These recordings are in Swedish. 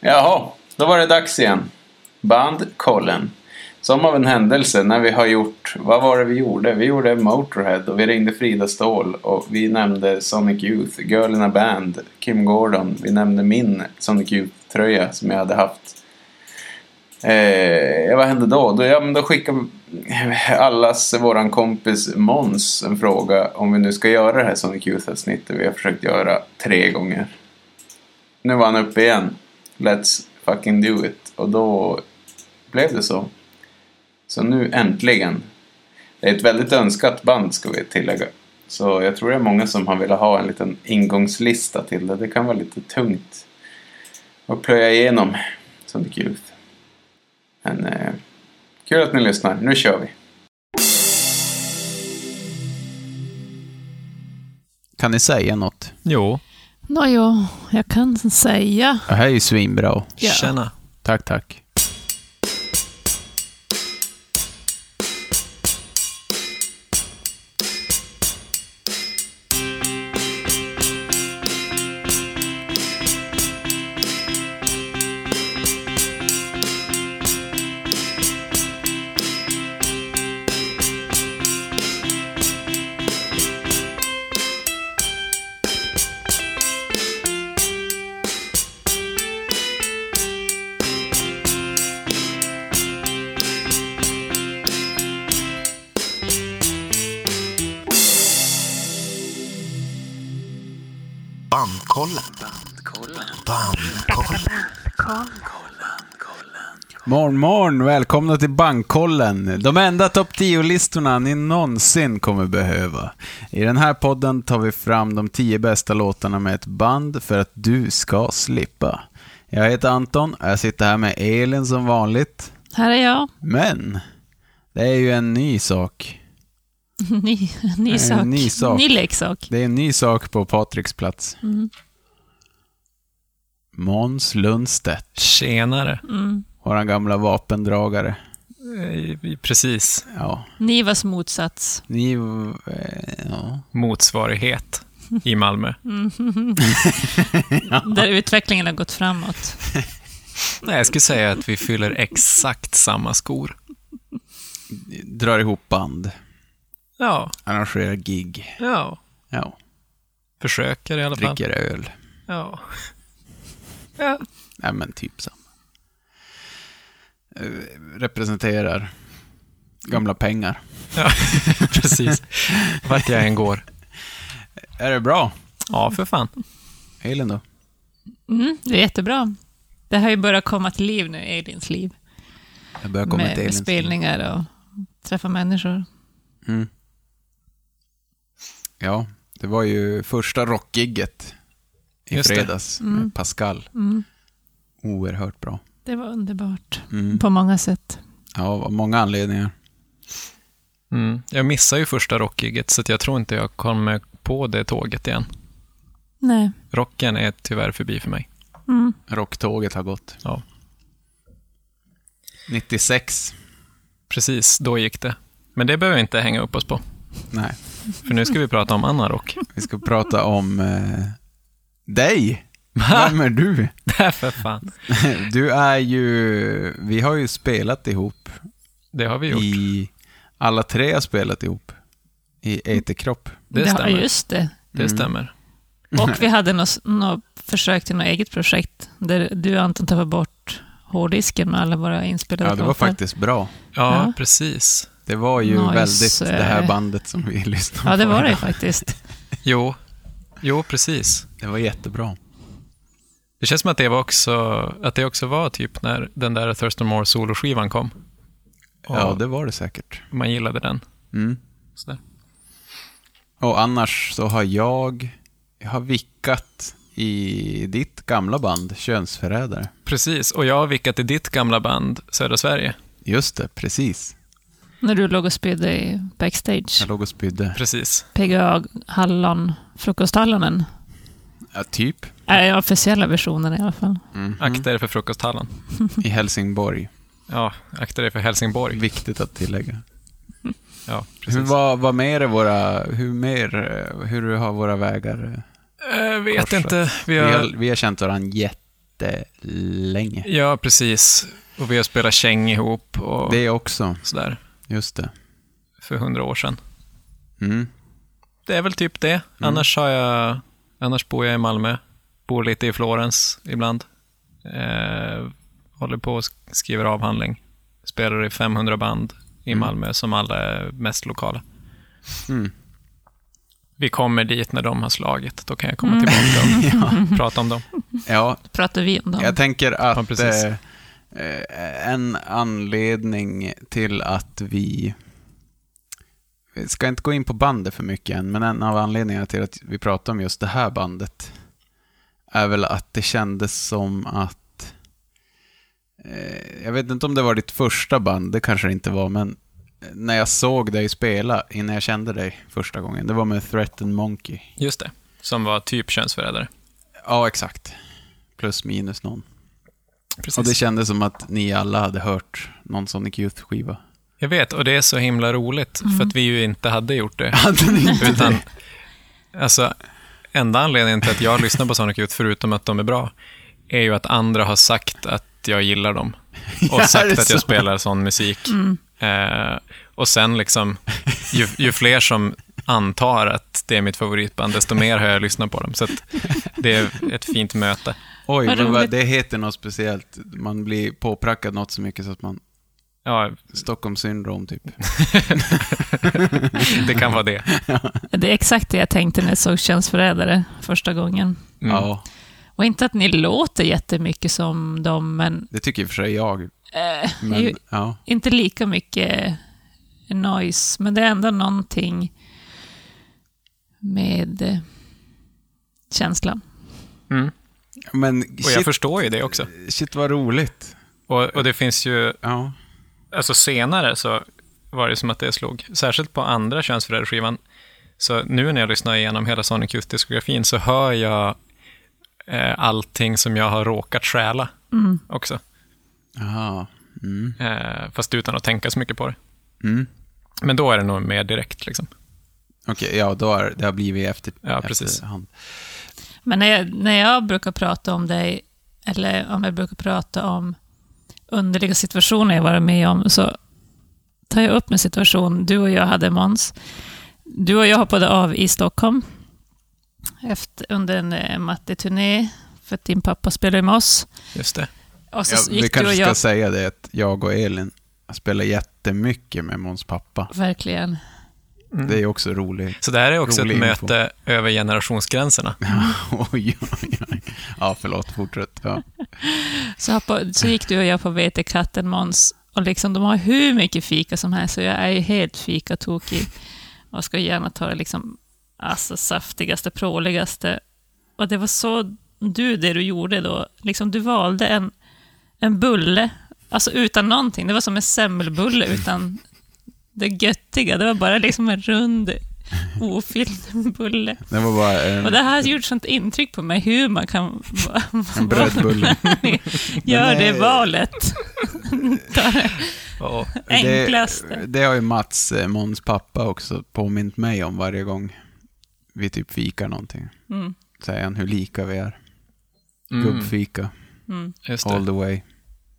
Jaha, då var det dags igen. Bandkollen. Som av en händelse när vi har gjort, vad var det vi gjorde? Vi gjorde Motorhead och vi ringde Frida Ståhl och vi nämnde Sonic Youth, Girl in a Band, Kim Gordon. Vi nämnde min Sonic Youth-tröja som jag hade haft. Eh, vad hände då? då? Ja, men då skickade allas våran kompis Mons en fråga om vi nu ska göra det här Sonic Youth-avsnittet vi har försökt göra tre gånger. Nu var han uppe igen. Let's fucking do it. Och då blev det så. Så nu äntligen. Det är ett väldigt önskat band ska vi tillägga. Så jag tror det är många som har velat ha en liten ingångslista till det. Det kan vara lite tungt att plöja igenom Sonic Youth. Men eh, kul att ni lyssnar. Nu kör vi. Kan ni säga något? Jo. Nåja, jag kan säga. Det här är ju svinbra. Ja. Tjena. Tack, tack. Bandkollen. Bandkollen. Morgon, morgon. Välkomna till Bankkollen. De enda topp 10-listorna ni någonsin kommer behöva. I den här podden tar vi fram de 10 bästa låtarna med ett band för att du ska slippa. Jag heter Anton och jag sitter här med Elin som vanligt. Här är jag. Men, det är ju en ny sak. Ny, ny, sak. En ny sak. Ny leksak. Det är en ny sak på Patriks plats. Måns Lundstedt, Tjenare. våran gamla vapendragare. Eh, Precis. Ja, Nivas motsats. ni... eh, Ja. Motsvarighet i Malmö. Där utvecklingen har gått framåt. Nej, jag skulle säga att vi fyller exakt samma skor. Drar ihop band, Ja, arrangerar gig. ja. Ja, Försöker i alla fall. dricker öl. Ja. ja. Nej, men typ samma. Eh, Representerar gamla pengar. ja. Precis. Vart jag än går. Är det bra? Ja, för fan. Elin då? Mm, det är jättebra. Det har ju börjat komma till liv nu, Elins liv. Jag börjar komma Med, till med Elins. spelningar och träffa människor. Mm. Ja, det var ju första rockgigget i Just det. Mm. fredags med Pascal. Oerhört bra. Det var underbart. Mm. På många sätt. Ja, av många anledningar. Mm. Jag missade ju första rockgiget, så att jag tror inte jag kommer på det tåget igen. Nej. Rocken är tyvärr förbi för mig. Mm. Rocktåget har gått. Ja. 96. Precis, då gick det. Men det behöver vi inte hänga upp oss på, Nej, för nu ska vi prata om annan rock. vi ska prata om eh, dig. Vem är du? Nej, för fan. Du är ju... Vi har ju spelat ihop Det har vi gjort. i... Alla tre har spelat ihop i Eterkropp. Det har- stämmer. Just det. Det Mm. stämmer. Och vi hade något, något försök till något eget projekt där du Anton tappade bort hårddisken med alla våra inspelade Ja, det var låtar. faktiskt bra. Ja, Ja. precis. Det var ju Nice. väldigt det här bandet som vi lyssnade på. Ja, det var det ju faktiskt. Jo. jo, precis. Det var jättebra. Det känns som att det, var också, att det också var typ när den där Thurston Moore soloskivan kom. Och Ja, det var det säkert. Man gillade den. Mm. Sådär. Och annars så har jag, jag har vickat i ditt gamla band, Könsförrädare. Precis, och jag har vickat i ditt gamla band Södra Sverige. Just det, precis. När du låg och spydde i backstage. Jag låg och spydde. Precis. PGA Hallon, Frukosthallonen. Ja, typ. Är den officiella versionen i alla fall. Akta er för frukosthallen. Mm. I Helsingborg. Ja, akta er för Helsingborg. Viktigt att tillägga. Ja, Hur, precis. vad, vad mer är våra, hur mer, eh, hur har våra vägar? eh, Jag vet Korsat. inte. Vi Vi har, har, vi har känt varandra jättelänge. Ja, precis. Och vi har spelat käng ihop och Det också, sådär just det. för hundra år sedan. Mm. Det är väl typ det. Annars, har jag, annars bor jag i Malmö. Bor lite i Florens ibland. Eh, håller på och sk- skriver avhandling. Spelar i 500 band i Malmö som alla är mest lokala. Mm. Vi kommer dit när de har slagit. Då kan jag komma Mm. tillbaka och prata om dem. Ja, Pratar vi om dem? Jag tänker Ja, att precis. eh, eh, en anledning till att vi... Vi ska inte gå in på bandet för mycket än, men en av anledningarna till att vi pratar om just det här bandet är väl att det kändes som att... Eh, jag vet inte om det var ditt första band, det kanske det inte var, men när jag såg dig spela innan jag kände dig första gången, det var med Threatened Monkey. Just det. Som var typ könsförrädare. Ja, exakt. Plus minus någon. Precis. Och det kändes som att ni alla hade hört någon Sonic Youth-skiva. Jag vet, och det är så himla roligt, för Mm. att vi ju inte hade gjort det. Hade ni inte Utan, det? alltså, enda anledningen till att jag lyssnar på Sonic Youth, förutom att de är bra, är ju att andra har sagt att jag gillar dem. Och Ja, är sagt det att jag så? spelar sån musik. Eh, och sen liksom, ju, ju fler som antar att det är mitt favoritband, desto mer har jag lyssnat på dem. Så att det är ett fint möte. Oj, Vad vad vad, roligt. det heter något speciellt. Man blir påprackad något så mycket så att man... Ja, Stockholmssyndrom, typ. det kan vara det. Det är exakt det jag tänkte när jag såg Könsförrädare första gången. Mm. Ja, Och inte att ni låter jättemycket som dem, men, det tycker i och för sig jag. eh, Men, ju, ja. inte lika mycket noise. Men det är ändå någonting med eh, känslan. Mm. men Och jag shit, förstår ju det också. shit vad roligt. Och, och det finns ju Ja. alltså senare så var det som att det slog. Särskilt på andra könsförrädarskivan. Så nu när jag lyssnar igenom hela Sonic Youth-diskografin så hör jag eh, allting som jag har råkat stjäla Mm. också. Jaha. Mm. Eh, fast utan att tänka så mycket på det. Mm. Men då är det nog mer direkt. Liksom. Okej, ja, då har det har blivit efter, Ja, precis. efterhand. Men när jag, när jag brukar prata om dig, eller om jag brukar prata om underliga situationer jag varit med om, så tar jag upp en situation. Du och jag hade Måns. Du och jag hoppade av i Stockholm efter, under en eh, matteturné, för att din pappa spelade med oss. Just det. Och Ja, så vi gick du och kanske ska jag... säga det att jag och Elin spelar jättemycket med Måns pappa. Verkligen. Det är ju också roligt. Så det här är också Rolig ett info. möte över generationsgränserna. oj, oj, oj. Ja, förlåt, fortsätt. Ja. Så, hoppa, så gick du och jag på vetekatten Måns och liksom, de har hur mycket fika som helst så jag är ju helt fikatokig och ska gärna ta det liksom, alltså, saftigaste, pråligaste. Och det var så du, det du gjorde då, liksom, du valde en, en bulle, alltså utan någonting. Det var som en semmelbulle utan det göttiga. Det var bara liksom en rund, ofylld bulle. Det var bara eh, Och en, det här har gjort sånt intryck på mig, hur man kan vara- en brödbulle. Gör Men, eh, det valet. Ta det Och, enklaste. Det, det har ju Mats, eh, Måns pappa, också påmint mig om varje gång vi typ fikar någonting. Mm. Säger han hur lika vi är. mm, Gubbfika, Mm. just all det. the way,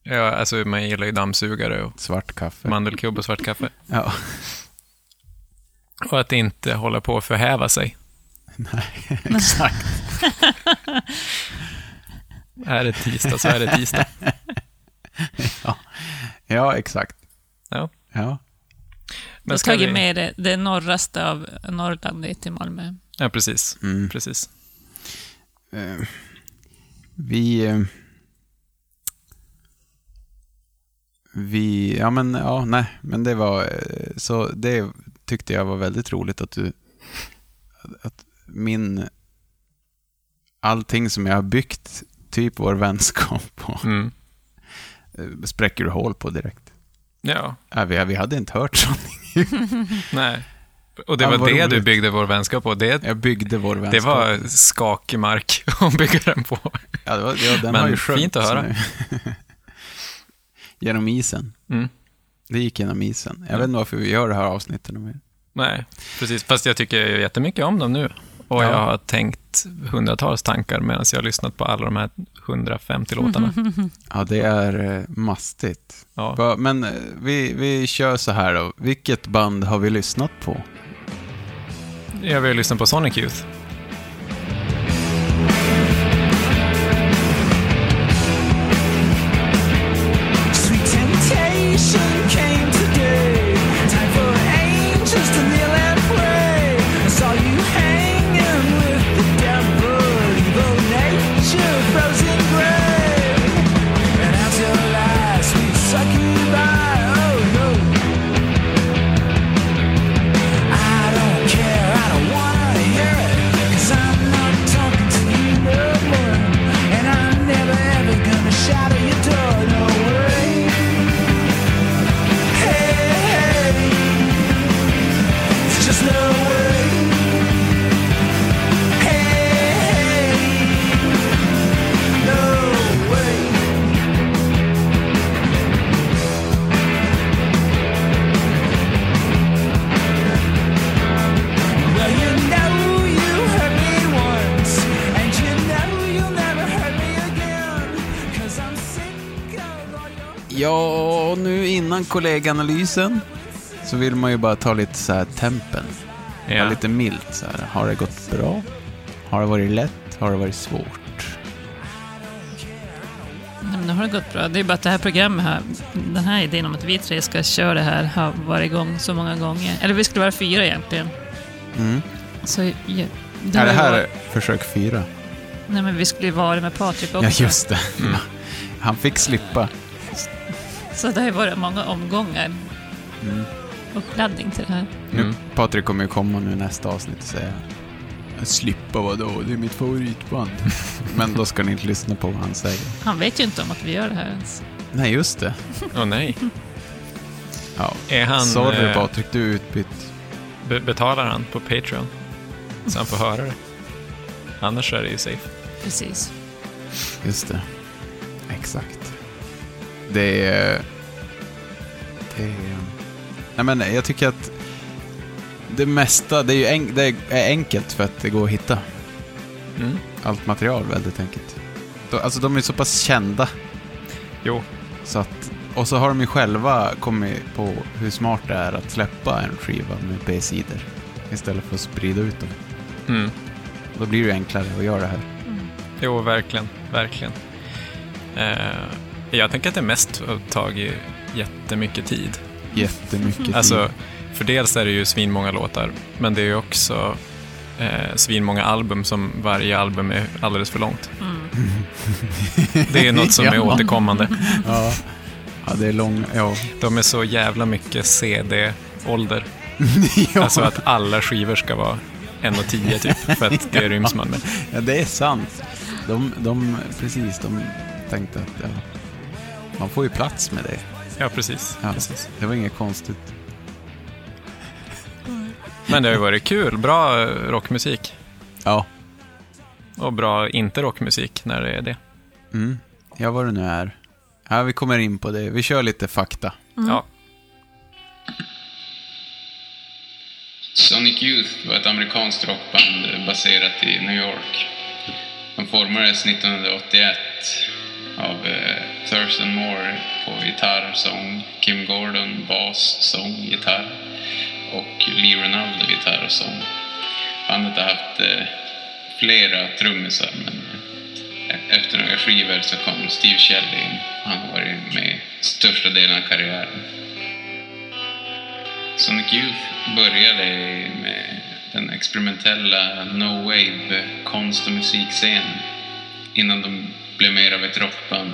Ja, alltså, man gillar ju dammsugare och svart kaffe. mandelkubb och svart kaffe. Ja, Och att inte hålla på att förhäva sig. nej, exakt. Är det tisdag så är det tisdag. Ja, exakt. Ja. Ja, Jag har ska tagit vi- med det, det norraste av Norrland ner till Malmö. Ja, precis. mm. precis. Eh, Vi... eh, Vi... Ja, men ja, nej. Men det var... eh, Så det tyckte jag var väldigt roligt att du... Att min... Allting som jag har byggt typ vår vänskap på Mm. eh, spräcker du hål på direkt. Ja, Ja, vi, vi hade inte hört sånt. nej. Och det Ja, var vad det du roligt. byggde vår vänskap på. Det, Jag byggde vår vänskap. det var skakig mark att bygga den på. Ja, det var, ja, den Men har ju sjunkit fint att höra. nu. genom isen. Mm. Det gick genom isen. Jag vet inte varför vi gör det här avsnittet nu mer. Nej, precis. Fast jag tycker ju jättemycket om dem nu. Och jag har tänkt hundratals tankar medan jag har lyssnat på alla de här 150 låtarna. Ja, det är eh, mastigt. Ja. Va- Men eh, vi, vi kör så här då. Vilket band har vi lyssnat på? Jag vill lyssna på Sonic Youth. Sweet temptation came today. Time for angels to kneel and pray. I saw you hanging with the devil, evil nature frozen gray. And as your last sweet succubi, oh no. I don't care, I don't wanna hear it. Cause I'm not talking to you no more. And I'm never ever gonna shatter your door, no way. It's just no way. Hey, no way. Well, you know you hurt me once, and you know you'll never hurt me again. Cause I'm sick of all your. Ja, nu innan kolleganalysen så vill man ju bara ta lite så här tempen. Ja. Vara lite milt så här. Har det gått bra? Har det varit lätt? Har det varit svårt? Nej, men nu har det gått bra. Det är bara att det här programmet, här, den här idén om att vi tre ska köra det här, har varit igång så många gånger. Eller vi skulle vara fyra egentligen. Mm. Så, ja, det är det har här ju är varit- försök fyra? Nej, men vi skulle ju vara med Patrik också. Ja, just det. Han fick slippa. Så det har ju varit många omgångar. Mm. Uppladdning till det här. Nu, Patrik kommer ju komma nu i nästa avsnitt och säga Slippa vadå? Det är mitt favoritband. Men då ska ni inte lyssna på vad han säger. Han vet ju inte om att vi gör det här ens. Nej, just det. Åh nej. Ja. Är han, Sorry eh, Patrik, du är utbytt. Be- betalar han på Patreon? Så han får höra det. Annars är det ju safe. Precis. Just det. Exakt. Det är... Det är... Nej, men jag tycker att det mesta, det är ju enk- det är enkelt för att det går att hitta. Mm. Allt material väldigt enkelt. De- Alltså de är så pass kända Jo, Så att, och så har de ju själva kommit på hur smart det är att släppa en skiva med B-sidor istället för att sprida ut dem. Mm. Då blir det ju enklare att göra det här. jo verkligen. verkligen. Eh, jag tänker att det mest har tagit jättemycket tid. Mm-hmm. Jättemycket tid. Alltså, för dels är det ju svinmånga låtar, men det är ju också eh, svinmånga album som varje album är alldeles för långt. Det är något som är Mm. Ja. återkommande. Ja. ja, det är lång... Ja. De är så jävla mycket CD-ålder. ja. Alltså att alla skivor ska vara 1,10 typ, för att det ryms man med. ja, det är sant. De, de, precis, de tänkte att ja, man får ju plats med det. Ja, precis. Ja. precis. Det var inget konstigt. Men det har ju varit kul. Bra eh, rockmusik Ja. och bra inte rockmusik när det är det. Mm. Ja, vad det nu är. Ja, vi kommer in på det. Vi kör lite fakta. Ja. Sonic Youth var ett amerikanskt rockband baserat i New York. De formades 1981 av eh, Thurston Moore på gitarr, sång, Kim Gordon bas, sång, gitarr och Lee Ronaldo gitarr och sång. Bandet har haft eh, flera trummisar men e- efter några skivor så kom Steve Shelley in. Han har varit med största delen av karriären. Sonic Youth började med den experimentella no-wave konst och musikscenen innan de blev mer av ett rockband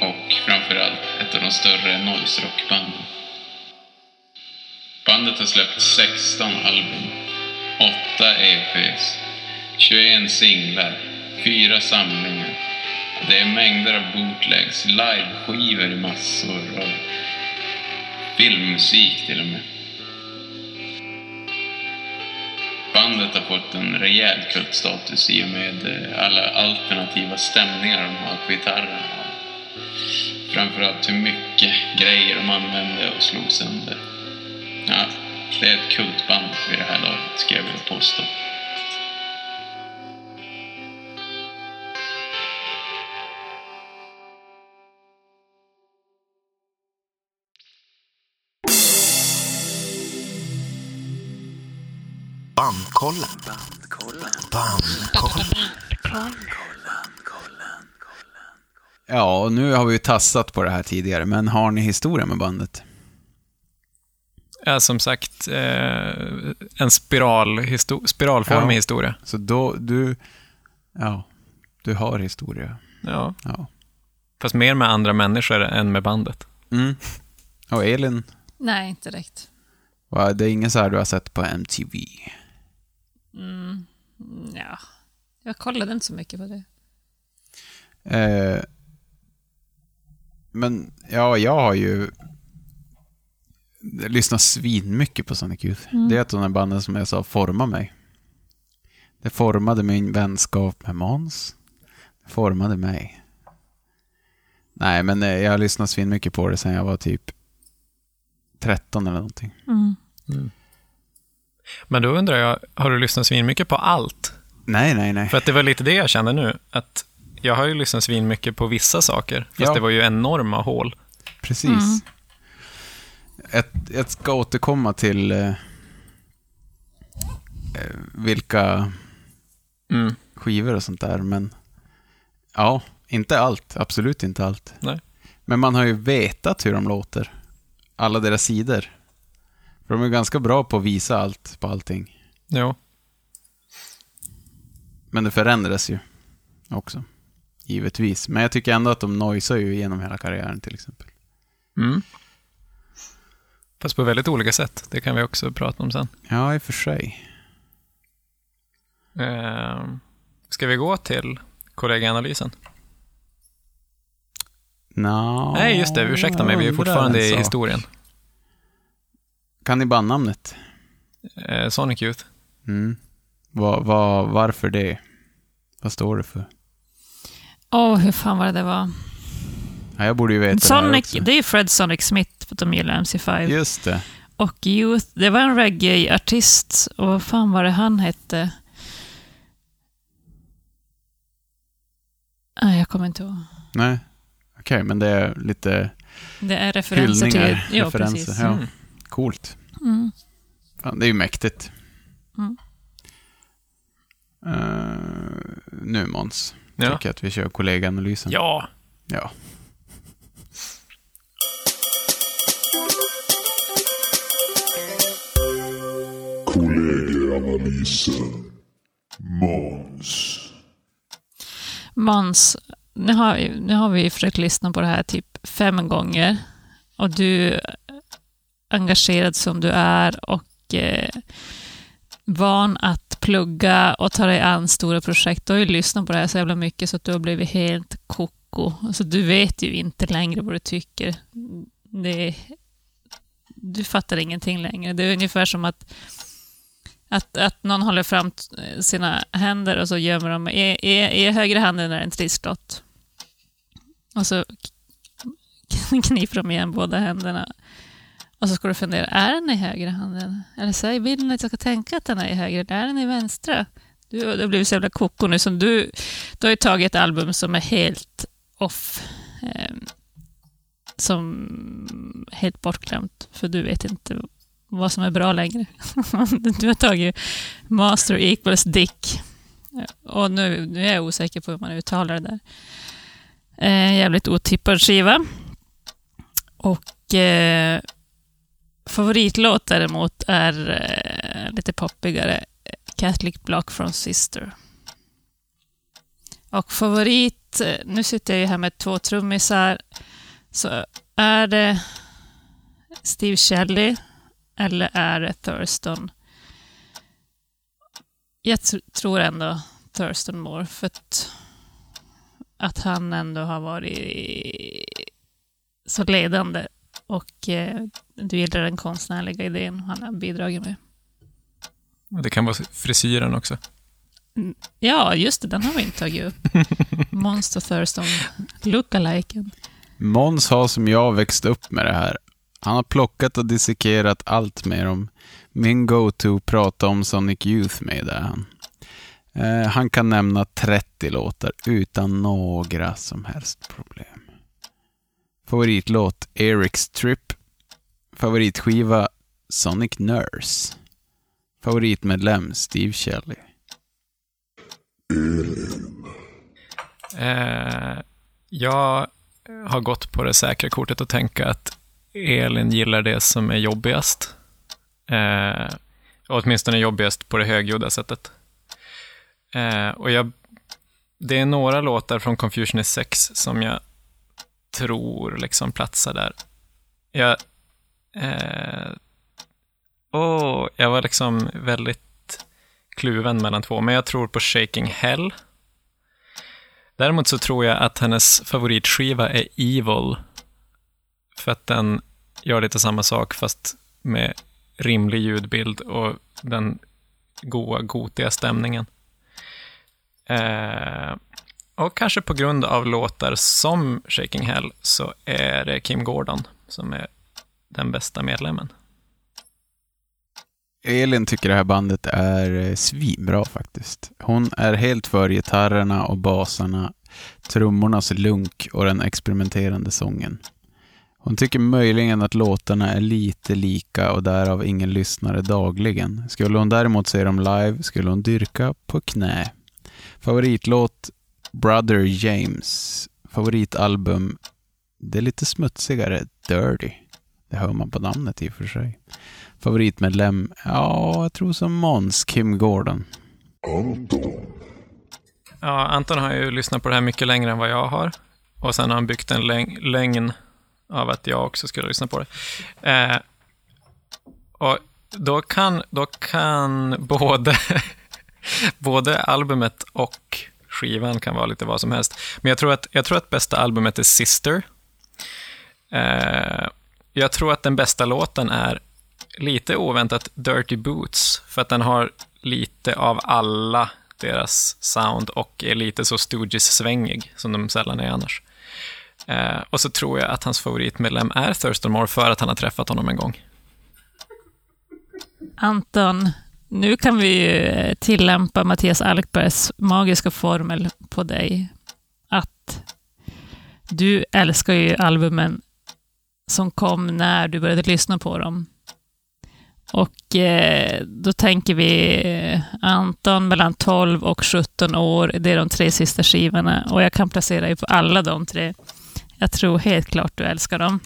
och framförallt ett av de större noise rockbanden. Bandet har släppt 16 album, 8 EPs, 21 singlar, 4 samlingar. Det är mängder av bootlegs, liveskivor i massor och filmmusik till och med. Bandet har fått en rejäl kultstatus i och med eh, alla alternativa stämningar de har på gitarrerna. Framförallt hur mycket grejer de använde och slog sönder. Ja, det är ett kultband vid det här laget, skulle jag vilja påstå. Bandkollen. Bandkollen. Ja, och nu har vi ju tassat på det här tidigare, men har ni historia med bandet? Ja, som sagt, eh, en spiral histo- spiralformig Ja. historia. Så då, du... Ja, du har historia. Ja. Ja. Fast mer med andra människor än med bandet. Mm. Och Elin, Nej, inte direkt. va, det är ingen så här du har sett på MTV? Ja. Jag kollade inte så mycket på det. Eh, men, ja, jag har ju lyssnat svinmycket på Sonic Youth. Det är ett av de här banden som jag sa formar mig. Det formade min vänskap med Måns. Det formade mig. Nej, men eh, jag har lyssnat svinmycket på det sen jag var typ 13 eller någonting. Men då undrar jag, har du lyssnat svinmycket på allt? Nej, nej, nej. För att det var lite det jag kände nu, att jag har ju lyssnat svinmycket på vissa saker, fast Ja. det var ju enorma hål. Precis. Jag, jag ska återkomma till eh, eh, vilka Mm. skivor och sånt där, men ja, inte allt. Absolut inte allt. Nej. Men man har ju vetat hur de låter. Alla deras sidor. För de är ganska bra på att visa allt på allting. Jo. Men det förändras ju också. Givetvis. Men jag tycker ändå att de noisar ju genom hela karriären till exempel. Mm. Fast på väldigt olika sätt. Det kan vi också prata om sen. Ja, i och för sig. Eh, ska vi gå till kollegaanalysen? No, Nej, just det. Ursäkta mig. Vi är fortfarande i historien. Kan ni bandnamnet? Eh, Sonic Youth. Mm. Va, va, varför det? Vad står det för? Åh, hur fan var det det var? Ja, jag borde ju veta Sonic, det här det är ju Fred Sonic Smith, för att de gillar MC5. också. Just det. Och Youth, det var en reggae-artist. Och vad fan var det han hette? Nej, Ah, jag kommer inte ihåg. Nej. Okej, men det är lite Det är referenser hyllningar, till... Ja, referenser. precis. Ja. Mm. Coolt. Mm. Fan, det är ju mäktigt. Mm. Eh, nu Måns, Ja. tycker jag att vi kör kollegaanalysen. ja. ja. Kollegieanalysen. Måns. Måns, nu har, nu har vi försökt lyssna på det här typ fem gånger. Och du, engagerad som du är och eh, van att plugga och ta dig an stora projekt, du har ju lyssnat på det här så jävla mycket så att du har blivit helt koko. Alltså, du vet ju inte längre vad du tycker. Det, du fattar ingenting längre. Det är ungefär som att att, att någon håller fram t- sina händer och så gömmer de... I, i, i högra handen är en trisslott. Och så k- kniper de igen båda händerna. Och så ska du fundera, är den i högra handen? Eller säg bilden att jag ska tänka att den är i högra, eller är den i vänstra? Du, du har blivit så jävla koko nu. Som du, du har ju tagit ett album som är helt off. ehm, som helt bortglömt, för du vet inte vad som är bra längre. Du har tagit master equals dick. Och nu, nu är jag osäker på hur man uttalar det där. Eh, jävligt otippad skiva. Och eh, favoritlåt däremot är eh, lite poppigare. Catholic Block från Sister. Och favorit, eh, nu sitter jag ju här med två trummisar. Så är det Steve Shelley eller är det Thurston? Jag tr- tror ändå Thurston Moore, för att, att han ändå har varit så ledande och eh, du gillar den konstnärliga idén han har bidragit med. Det kan vara frisyren också. Ja, just det, den har vi inte tagit upp. Monster Thurston, lookaliken. Måns har som jag växt upp med det här. Han har plockat och dissekerat allt med dem. Min go-to prata om Sonic Youth med det är han. Eh, han kan nämna 30 låtar utan några som helst problem. Favoritlåt Eric's Trip. Favoritskiva Sonic Nurse. Favoritmedlem Steve Shelley. Eh, jag har gått på det säkra kortet och tänka att Elin gillar det som är jobbigast. Eh, åtminstone jobbigast på det högljudda sättet. Eh, och jag, det är några låtar från Confusion is Sex som jag tror liksom platsar där. Jag, eh, åh, jag var liksom väldigt kluven mellan två, men jag tror på Shaking Hell. Däremot så tror jag att hennes favoritskiva är Evil. För att den gör lite samma sak fast med rimlig ljudbild och den goa, gotiga stämningen. Eh, och kanske på grund av låtar som Shaking Hell så är det Kim Gordon som är den bästa medlemmen. Elin tycker det här bandet är eh, svinbra faktiskt. Hon är helt för gitarrerna och basarna, trummornas lunk och den experimenterande sången. Hon tycker möjligen att låtarna är lite lika och därav ingen lyssnare dagligen. Skulle hon däremot se dem live skulle hon dyrka på knä. Favoritlåt Brother James. Favoritalbum det är lite smutsigare, Dirty. Det hör man på namnet i och för sig. Favoritmedlem? Ja, jag tror som Måns, Kim Gordon. Anton, Ja, Anton har ju lyssnat på det här mycket längre än vad jag har. Och sen har han byggt en lögn, lögn av att jag också skulle lyssna på det. Eh, och då kan, då kan både, både albumet och skivan kan vara lite vad som helst. Men jag tror att, jag tror att bästa albumet är Sister. Eh, jag tror att den bästa låten är lite oväntat Dirty Boots, för att den har lite av alla deras sound och är lite så Stooges-svängig som de sällan är annars. Eh, och så tror jag att hans favoritmedlem är Thurston Moore för att han har träffat honom en gång. Anton, nu kan vi ju eh, tillämpa Mattias Alkbergs magiska formel på dig. Att du älskar ju albumen som kom när du började lyssna på dem. Och eh, då tänker vi eh, Anton mellan 12 och 17 år, det är de tre sista skivorna. Och jag kan placera dig på alla de tre. Jag tror helt klart du älskar dem.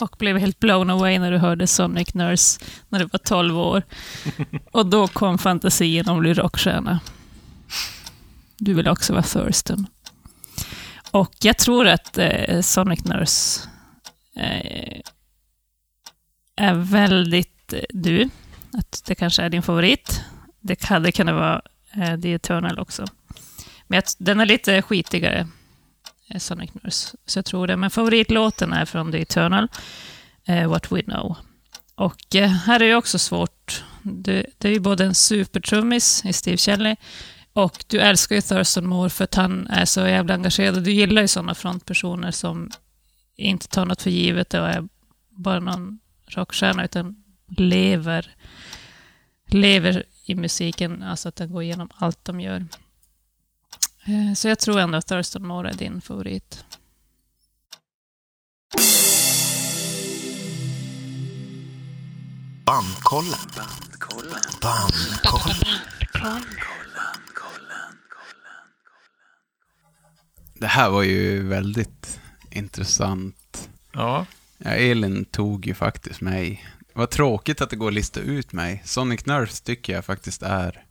Och blev helt blown away när du hörde Sonic Nurse när du var 12 år. Och då kom fantasin om att bli rockstjärna. Du vill också vara Thurston. Och jag tror att eh, Sonic Nurse eh, är väldigt eh, du. Att det kanske är din favorit. Det hade kunnat vara eh, The Eternal också. Men att, den är lite skitigare, eh, Sonic Nurse. Så jag tror det. Men favoritlåten är från The Eternal, eh, What We Know. Och eh, här är ju också svårt. Du, det är ju både en supertrummis i Steve Shelley och du älskar ju Thurston Moore för att han är så jävla engagerad. Du gillar ju sådana frontpersoner som inte tar något för givet och är bara någon rockstjärna utan lever, lever i musiken, alltså att den går igenom allt de gör. Eh, Så jag tror ändå att Thurston Moore är din favorit. Bandkollen. Bandkollen. Det här var ju väldigt intressant. Ja, Ja, Elin tog ju faktiskt mig. Vad tråkigt att det går att lista ut mig. Sonic Nurse tycker jag faktiskt är...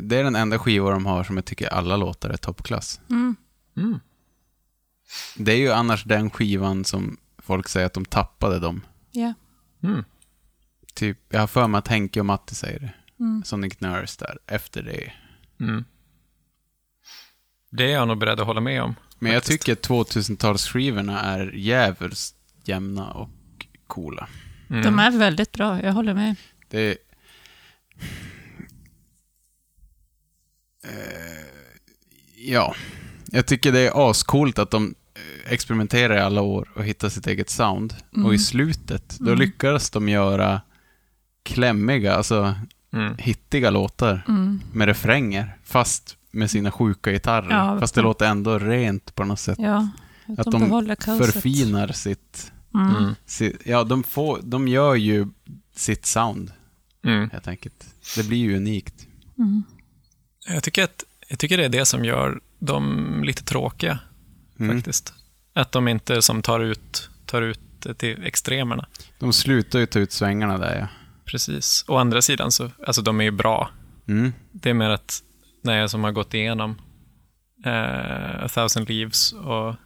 Det är den enda skiva de har som jag tycker alla låtar är toppklass. Mm. Det är ju annars den skivan som folk säger att de tappade dem. Ja. mm. Typ, jag har för mig att Henke och Matti säger det. Sonic Nurse där, efter det. Mm. det är jag nog beredd att hålla med om. Men jag faktiskt. tycker 2000-talsskivorna är djävulskt jämna och coola. De är väldigt bra, jag håller med. Det är... Eh, ja, jag tycker det är ascoolt att de eh, experimenterar i alla år och hittar sitt eget sound. Och i slutet, då lyckas de göra klämmiga, alltså Mm. hittiga låtar med refränger, fast med sina sjuka gitarrer. Ja, fast det låter ändå rent på något sätt. Ja, Att de de behåller kaoset. förfinar sitt... Mm. sitt ja, de, får, de gör ju sitt sound. Mm. helt enkelt. Det blir ju unikt. Jag tycker, att, jag tycker det är det som gör dem lite tråkiga, Mm. faktiskt. Att de inte som tar ut, tar ut det till extremerna. De slutar ju ta ut svängarna där ja. Precis. Å andra sidan, så, alltså de är ju bra. Mm. Det är mer att när jag som har gått igenom eh, A thousand leaves och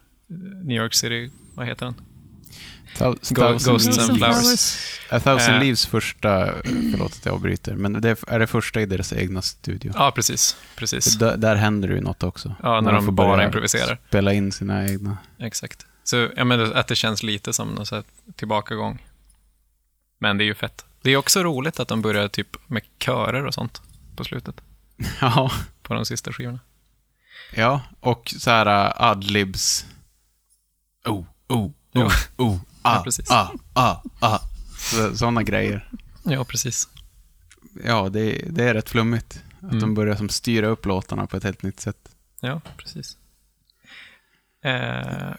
New York City, vad heter den? Thou- Ghosts Thousand and Leaves. Flowers. A Thousand Eh. Leaves första, förlåt att jag avbryter, men det är- är det första i deras egna studio. Ja, precis. precis. För Där, där händer det ju något också. Ja, när de får bara börja improviserar. Spela in sina egna. Exakt. Så ja, men att det känns lite som någon så här tillbakagång. Men det är ju fett. Det är också roligt att de börjar typ med körer och sånt på slutet, Ja, på de sista skivorna. ja. och så här uh, adlibs. Oh, oh, Ja. oh, oh, ah, precis. ah, ah, ah. Sådana grejer. Ja, precis. Ja, det, det är rätt flummigt. Att Mm. de börjar som styra upp låtarna på ett helt nytt sätt. Ja, precis. Eh,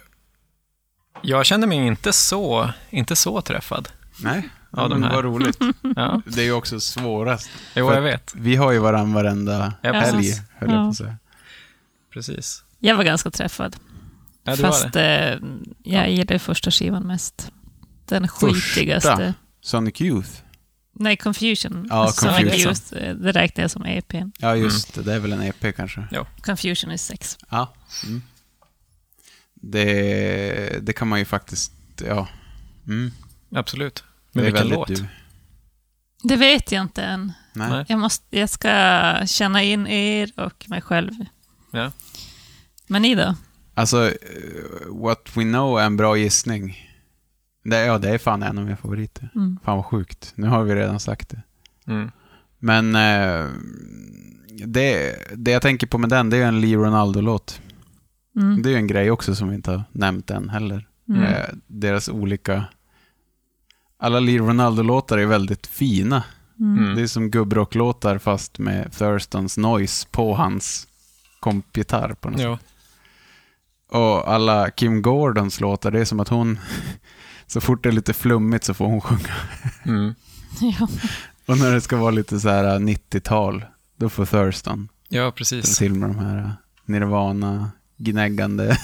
jag kände mig inte så, inte så träffad. Nej, Ja, de men här. vad roligt. Mm. Ja. Det är ju också svårast. Jo, För jag att vet. Vi har ju varandra varenda Ja, helg, precis. höll jag på Ja. att säga. Precis. Jag var ganska träffad. Ja, du var Fast det. eh, jag gillade första skivan mest. Den skitigaste. Sonic Youth. Nej, Confusion. Alltså, Ja, Som jag Confusion. just, eh, det räknar jag som EPn. Ja, Mm. just det. Det är väl en EP kanske. Ja. Confusion är sex. Ja. Mm. Det, det kan man ju faktiskt... Ja. Mm. Absolut. Det Men är vilken väldigt låt? du. Det vet jag inte än. Nej. Nej. Jag, måste, jag ska känna in er och mig själv. Ja. Men ni då? Alltså, eh, What We Know är en bra gissning. Det, ja, det är fan en av mina favoriter. Mm. Fan vad sjukt. Nu har vi redan sagt det. Mm. Men eh, det, det jag tänker på med den, det är ju en Lee Ronaldo-låt. Mm. Det är ju en grej också som vi inte har nämnt än heller. Mm. Eh, deras olika... Alla Lee Ronaldo-låtar är väldigt fina. Det Mm. är som gubbrocklåtar fast med Thurstons noise på hans kompgitarr på något sätt. Ja. Och alla Kim Gordons låtar, det är som att hon, så fort det är lite flummigt så får hon sjunga. Mm. Ja. Och när det ska vara lite så här 90-tal, då får Thurston ja, dra precis. till med de här eh, Nirvana, gnäggande.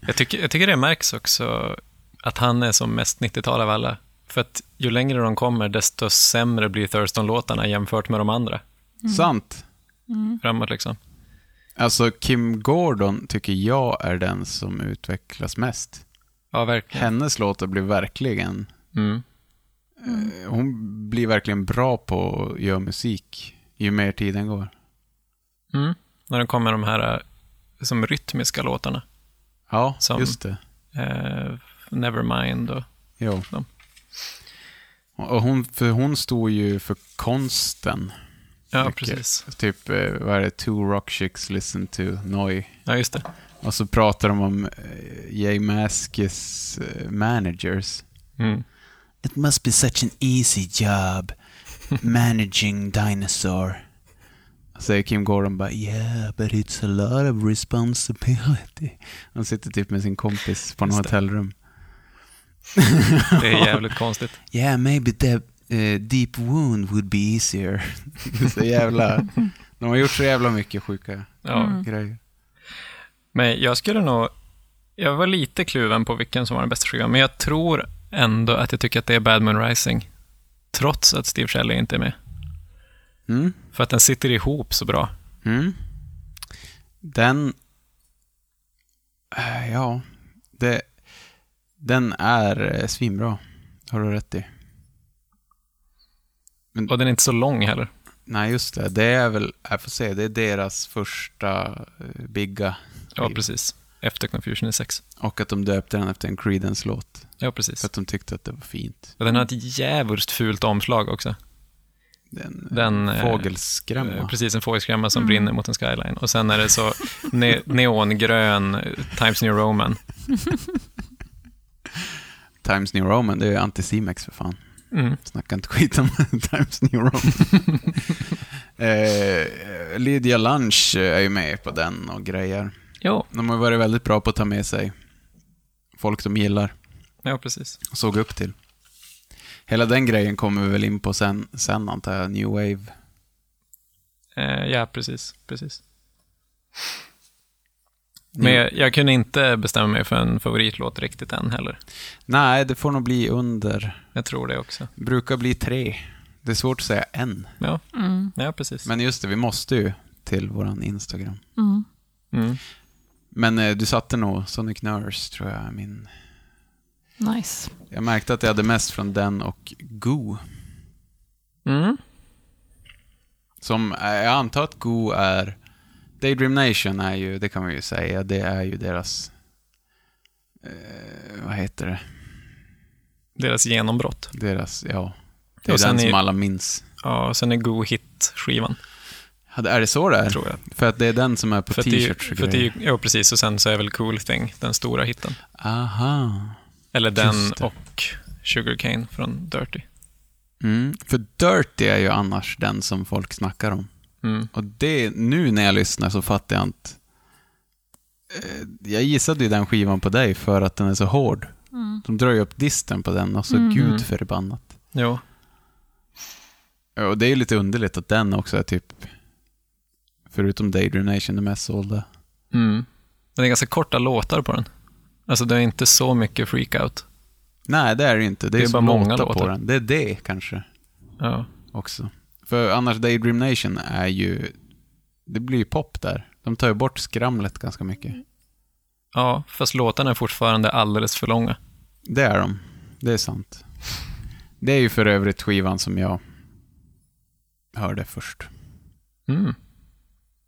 Jag tycker, jag tycker det märks också att han är som mest 90-tal av alla. För att ju längre de kommer, desto sämre blir Thurston-låtarna jämfört med de andra. Sant. Mm. Framåt liksom. Alltså Kim Gordon tycker jag är den som utvecklas mest. Ja, verkligen. Hennes låtar blir verkligen Mm. Eh, Hon blir verkligen bra på att göra musik ju mer tiden går. Mm. När de kommer de här eh, som rytmiska låtarna. Ja, Som- just det. Eh, Nevermind och... Jo. Ja. Och hon, för hon stod ju för konsten. Ja, mycket. precis. Typ, eh, vad är det, Two Rock Chicks Listen to Noi. Ja, just det. Och så pratar de om eh, Jay Maskes eh, managers. Mm. It must be such an easy job managing dinosaur. Säger Kim Gordon bara yeah, but it's a lot of responsibility. Han sitter typ med sin kompis på något Just det. hotellrum. Det är jävligt konstigt. Yeah, maybe that eh, deep wound would be easier. Det är så jävla... De har gjort så jävla mycket sjuka Ja. grejer. Men jag skulle nog... Jag var lite kluven på vilken som var den bästa skivan, men jag tror ändå att jag tycker att det är Bad Moon Rising. Trots att Steve Shelley inte är med. Mm. För att den sitter ihop så bra. Mm. Den... Eh, Ja, det... Den är eh, svinbra. Har du rätt i. Och den är inte så lång heller. Nej, just det. Det är väl, jag får se, det är deras första eh, bigga. Ja, precis. Efter Confusion i sex. Och att de döpte den efter en Creedence-låt. Ja, För precis. att de tyckte att det var fint. Och den har ett jävligt fult omslag också. Den, Den, eh, fågelskrämma. Eh, Precis, en fågelskrämma som brinner mot en skyline. Och sen är det så ne- neongrön eh, Times New Roman. Times New Roman, det är ju Anticimex för fan. Mm. Snacka inte skit om Times New Roman. eh, Lydia Lunch eh, är ju med på den och grejer. Jo, De har varit väldigt bra på att ta med sig folk de gillar ja, precis. och såg upp till. Hela den grejen kommer vi väl in på sen, sen antar jag, New Wave. Eh, ja, precis. precis. Men jag, jag kunde inte bestämma mig för en favoritlåt riktigt än heller. Nej, det får nog bli under. Jag tror det också. Brukar bli tre. Det är svårt att säga en. Ja, Mm. ja precis. Men just det, vi måste ju till våran Instagram. Mm. Men eh, du satte nog Sonic Nurse, tror jag, min... Nice. Jag märkte att jag hade mest från den och Goo. Mm. Som, eh, jag antar att Go är... Daydream Nation är ju, det kan man ju säga, det är ju deras... Eh, vad heter det? Deras genombrott. Deras, ja. Det är Och sen den som är- alla minns. Ja, och sen är Go Hit-skivan, Ja, det- Är det så det är? tror jag. För att det är den som är på För att det är ju- t-shirts och för att det är grejer. ju- Ja, precis. Och sen så är väl Cool Thing den stora hitten. Aha. Eller den Just det. och Sugarcane från Dirty. Mm. För Dirty är ju annars den som folk snackar om. Mm. Och det, nu när jag lyssnar så fattar jag inte. Eh, Jag gissade ju den skivan på dig för att den är så hård. De drar ju upp disten på den och så gud förbannat. Jo, Ja, Och det är ju lite underligt att den också är typ, förutom Daydream Nation, den mest sålda. Mm. Den är ganska korta låtar på den. Alltså det är inte så mycket freakout. Nej, det är det ju inte. Det är, Det är ju bara många låtar på låtar. den. Det är det kanske Ja. också. För annars Daydream Nation är ju, det blir ju pop där. De tar ju bort skramlet ganska mycket. ja, fast låtarna är fortfarande alldeles för långa. Det är de. Det är sant. Det är ju för övrigt skivan som jag hörde först. Mm.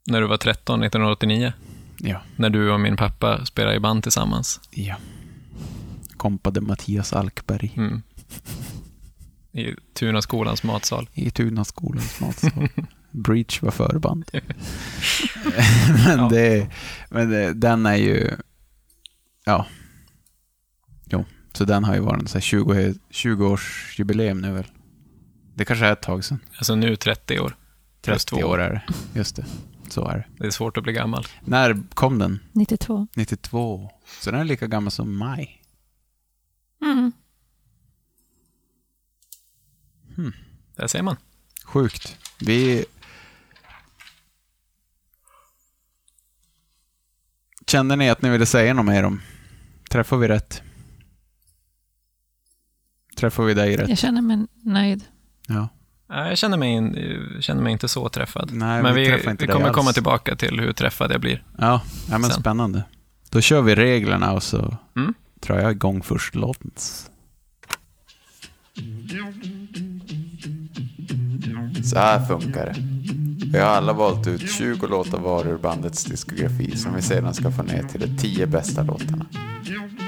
När du var 13, 1989, Ja. när du och min pappa spelade i band tillsammans ja. Kompade Mattias Alkberg mm. i Tunaskolans matsal. i Tunaskolans matsal. Breach var förband. men Ja. det, men det, den är ju... Ja. Jo, så den har ju varit en sån här 20, 20-årsjubileum nu väl. Det kanske är ett tag sedan. Alltså nu 30 år. Plus 30 två. år är det. Just det. Så är det. Det är svårt att bli gammal. När kom den? 92. 92. Så den är lika gammal som maj. Mm. Där ser man. Sjukt. Vi... Kände ni att ni ville säga något mer om? Träffar vi rätt? Träffar vi dig rätt? Jag känner mig nöjd. Ja. Nej, Jag känner mig, in- känner mig inte så träffad. Nej, Men vi vi, träffar inte vi dig kommer alls. komma tillbaka till hur träffad jag blir. Ja, ja men Sen. spännande. Då kör vi reglerna och så Mm. drar jag igång först låtens. Så här funkar det. Vi har alla valt ut 20 låtar var ur bandets diskografi som vi sedan ska få ner till de 10 bästa låtarna.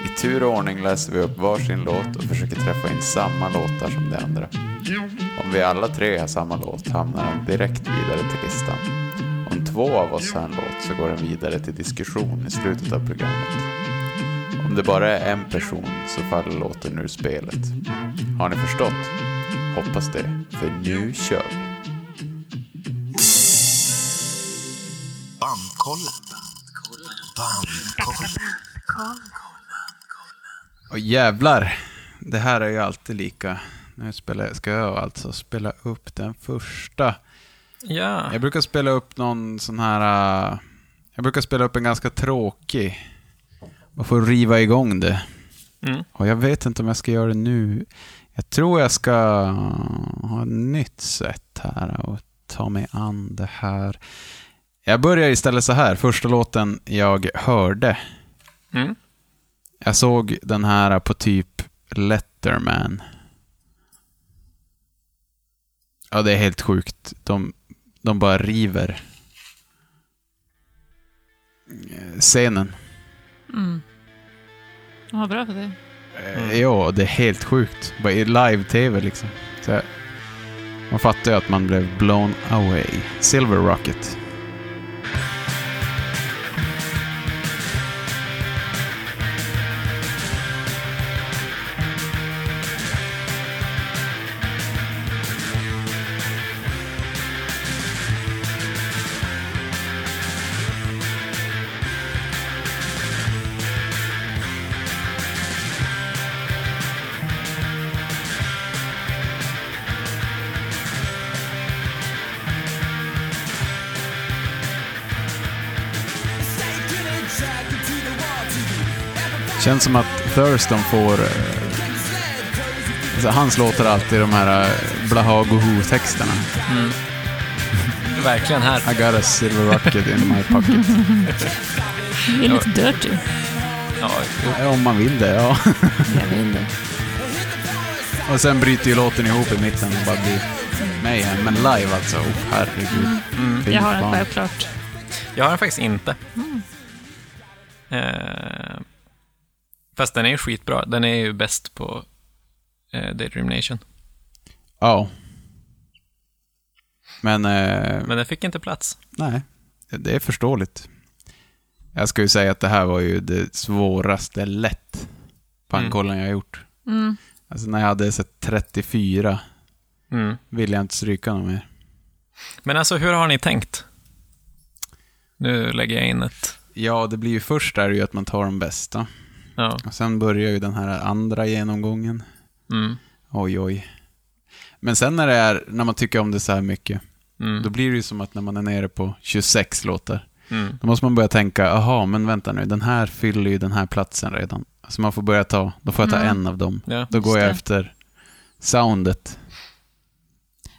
I tur och ordning läser vi upp varsin låt och försöker träffa in samma låtar som de andra. Om vi alla tre har samma låt hamnar den direkt vidare till listan. Om två av oss har en låt så går den vidare till diskussion i slutet av programmet. Om det bara är en person så faller låten ur spelet. Har ni förstått? Hoppas det, för nu kör vi! Bandkollen. Bandkollen. Och jävlar. Det här är ju alltid lika. Nu spelar, ska jag alltså spela upp den första. Ja. Jag brukar spela upp någon sån här... äh, jag brukar spela upp en ganska tråkig. Man får riva igång det. Mm. Och jag vet inte om jag ska göra det nu. Jag tror jag ska ah, ha ett nytt sätt här och ta mig an det här. Jag börjar istället så här. Första låten jag hörde. Mm. Jag såg den här på typ Letterman. Ja, det är helt sjukt. De, de bara river eh, scenen. Vad bra för det. Eh, Ja, det är helt sjukt. Bara i live-tv liksom. Så här. Man fattar ju att man blev blown away. Silver Rocket. Känns som att Thurston får... eh, Alltså, hans låtar alltid de här eh, Blahag och Who-texterna. Verkligen här. I got a silver rocket in my pocket. Det är lite dirty. Ja, jo. Ja, Om man vill det, ja. Jag vill det. Och sen bryter ju låten ihop i mitten och bara blir mayhem. Men live alltså, oh, herregud. Fint Mm. Jag har den barn. självklart. Jag har den faktiskt inte. Eh, fast den är ju skitbra. Den är ju bäst på eh, Daydream Nation. Ja. Men, eh, Men den fick inte plats. nej, det är förståeligt. Jag ska ju säga att det här var ju det svåraste lätt pannkollen jag har gjort. Mm. Alltså när jag hade sett 34 Mm. ville jag inte stryka något mer. Men alltså, hur har ni tänkt? Nu lägger jag in ett... Ja, det blir ju först där ju att man tar de bästa. Ja. Och sen börjar ju den här andra genomgången. Mm. Oj, oj. Men sen när det är, när man tycker om det så här mycket, Mm. då blir det ju som att när man är nere på 26 låtar, Mm. då måste man börja tänka, aha, men vänta nu, den här fyller ju den här platsen redan. Så man får börja ta, då får jag ta en av dem. Ja. Då går Mm. Just jag det. efter soundet.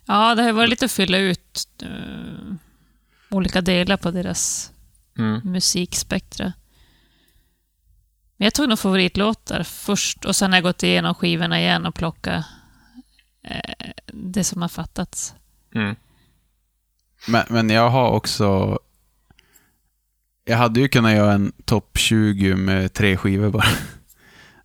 Ja, det har ju varit lite att fylla ut eh, olika delar på deras Mm. musikspektra. Men jag tog nog favoritlåtar först och sen har jag gått igenom skivorna igen och plockat eh, det som har fattats. Mm. Men, men jag har också, jag hade ju kunnat göra en topp 20 med tre skivor bara.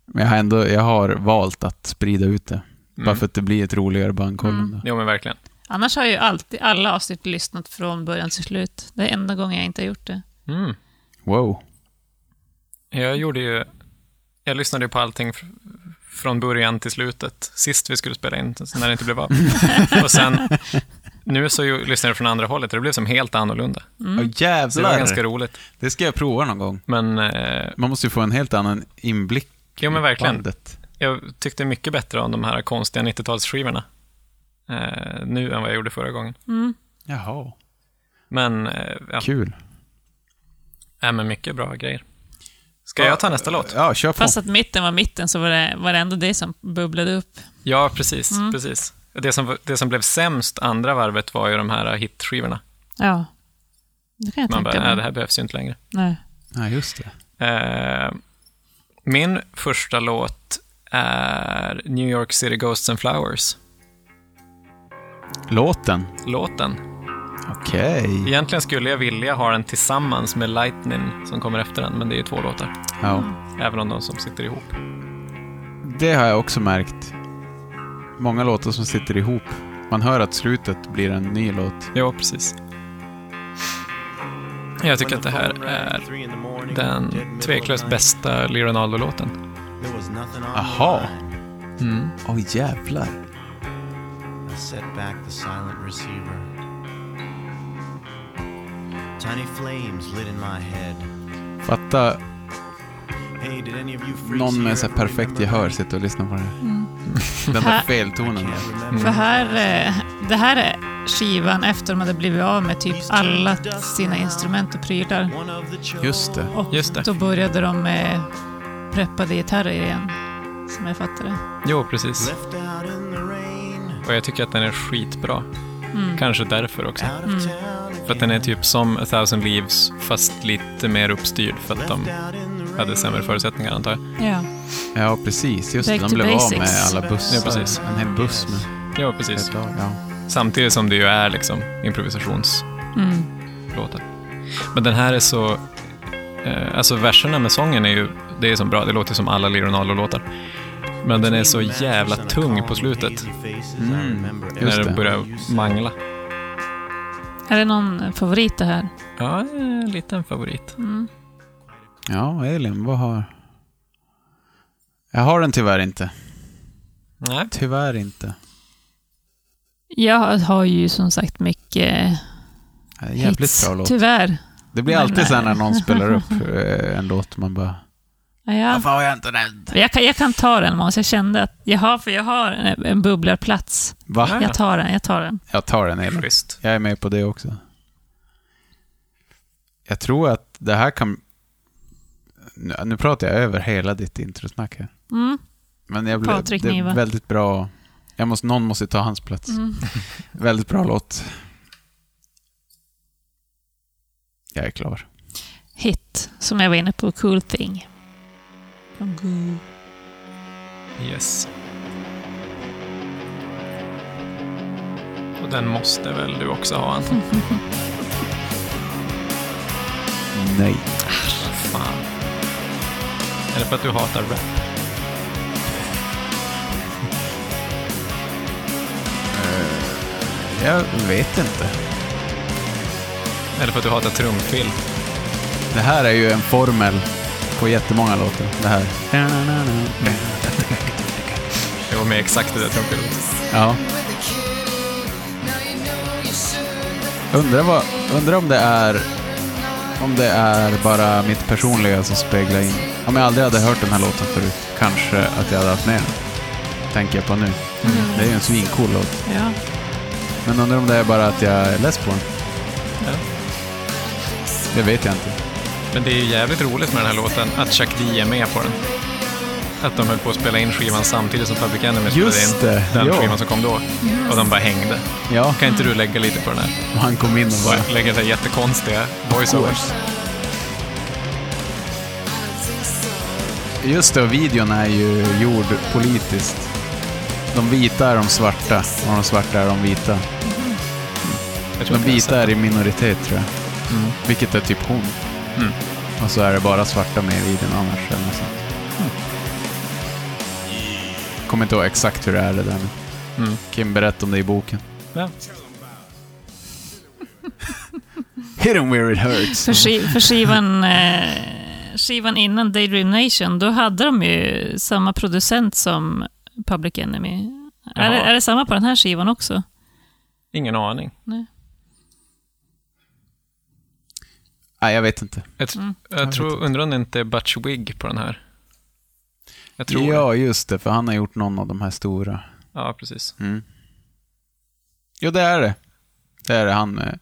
Men jag har ändå, jag har valt att sprida ut det. Bara Mm. för att det blir ett roligare bandkoll. ändå. Jo, men verkligen. Annars har jag ju alltid alla avsnitt lyssnat från början till slut. Det är enda gången jag inte har gjort det. Mm. Wow. Jag gjorde ju... Jag lyssnade ju på allting fr- från början till slutet, sist vi skulle spela in, så när det inte blev av. Och sen, nu så ju- lyssnade jag från andra hållet, och det blev som helt annorlunda. Mm. Så det jävlar. var ganska roligt. det ska jag prova någon gång. Men eh, Man måste ju få en helt annan inblick Jo, men i verkligen. bandet. jag tyckte mycket bättre om de här konstiga 90-talsskivorna eh, nu än vad jag gjorde förra gången. Jaha. Men, eh, ja, Kul. äh, men mycket bra grejer. Ska jag ta nästa låt? Ja, kör på. Fast att mitten var mitten så var det, var det ändå det som bubblade upp. Ja, precis. precis. Det, som, det som blev sämst andra varvet var ju de här hitskivorna. Ja. Det kan jag Man bara, tänka nej, det mig. här behövs ju inte längre. Nej. Ja, just det. Eh, min första låt är New York City Ghosts and Flowers. Låten. Låten. Okej. Egentligen skulle jag vilja ha den tillsammans med Lightning som kommer efter den, men det är ju två låtar. Ja. Även om de som sitter ihop. Det har jag också märkt. Många låtar som sitter ihop. Man hör att slutet blir en ny låt. Ja, precis. Jag tycker att det här är den tveklöst bästa Leonardo-låten. Aha. Mm. Oj, jävlar. I set back the silent receiver. Tiny flames lit in my head. Fatta Hey, did any of you freaks någon here med så här ever perfekt remember gehör that? sitta och lyssna på det här. Den där Mm. Här- feltonen. Can't där. remember. För här, eh, det här är skivan efter de hade blivit av med typ alla sina instrument och prylar. One of the chosen. Just det. Och Just det. då började de eh, med preppade gitarrer igen, som jag fattade. Jo, precis. Left out in the rain. Och jag tycker att den är skitbra. Mm. Kanske därför också. Out of town För att den är typ som A thousand leaves, fast lite mer uppstyrd för att de Out in the hade sämre förutsättningar, antar jag. Ja. Ja, precis. Just det. Back De to blev av med basics. alla bussar. Ja, precis. En hel buss med. Ja, precis. Ja. Samtidigt som det ju är liksom improvisationslåtar. Mm. Men den här är så... Eh, alltså verserna med sången är ju... Det är som bra, det låter som alla Leonardo-låtar. Men den är så jävla tung på slutet, Just när det. den börjar mangla. Är det någon favorit det här? Mm. Ja, en liten favorit. Ja, Elin, vad har... Jag har den tyvärr inte. Nej. Tyvärr inte. Jag har ju som sagt mycket eh, Ja, det är Jävligt hits, bra låt. tyvärr. Det blir alltid så här när någon spelar upp eh, en låt man bara... Ja, jag, Varför har jag inte den? jag, kan, jag kan ta den Måns, jag kände att jag har, för jag har en, en bubblarplats. Va? Jag tar den, jag tar den. Jag tar den Elin. Schysst. Jag är med på det också. Jag tror att det här kan... nu, nu pratar jag över hela ditt introsnack här. Mm. Men jag blev, Patrik det Niva. Mm. är väldigt bra. Jag måste, någon måste ta hans plats. Väldigt bra låt. Jag är klar. Hit, som jag var inne på, Cool Thing. Från Goo. Yes. Och den måste väl du också ha, Anton? Nej. Ah, Fan. Eller för att du hatar rap? Jag vet inte. Eller för att du hatar trumfil? Det här är ju en formel på jättemånga låtar. Det här. Jo, med exakt det där trumfilet. Ja. Undrar, vad, undrar om det är om det är bara mitt personliga som speglar in. Om jag aldrig hade hört den här låten förut, kanske att jag hade haft med den. Tänker jag på nu. Det är ju en svincool låt. Ja. Men undrar om det är bara att jag är less på den. Det vet jag inte. Men det är ju jävligt roligt med den här låten, att Chuck D är med på den. Att de höll på att spela in skivan samtidigt som Public Enemy spelade Just in det, den ja. skivan som kom då. Och de bara hängde. Ja, Kan inte du lägga lite på den här? och han kom in och bara... Bara lägga så här jättekonstiga voiceovers. Just det, och videon är ju gjord politiskt. De vita är de svarta och de svarta är de vita. Jag De tror inte jag har sett vita är i minoritet tror jag. Vilket är typ hon. Mm. Och så är det bara svarta med i videon annars. Eller något sånt. Mm. Kommer inte ihåg exakt hur det är det där nu. Mm. Kim, berätta om det i boken. Ja. Hit 'em where it hurts. För, ski- för skivan, eh, skivan innan Daydream Nation, då hade de ju samma producent som Public Enemy. Är det, Jaha. är det samma på den här skivan också? Ingen aning. Nej, jag vet inte. Jag, tr- jag tror, undrar om det inte är Butch Wig på den här. Jag tror det. Ja, just det, för han har gjort någon av de här stora. Ja, precis. Jo, det är det. Det är det. Han, eh,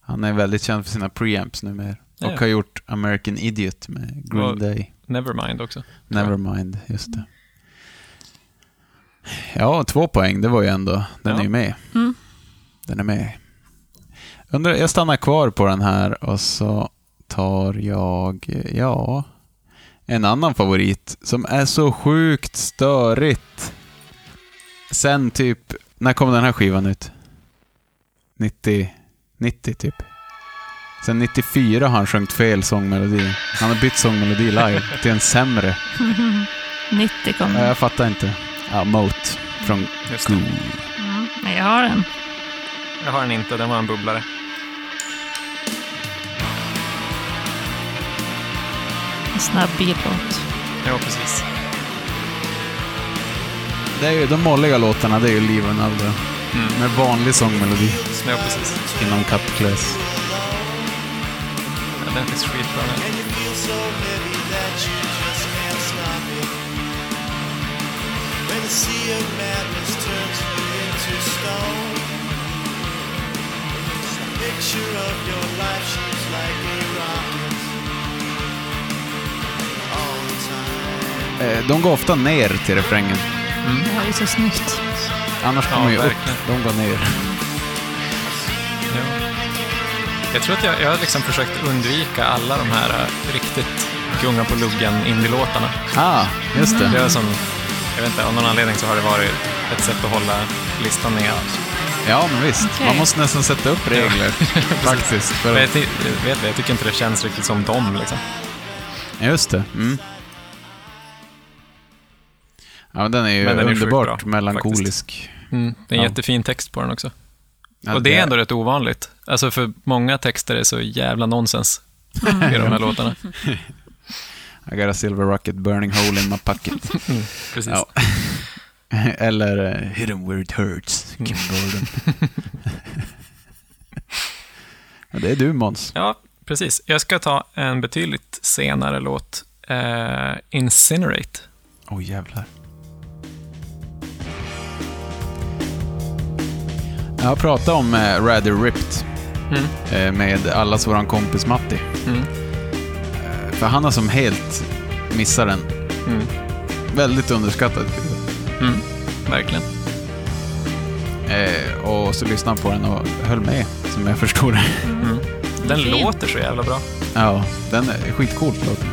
han är väldigt känd för sina preamps numera. Ja. Och har gjort American Idiot med Green Och- Day. Nevermind också. Nevermind, just det. Ja, två poäng, det var ju ändå... Den Ja. är ju med. Den är med. Undrar, jag stannar kvar på den här och så tar jag, eh, ja, en annan favorit som är så sjukt störigt. Sen typ, när kom den här skivan ut? 90, 90 typ. Sen 94 har han sjungit fel sångmelodi. Han har bytt sångmelodi live till en sämre. 90 kom Ja, den. jag fattar inte. Ja, Moat från Just Goo. det. Mm, men jag har den. Jag har den inte, den var en bubblare. En snabb bilbåt. Ja, precis. Det är ju de molliga låtarna, det är ju Liv and Aldo. Mm. Med vanlig sångmelodi Ja, precis. inom Cutclass. Ja, den finns skitbra den. Eh, De går ofta ner till refrängen. Det här är så snyggt. Annars Ja, kommer ju upp. verkligen. De går ner. Ja. Jag tror att jag, jag har liksom försökt undvika alla de här eh, riktigt gunga på luggen indie-låtarna. Ah, just Det det. är som, jag vet inte, av någon anledning så har det varit ett sätt att hålla listan ner. Ja, men visst. Okej. Man måste nästan sätta upp regler. Faktiskt. Men För jag, att, ty- jag vet, jag tycker inte det känns riktigt som dem liksom. just det. Mm. Ja, men den är ju Men den är sjukt bra, underbart faktiskt. melankolisk. Mm, det är en Ja. jättefin text på den också. Ja, Och det är ändå rätt ovanligt. Alltså för många texter är så jävla nonsens i de Mm. här låtarna. I got a silver rocket burning hole in my pocket. Precis. Ja. Eller eh, Hit 'em where it hurts, Kim Gordon. ja, det är du Måns. Ja, precis. Jag ska ta en betydligt senare låt. Eh, Incinerate. Åh oh, jävlar. Jag har pratat om eh, Rather Ripped Mm. eh, med allas våran kompis Matti. Eh, för han har som helt missa den. Mm. Väldigt underskattad skiva. Mm. Verkligen. Eh, och så lyssnade jag på den och höll med, som jag förstod det. Den Fin. låter så jävla bra. Ja, den är skitcool låt.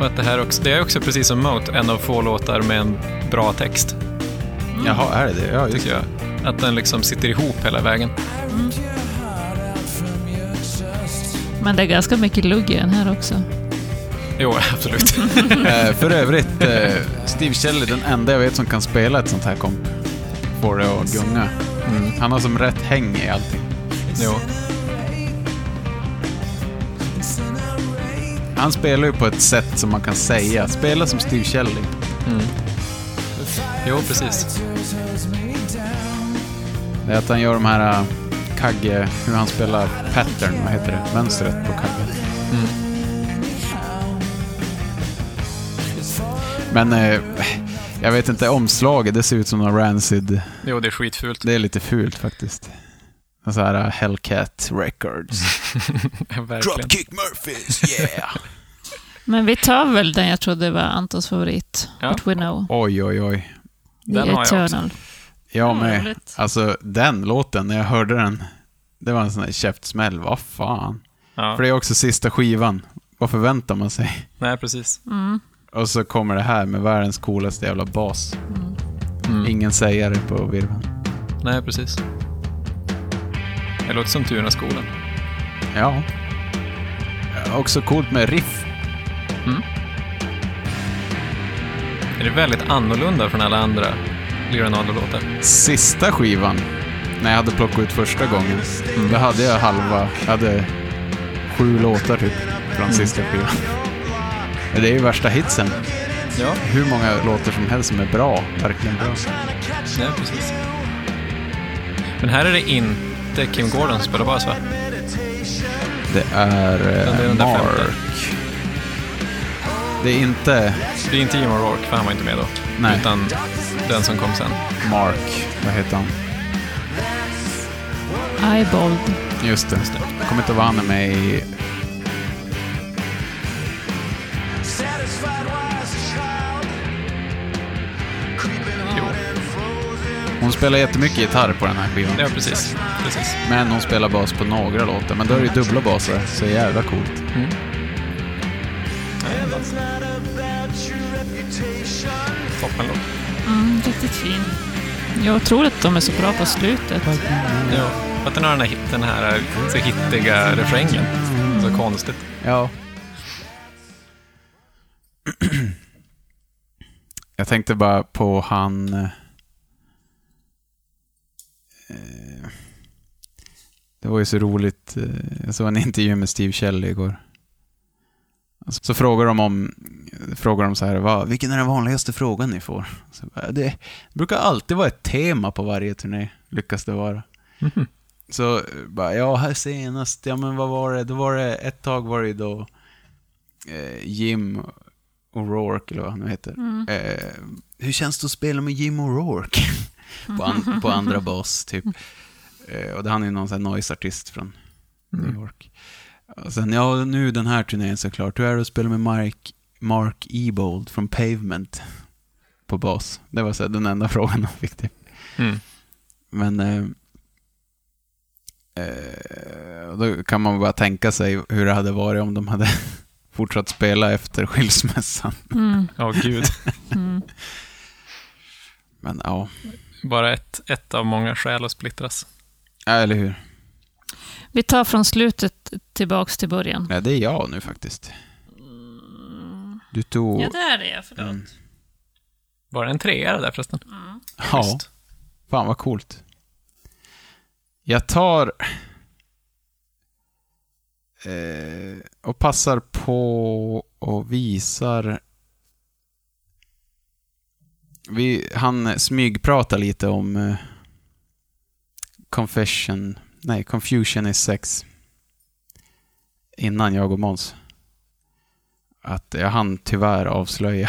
Och att det här också, det är också precis som Mote, en av få låtar med en bra text, Jaha, är det det? Ja, just tycker det. jag. Att den liksom sitter ihop hela vägen. Men det är ganska mycket lugg i den här också. Jo, absolut. Eh, för övrigt, eh, Steve Shelley, den enda jag vet som kan spela ett sånt här komp, får det att gunga. Han har som rätt häng i allting. jo. Han spelar ju på ett sätt som man kan säga. Spela som Steve Shelley. jo, precis. Det är att han gör de här äh, kagge... Hur han spelar pattern, vad heter det? Mönstret på kaggen. Men eh, jag vet inte, omslaget, det ser ut som någon rancid... Jo, det är skitfult. Det är lite fult faktiskt. En sån här äh, Hellcat Records. Verkligen. Murphys, yeah! Men vi tar väl den jag trodde var Antons favorit, Ja. What We Know, oj, oj, oj. The Den har jag också. Eternal. Jag Ja, med. roligt. Alltså, den låten, när jag hörde den, det var en sån här käftsmäll. Vad fan? Ja. För det är också sista skivan. Vad förväntar man sig? Nej, precis. Mm. Och så kommer det här med världens coolaste jävla bas. Ingen sägare på virveln. Nej, precis. Det låter som Tunaskolan. Ja. Också coolt med riff. Det är väldigt annorlunda från alla andra Leonardo-låtar. Sista skivan, när jag hade plockat ut första gången, Mm, då hade jag halva, jag hade sju låtar typ från sista skivan. Det är ju värsta hitsen. Ja. Hur många låtar som helst som är bra, verkligen bra. Nej, precis. Men här är det inte Kim Gordon som spelar bas, va? Det är Den- eh, den där Mark. femte. Det är inte Det är inte Jim O'Rourke, för han var inte med då. Nej. Utan den som kom sen. Mark, vad heter han? Eyebold. Just det. Jag kommer inte ihåg vad han är med i. Jo, Hon spelar jättemycket gitarr på den här skivan. ja, precis. precis. Men hon spelar bas på några låtar. Men då är det ju dubbla baser. Så jävla coolt. Toppenlåt. Mm, riktigt fin. Jag tror att de är så bra på slutet. Ja, för att den har den här, hit- den här så hittiga refrängen. Så konstigt. Ja. Jag tänkte bara på han... eh, Det var ju så roligt. eh, Jag såg en intervju med Steve Shelley igår. Alltså, Så frågar de om, frågar de så här, vad, vilken är den vanligaste frågan ni får? Så, bara, det brukar alltid vara ett tema på varje turné, lyckas det vara. Mm. Så eh, bara, ja, här senast, ja men vad var det? Då var det, ett tag var det ju då eh, Jim O'Rourke, eller vad han nu heter. Eh, hur känns det att spela med Jim O'Rourke? på, an, på andra bas, typ. Eh, och det han är ju någon sån här noise-artist från Mm. New York. Och sen, ja, nu den här turnén såklart. Hur är det att spela med Mark, Mark Ebold från Pavement på bas? Det var så här, den enda frågan han fick, typ. Mm. Men... Eh, Eh, och då kan man bara tänka sig hur det hade varit om de hade fortsatt spela efter skilsmässan. Mm. Ja, gud. Mm. Men ja, Bara ett, ett av många skäl att splittras. Ja, eller hur? Vi tar från slutet tillbaks till början. Nej, det är jag nu faktiskt. Du tog... Ja, där är jag. Förlåt. Var det en trea det där förresten? ja, Schysst. fan vad coolt. Jag tar... Eh, och passar på och visar... Vi, han smygpratar lite om eh, confession, nej, confusion is sex. Innan jag och Måns. Att jag hann tyvärr avslöja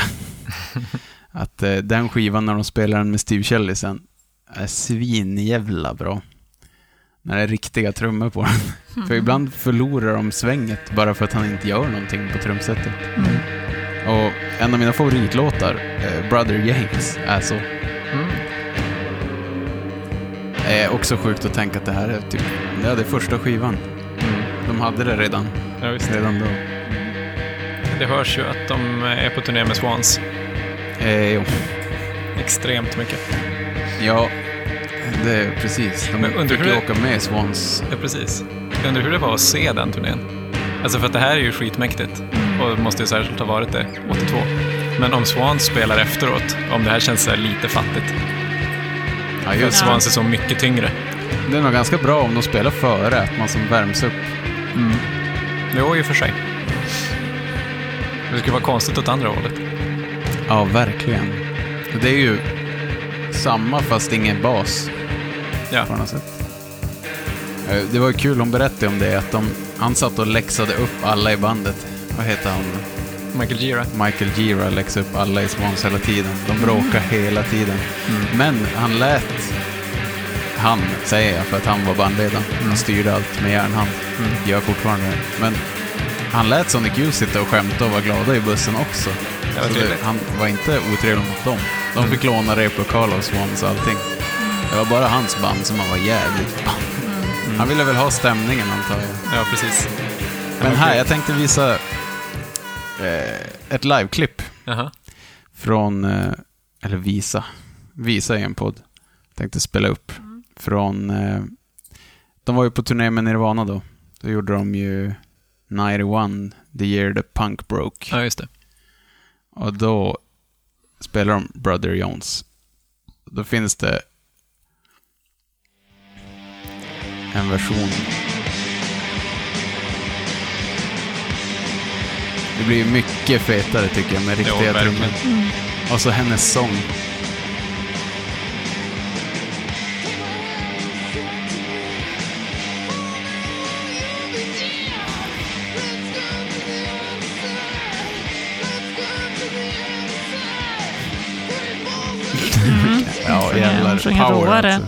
att eh, den skivan när de spelar den med Steve Shelley sen är svinjävla bra. När det är riktiga trummor på den. För ibland förlorar de svänget bara för att han inte gör någonting på trumsetet. Mm. Och en av mina favoritlåtar, eh, Brother James, är så. Mm. Eh, också sjukt att tänka att det här är typ, ja, det är första skivan. De hade det redan, Mm. Ja, visst. redan då. Det hörs ju att de är på turné med Swans Eh, jo. extremt mycket. Ja, det är precis. De Men undrar fick hur ju det- åka med Swans. Ja, precis. Jag undrar hur det var att se den turnén. Alltså för att det här är ju skitmäktigt Mm. och måste ju särskilt ha varit det 82. Men om Swans spelar efteråt, om det här känns så här lite fattigt. Ja, För att just det. Swans är så mycket tyngre. Det är nog ganska bra om de spelar före, att man som värms upp. Jo, i och för sig. Det skulle vara konstigt åt andra hållet. Ja, verkligen. Det är ju samma fast ingen bas. Ja. på något sätt. Eh, Det var ju kul, hon berättade om det, att de, han satt och läxade upp alla i bandet. Vad heter han? Michael Gira. Michael Gira läxade upp alla i Swans hela tiden. De bråkade hela tiden. Men han lät, han säger jag, för att han var bandledaren. Han styrde allt med järnhand. Gör fortfarande det. Men han lät Sonic Youth sitta och skämta och vara glada i bussen också. vad Så trevligt. han var inte otrevlig mot dem. De fick låna replokal av Swans och allting. Det var bara hans band som han var jävligt band. Mm. Han ville väl ha stämningen antar jag. Ja, precis. Men här, jag tänkte visa eh, ett liveklipp Jaha. från, eh, eller visa, visa i en podd. Tänkte spela upp från, eh, de var ju på turné med Nirvana då. Då gjorde de ju 91, The Year The Punk Broke. Ja, just det. Och då spelar de Brother Jones. Då finns det en version. Det blir ju mycket fetare tycker jag med riktiga verkligen. Mm. trummor. Och så hennes sång. Ja, sjunger- hon sjunger jävlar. Power råare. alltså.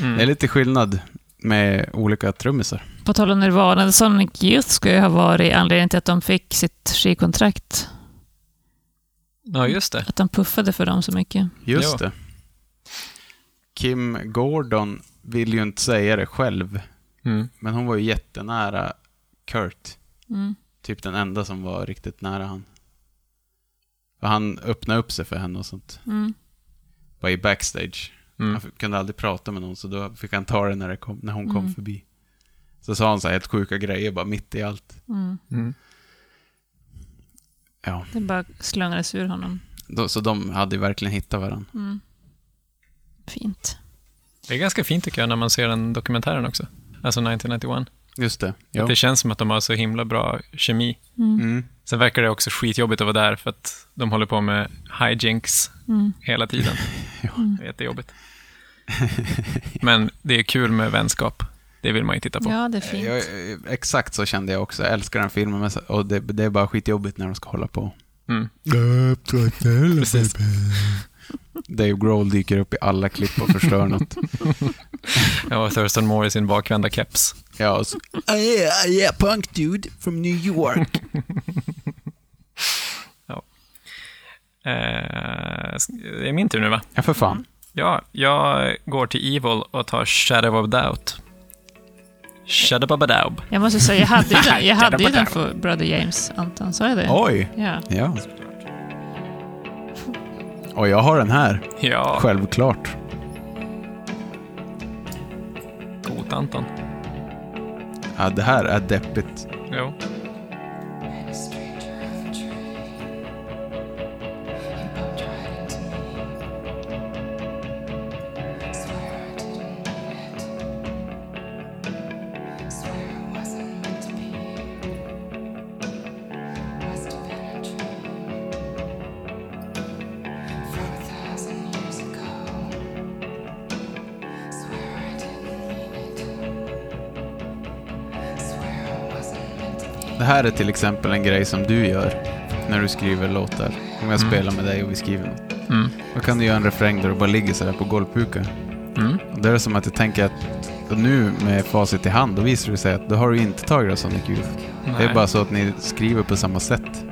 Det är lite skillnad med olika trummisar. På tal om Nirvana, Sonic Youth skulle ju ha varit anledningen till att de fick sitt skivkontrakt. Ja, just det. Att de puffade för dem så mycket. Just Ja. det. Kim Gordon vill ju inte säga det själv, Mm. men hon var ju jättenära Kurt. Mm. Typ den enda som var riktigt nära han. För han öppnade upp sig för henne och sånt. Mm. Var i backstage. Mm. Han f- kunde aldrig prata med någon, så då fick han ta det när, det kom, när hon kom förbi. Så sa han så här helt sjuka grejer bara mitt i allt. Mm. Mm. Ja, Det bara slungades ur honom. då, så de hade ju verkligen hittat varandra. Mm. Fint. Det är ganska fint tycker jag när man ser den dokumentären också. Alltså 1991. Just det. Ja. Det känns som att de har så himla bra kemi. Mm. Sen verkar det också skitjobbigt att vara där för att de håller på med hijinks Mm. hela tiden. Det är jättejobbigt. Men det är kul med vänskap. Det vill man ju titta på. Ja, det är fint. Jag, eh, exakt så kände jag också. Jag älskar den filmen men, så- och det, det är bara skitjobbigt när de ska hålla på. Mm. Precis. Dave Grohl dyker upp i alla klipp och förstör något. Jag var Thurston Moore i sin bakvända keps. Ja, och så, Ah, yeah, yeah, punk dude from New York. Eh, det är min tur nu va? Ja, för fan. Ja, jag går till Evil och tar Shadow of Doubt. Shadow of Doubt. Jag måste säga, jag hade ju den, jag hade ju den för Brother James, Anton. Sa jag det? Oj! Ja. Ja. Och jag har den här, Ja, självklart. god Anton. Ja, det här är deppigt. Jo. Det här är till exempel en grej som du gör när du skriver låtar. Om jag spelar med dig och vi skriver något. Mm. Då kan du göra en refräng där du bara ligger sådär på golvpuka. Mm. Och Det är som att jag tänker att Och nu med facit i hand, då visar det sig att då har du inte tagit av Sonic Youth. Det är Nej. bara så att ni skriver på samma sätt.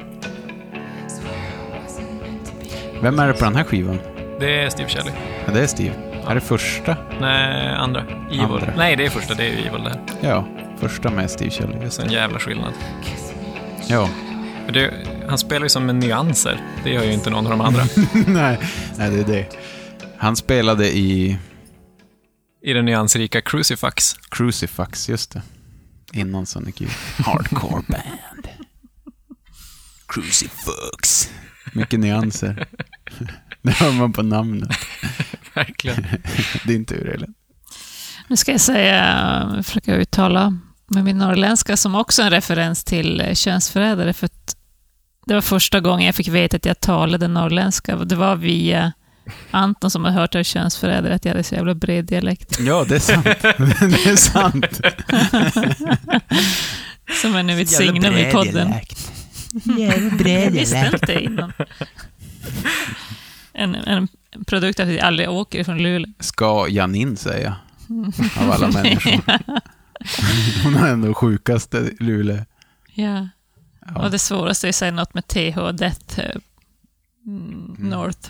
Vem är det på den här skivan? Det är Steve Shelley. Ja, det är Steve. Är det första? Nej, andra. Evil. Andra. Nej, det är första. Det är ju Evil det. här. Ja, första med Steve Shelley. Just Så en det. jävla skillnad. Ja. För det, han spelar ju som med nyanser. Det gör ju inte någon av de andra. nej, nej, det är det. Han spelade i I den nyansrika Crucifix. Crucifix, just det. Innan Sonic Youth. Hardcore band. Crucifix. Mycket nyanser. Det hör man på namnet. Verkligen. Din tur, Elin. Nu ska jag säga, försöka uttala med min norrländska som också är en referens till eh, könsförrädare. För att det var första gången jag fick veta att jag talade norrländska. Det var via Anton som hade hört av könsförrädare att jag hade så jävla bred dialekt. Ja, det är sant. det är sant. Som är nu mitt signum i podden. Jag visste inte innan. En, en produkt att vi aldrig åker ifrån Luleå. Ska Janine säga. Av alla människor. Hon har ändå sjukaste Luleå. Ja. Ja. Och det svåraste är att säga något med TH, Death eh, mm, North.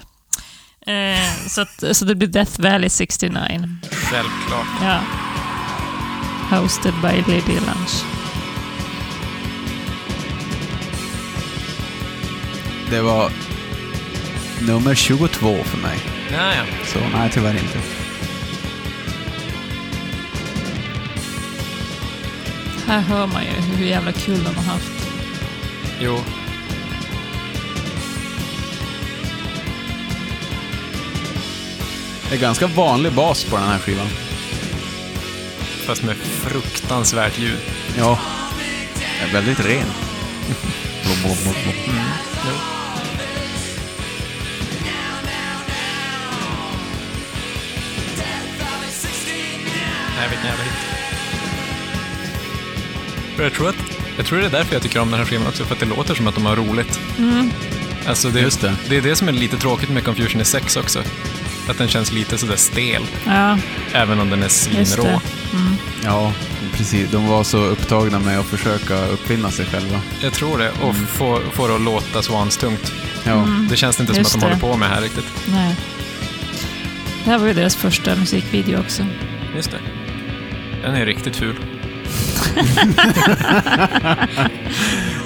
Eh, så, att, så det blir Death Valley 69. Självklart. Ja. Hosted by Lady Lunch. Det var nummer 22 för mig. Ja, ja. Så nej, tyvärr inte. Här hör man ju hur jävla kul de har haft. Jo. Det är ganska vanlig bas på den här skivan. Fast med fruktansvärt ljud. Ja. Den är väldigt ren. Nej, vilken jävla hit. För Jag tror, att, jag tror det är därför jag tycker om den här skivan också, för att det låter som att de har roligt. Alltså det, Just det. det är det som är lite tråkigt med Confusion i 6 också. Att den känns lite sådär stel, Ja, även om den är just svinrå. det. Ja, precis. De var så upptagna med att försöka uppfinna sig själva. Jag tror det, och få, få det att låta svanstungt. Ja. Det känns inte Just som att de det. håller på med här riktigt. Nej. Det här var ju deras första musikvideo också. Just det. Den är riktigt ful.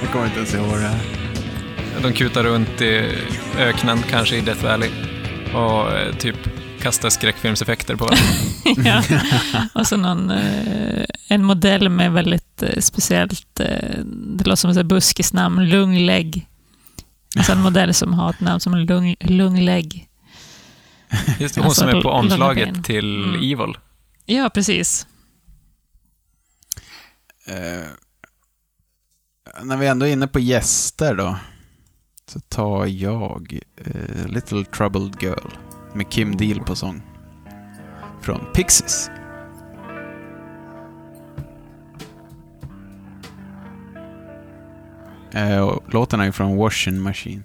Jag kommer inte ens ihåg det här. De kutar runt i öknen, kanske i Death Valley, och eh, typ kastar skräckfilmseffekter på varandra. ja. Och så någon, eh, en modell med väldigt eh, speciellt, eh, det låter som ett buskis namn, Lunglägg. Alltså en modell som har ett namn som Lung, Lunglägg. Just det, hon Alltså, som är på långa omslaget ben. till Mm. Evil. Ja, precis. Eh, när vi ändå är inne på gäster då, så tar jag eh, Little Troubled Girl med Kim Deal på sång. Från Pixies. Eh, och låten är ju från Washing Machine.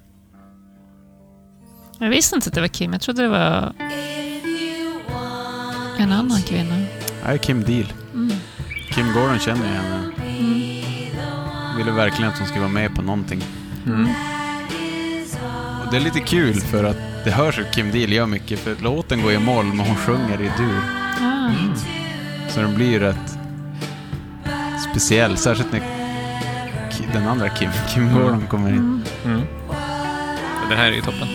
Jag visste inte att det var Kim, jag trodde det var en annan kvinna. Här är Kim Deal. Kim Gordon känner ju henne. Ville verkligen att hon skulle vara med på någonting. Och det är lite kul för att det hörs att Kim Deal gör mycket för låten går i moll men hon sjunger i dur. Ah, Så den blir rätt speciell, särskilt när Ki- den andra Kim, Kim Gordon kommer in. Och Det här är ju toppen.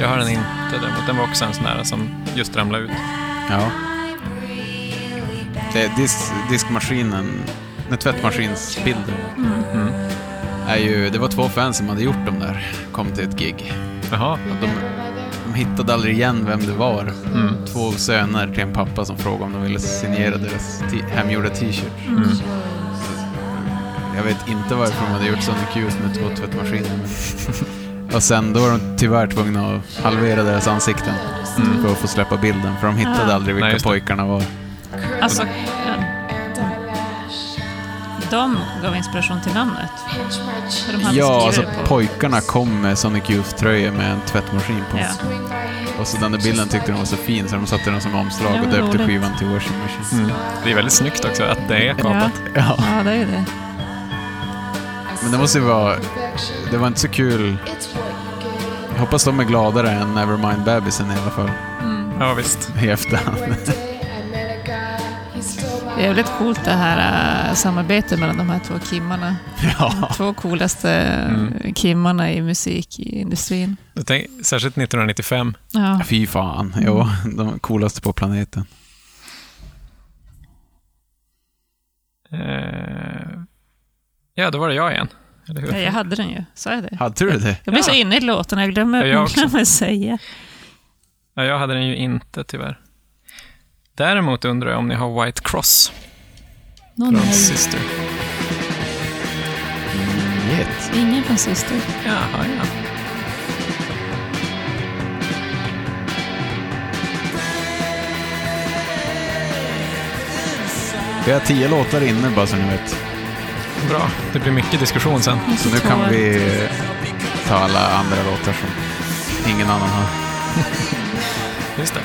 Jag har den inte däremot. Den var också en sån där som just ramlade ut. Ja. Det är dis, diskmaskinen, nej, tvättmaskinsbilden. Mm. Är ju, det var två fans som hade gjort dem där, kom till ett gig. Jaha. Och De, de hittade aldrig igen vem det var. Mm. Två söner till en pappa som frågade om de ville signera deras t- hemgjorda t-shirts. Mm. Så- Jag vet inte varför de hade gjort Sonic Youth med två tvättmaskiner. men- och sen då var de tyvärr tvungna att halvera deras ansikten Mm. för att få släppa bilden. Ah. För de hittade aldrig vilka Nej, just det. pojkarna var. alltså, ja. de gav inspiration till namnet. För de hade Ja, alltså skrivit det på. pojkarna kom med Sonic Youth-tröjor med en tvättmaskin på. Ja. Och så den där bilden tyckte de var så fin så de satte den som omslag Ja, och men döpte roligt. skivan till Washing Machine. Det är väldigt snyggt också att det är Ja. kapat. Ja, ja, det är ju det. men det måste ju vara... Det var inte så kul. Jag hoppas de är gladare än Nevermind bebisen i alla fall Ja. visst. i efterhand. Det är väldigt coolt det här äh, samarbetet mellan de här två kimmarna. Ja. Två coolaste äh, Mm. kimmarna i musikindustrin. Jag tänk, särskilt 1995. Ja. Fy fan. Jo, de coolaste på planeten. Eh, ja, då var det jag igen. Eller hur? ja, jag hade den ju. Sa jag det? Hade du det? Jag blir Ja. så inne i låten, jag glömmer, Ja, jag också. glömmer säga. Ja, jag hade den ju inte, tyvärr. Däremot undrar jag om ni har White Cross Någon från här. Sister. Shit. Ingen från Syster. Jaha, ja. Vi har tio låtar inne bara så ni vet. Bra. Det blir mycket diskussion sen. Så nu kan vi eh, ta alla andra låtar som ingen annan har. Just det.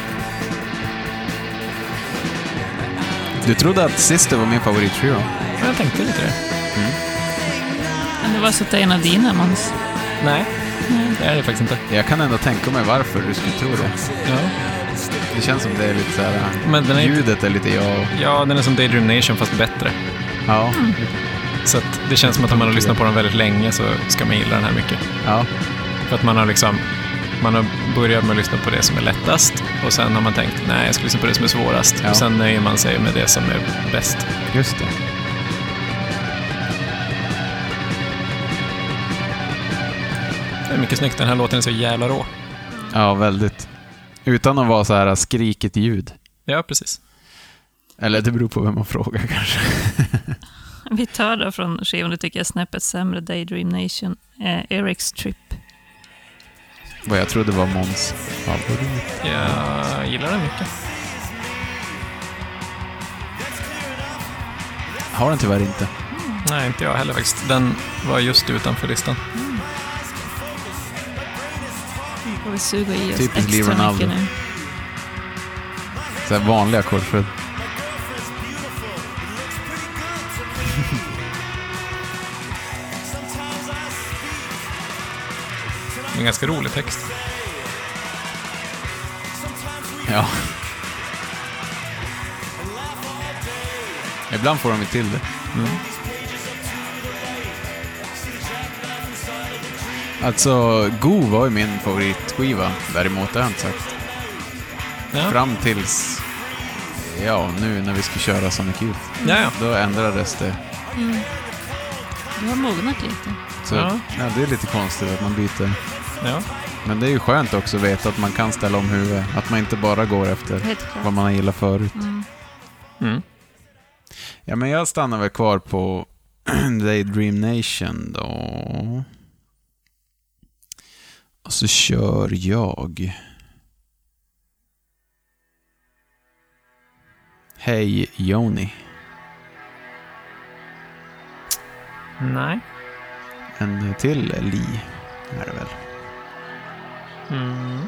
Du trodde att Sister var min favoritskiva? Ja, Jag tänkte lite det. Men det var så att det är en av dina, Måns. Nej, det är det faktiskt inte. Jag kan ändå tänka mig varför du skulle tro det. Ja, Det känns som det är lite såhär... Men den är inte- ljudet är lite jag och... ja den är som Daydream Nation, fast bättre. Ja. Så att det känns som att om man har lyssnat på den väldigt länge så ska man gilla den här mycket. ja. För att man har liksom... Man har börjat med att lyssna på det som är lättast och sen har man tänkt nej, jag ska lyssna på det som är svårast. Ja. Och sen nöjer man sig med det som är bäst. Just det. Det är mycket snyggt. Den här låten är så jävla rå. Ja, väldigt. Utan att vara så här skrikigt ljud. Ja, precis. Eller det beror på vem man frågar kanske. Vi tar då från skivan, det tycker jag är snäppet sämre, Daydream Nation, eh, Eric's Trip. Vad jag trodde var Måns favorit. Jag gillar den mycket. Har den tyvärr inte. Nej, inte jag heller faktiskt. Den var just utanför listan. Och vi suger i oss Typiskt Lee extra Ronaldo. mycket nu. Så här vanliga ackordsföljd. En ganska rolig text. Ja. Ibland får de ju till det. Mm. Alltså, Go var ju min favoritskiva. Däremot, det har jag inte sagt. Ja, Fram tills... Ja, nu när vi skulle köra Sonic Youth. ja, ja. Då ändrades det. Du har mognat lite. Så Ja. ja. det är lite konstigt att man byter. ja. Men det är ju skönt också att veta att man kan ställa om huvudet. Att man inte bara går efter Helt klart. vad man har gillat förut. Mm. Ja, men jag stannar väl kvar på Daydream Nation då. Och så kör jag. Hej Joni. Nej. En till Li är det väl. Mm.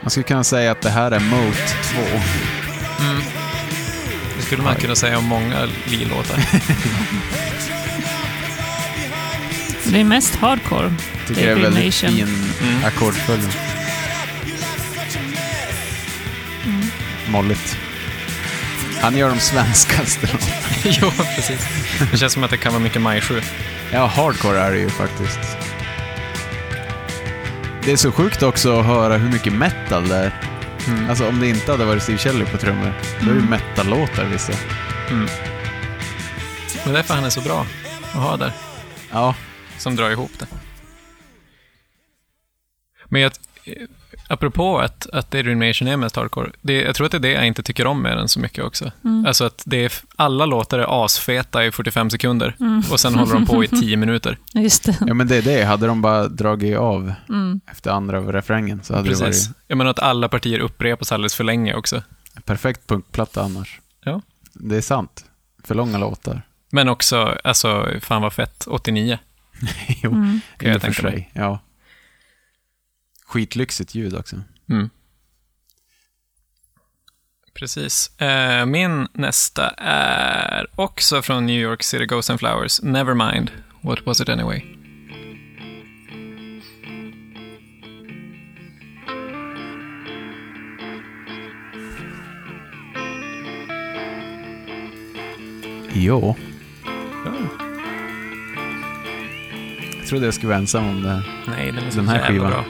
Man skulle kunna säga att det här är Moat 2. Det skulle man kunna säga om många Li-låtar. Det är mest hardcore. Tycker jag är Daydream väldigt Nation. fin Mm. ackordsföljd. Molligt. Han gör de svenskaste låtarna. jo, precis. Det känns som att det kan vara mycket Majsjö. Ja, hardcore är det ju faktiskt. Det är så sjukt också att höra hur mycket metal det är. Mm. Alltså om det inte hade varit Steve Shelley på trummor, då är det ju metal-låtar vissa. Det är därför han är så bra att ha där, Ja, som drar ihop det. Men jag, eh, apropå att, att det Ruination är mest hardcore, det, jag tror att det är det jag inte tycker om med den så mycket också. Alltså att det är, alla låtar är asfeta i 45 sekunder och sen håller de på i 10 minuter. Just det. Mm. ja men det är det. Hade de bara dragit av efter andra refrängen så hade Precis. det Jag menar att alla partier upprepas alldeles för länge också. varit en perfekt punkplatta annars. Ja. Det är sant. För långa låtar. Men också, alltså, fan vad fett, 89. jo, Kan jag i och för tänka mig. sig. Ja. Skitlyxigt ljud också. Mm. Precis. Eh, min nästa är också från New York City Ghosts and Flowers. Nevermind. What was it anyway? Jo. Jag trodde jag skulle vara ensam om det här. Nej, den är så Den här jävla skivan. bra.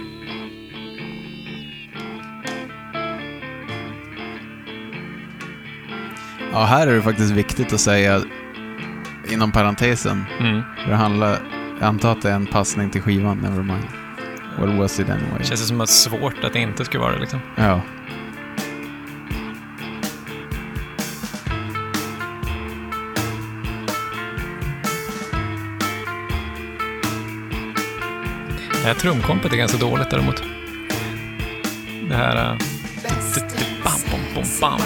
Ja, här är det faktiskt viktigt att säga, inom parentesen, Mm. för det handlar, jag antar att det är en passning till skivan, Nevermind. What was it anyway? Känns det som att svårt att det inte skulle vara det liksom. Ja. Det här trumkompet är ganska dåligt däremot. Det här... eh, Bam, bam, bam, bam.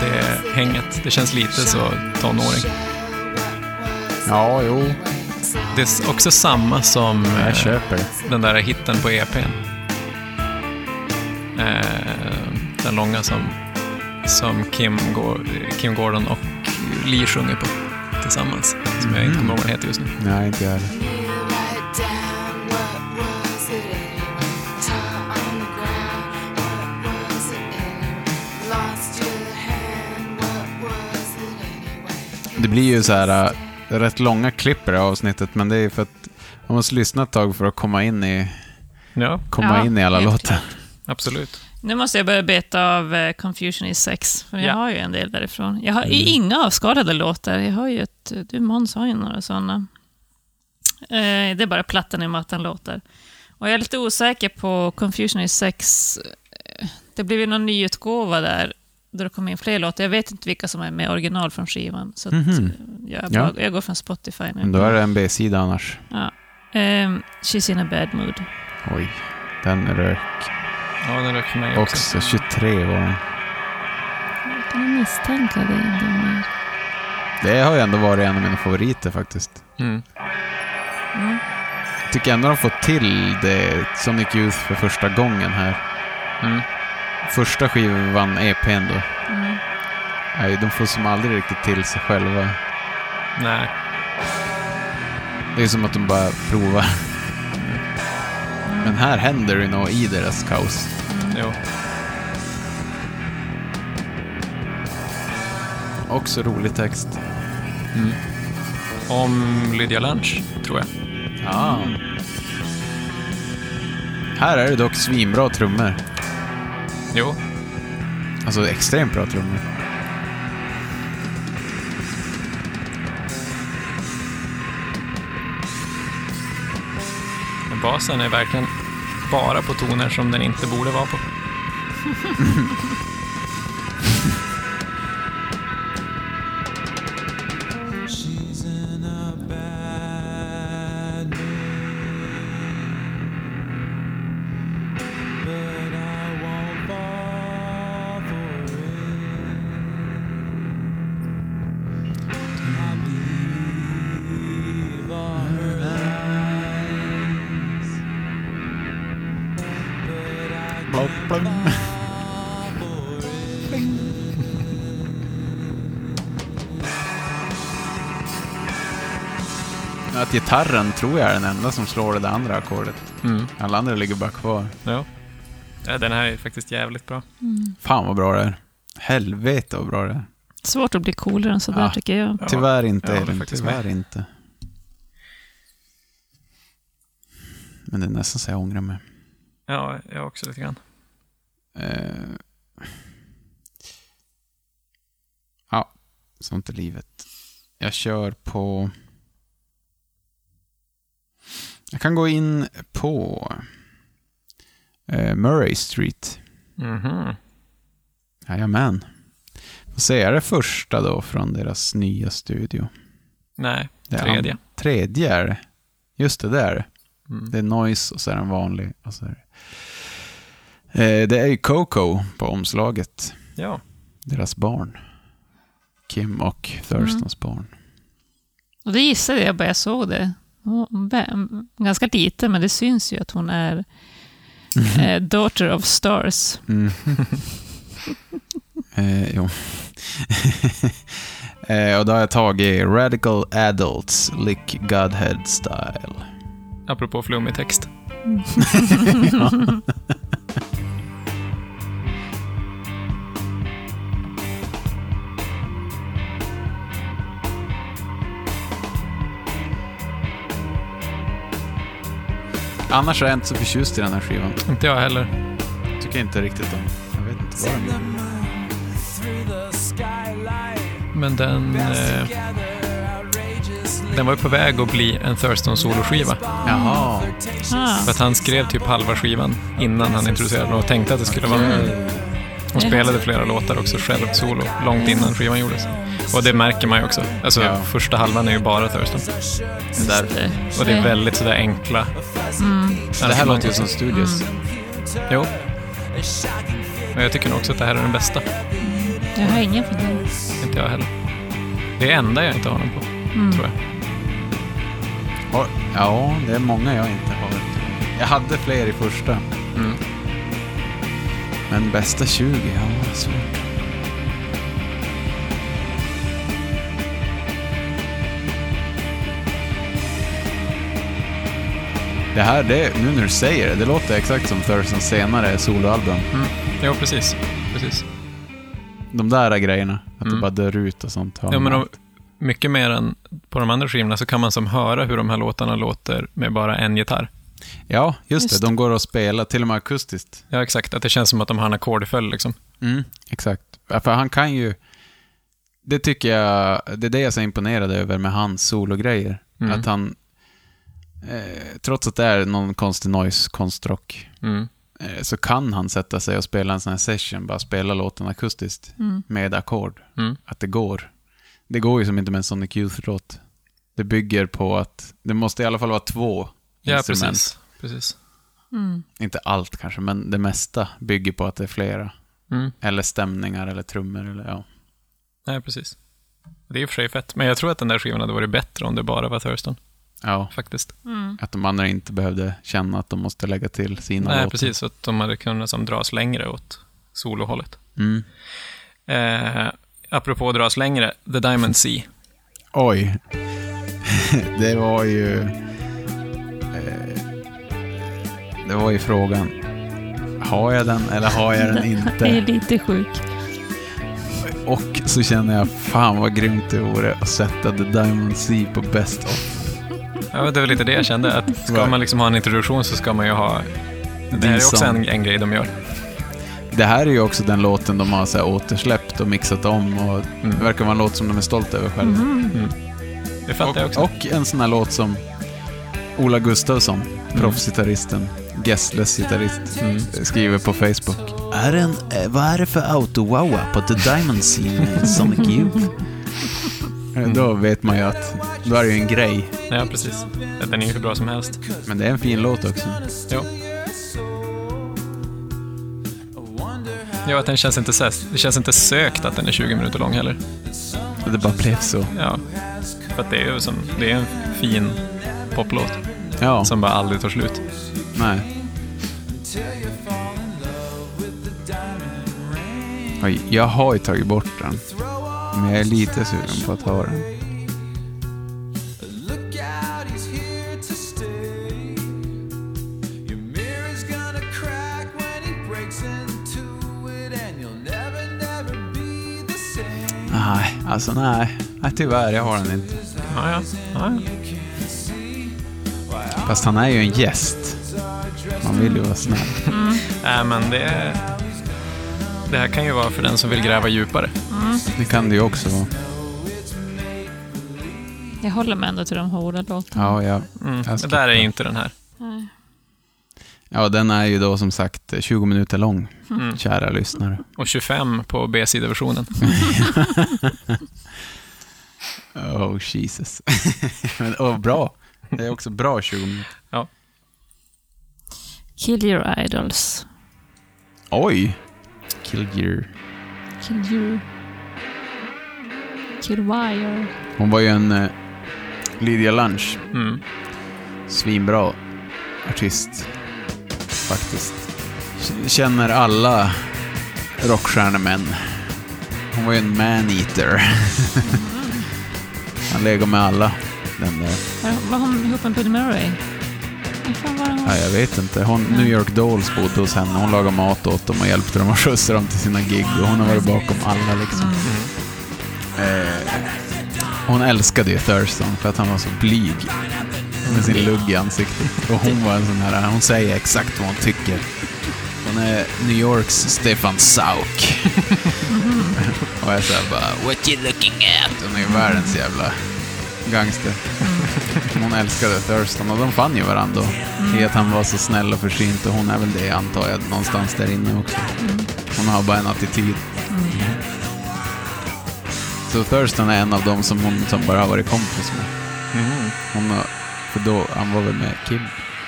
Det hänget. Det känns lite så tonåring. Ja, jo. Det är också samma som eh, Jag köper det. den där hitten på E EPn. Eh, den långa som, som Kim, Go- Kim Gordon och Lee sjunger på tillsammans. Som jag Mm. inte kommer ihåg vad den heter just nu. Nej, inte jag heller. Det blir ju så här äh, rätt långa klipp i det här avsnittet, men det är för att man måste lyssna ett tag för att komma in i, Ja, komma Ja, in i alla helt låtar. absolut. Nu måste jag börja beta av eh, Confusion is sex, för jag Ja. har ju en del därifrån. Jag har ju Mm. inga avskadade låtar. Jag har ju ett, du Måns har ju några sådana. Eh, det är bara plattan i mattan-låtar. Och jag är lite osäker på Confusion is sex. Eh, Det blev ju någon nyutgåva där, där det kom in fler låtar. Jag vet inte vilka som är med original från skivan. Så att, Mhm. eh, jag, Ja. bara, jag går från Spotify nu. Men då är det en B-sida annars. ja. eh, She's in a bad mood. Oj, den rök Ja, den rök för mig också. också. 23 var den. Jag kan misstänka det ändå mer. Det har ju ändå varit en av mina favoriter faktiskt. Mm. Mm. Jag tycker ändå de får till det Sonic Youth för första gången här. Mm. Första skivan, EPn då. Mm. Nej, de får som aldrig riktigt till sig själva. Nej, Det är som att de bara provar. Mm. Men här händer det något i deras kaos. jo. Också rolig text. Om Lydia Lunch, tror jag. Ja. Här är det dock svinbra trummor. Jo, Alltså extremt bra trummor. men basen är verkligen bara på toner som den inte borde vara på. Att gitarren tror jag är den enda som slår det där andra ackordet. Mm. Alla andra ligger bara kvar. Jo. Ja, den här är faktiskt jävligt bra. Fan vad bra det är. Helvete vad bra det är. Svårt att bli coolare än sådär Ja. tycker jag. Ja, Tyvärr inte, jag håller Elin. faktiskt Tyvärr inte. Men det är nästan så jag ångrar mig. Ja, jag också lite grann. Eh. Ja, sånt är livet. Jag kör på... Jag kan gå in på eh, Murray Street. Mhm. Jajamän. Får se, är det första då från deras nya studio? Nej, Det är tredje. Tredje är det. Just det, det är det. Mm. Det är noise och så är den vanlig. Och så är det. Eh, det är ju Coco på omslaget. Ja. Deras barn. Kim och Thurstons barn. Och det gissade jag bara jag såg det. Och vem- Ganska lite, men det syns ju att hon är eh, daughter of stars. Mm. Eh, jo. eh, och då har jag tagit Radical Adults, Lick Godhead Style. Apropå flummig text. Annars är jag inte så förtjust i den här skivan. Inte jag heller. Tycker inte riktigt om. Jag vet inte vad den är. Men den, eh, den var ju på väg att bli en Thurston soloskiva. Jaha. Ah, För att han skrev typ halva skivan innan han introducerade den och tänkte att det skulle vara Mm. med. Hon spelade flera låtar också själv, solo, långt innan skivan gjordes. Och det märker man ju också. Alltså, Mm. Ja. första halvan är ju bara Thurston. just det. Och det är väldigt sådär enkla. Mm. Det här låter ju som Studios. Jo. Men jag tycker nog också att det här är den bästa. Jag har ingen fördelning. Inte jag heller. Det är enda jag inte har den på, Mm. tror jag. Har- Ja, det är många jag inte har. Jag hade fler i första. Mm. Men bästa 20, ja, det är svårt. Det här, det, nu när du säger det, det låter exakt som Thursons senare soloalbum. Mm. Jo, precis. precis. De där grejerna, att det bara dör ut och sånt. har Mm. Ja, men man- de, mycket mer än på de andra skivorna så kan man som höra hur de här låtarna låter med bara en gitarr. ja just, Just det. De går att spela, till och med akustiskt. Ja, exakt. Att det känns som att de har en ackordföljd. Liksom. Mm, exakt. Ja, För han kan ju... Det tycker jag... Det är det jag är så imponerad över med hans sologrejer. Mm. Att han... Eh, trots att det är någon konstig noise, konstrock, Mm. eh, så kan han sätta sig och spela en sån här session, bara spela låten akustiskt med ackord. Mm. Att det går. Det går ju som inte med en Sonic Youth-låt. Det bygger på att det måste i alla fall vara två Ja, instrument. precis. precis. Inte allt kanske, men det mesta bygger på att det är flera. Mm. Eller stämningar eller trummor eller ja. Nej, precis. Det är i och för sig fett, men jag tror att den där skivan hade varit bättre om det bara var Thurston, Ja, faktiskt. att de andra inte behövde känna att de måste lägga till sina Nej, låtar. precis. Så att de hade kunnat som dras längre åt solohållet. Mm. Eh, apropå dras längre, The Diamond Sea. Oj. det var ju... Eh, det var ju frågan. Har jag den eller har jag den Jag är inte? lite sjuk. Och så känner jag, fan vad grymt det vore att sätta The Diamond Sea på Best of. Ja, det var lite det jag kände. Att ska Right. man liksom ha en introduktion så ska man ju ha... Det här är också en, en grej de gör. Det här är ju också den låten de har så här återsläppt och mixat om och Mm. det verkar vara en låt som de är stolta över själva. Det fattar jag Och, också. och en sån här låt som Ola Gustafsson, proffsgitarristen, Gessles gitarrist, skriver på Facebook. Är en, eh, vad är det för autowawa på The Diamond Scene Sonic Youth? Då vet man ju att då är det ju en grej. Ja, precis. Den är ju hur bra som helst. Men det är en fin låt också. Jo. Ja, att den känns inte, sö- det känns inte sökt att den är 20 minuter lång heller. Och Det bara blev så. Ja. För att det är ju som, det är en fin poplåt Ja, som bara aldrig tar slut. nej. Oj, jag har ju tagit bort den. Men jag är lite sugen på att ha den. Look out, he's here to stay. Your mirror's gonna crack when he breaks into it, and you'll never, never be the same. Nej, alltså nej. nej. Tyvärr, jag har den inte. Ja, ja. ja. ja. Fast han är ju en gäst. Man vill ju vara snäll. Nej, Äh, men det... Det här kan ju vara för den som vill gräva djupare. Det kan det ju också vara. Jag håller mig ändå till de hårda låtarna. Ja, ja. Mm. Jag Det ska- där är ju inte den här. ja, den är ju då som sagt 20 minuter lång, kära lyssnare. Och 25 på B-sidoversionen. Oh, Jesus. Men, oh, bra. Det är också bra 20 minuter. Kill your idols. Oj! Killgear. Kill you. Kill wire. Hon var ju en eh, Lydia Lunch. Mm. Svinbra artist. Faktiskt. K- Känner alla rockstjärnemän. Hon var ju en man-eater. Han lägger med alla. Den där. Var, var hon ihop med Bill Murray? Vad fan var det hon? Ja, jag vet inte. Hon, New York Dolls bodde hos henne. Hon lagade mat åt dem och hjälpte dem att skjutsa dem till sina gig. Och hon har varit bakom alla liksom. Eh, hon älskade ju Thurston för att han var så blyg. Med sin lugg i ansiktet. Och hon var en sån här, hon säger exakt vad hon tycker. Hon är New Yorks Stefan Sauk. och jag såhär bara, what you looking at? Hon är ju världens jävla gangster. Hon älskade Thurston och de fann ju varandra då. I att han var så snäll och försynt och hon är väl det antar jag någonstans där inne också. Hon har bara en attityd. Så Thurston är en av dem som hon som bara har varit kompis med. Hon har, för då, han var väl med Kim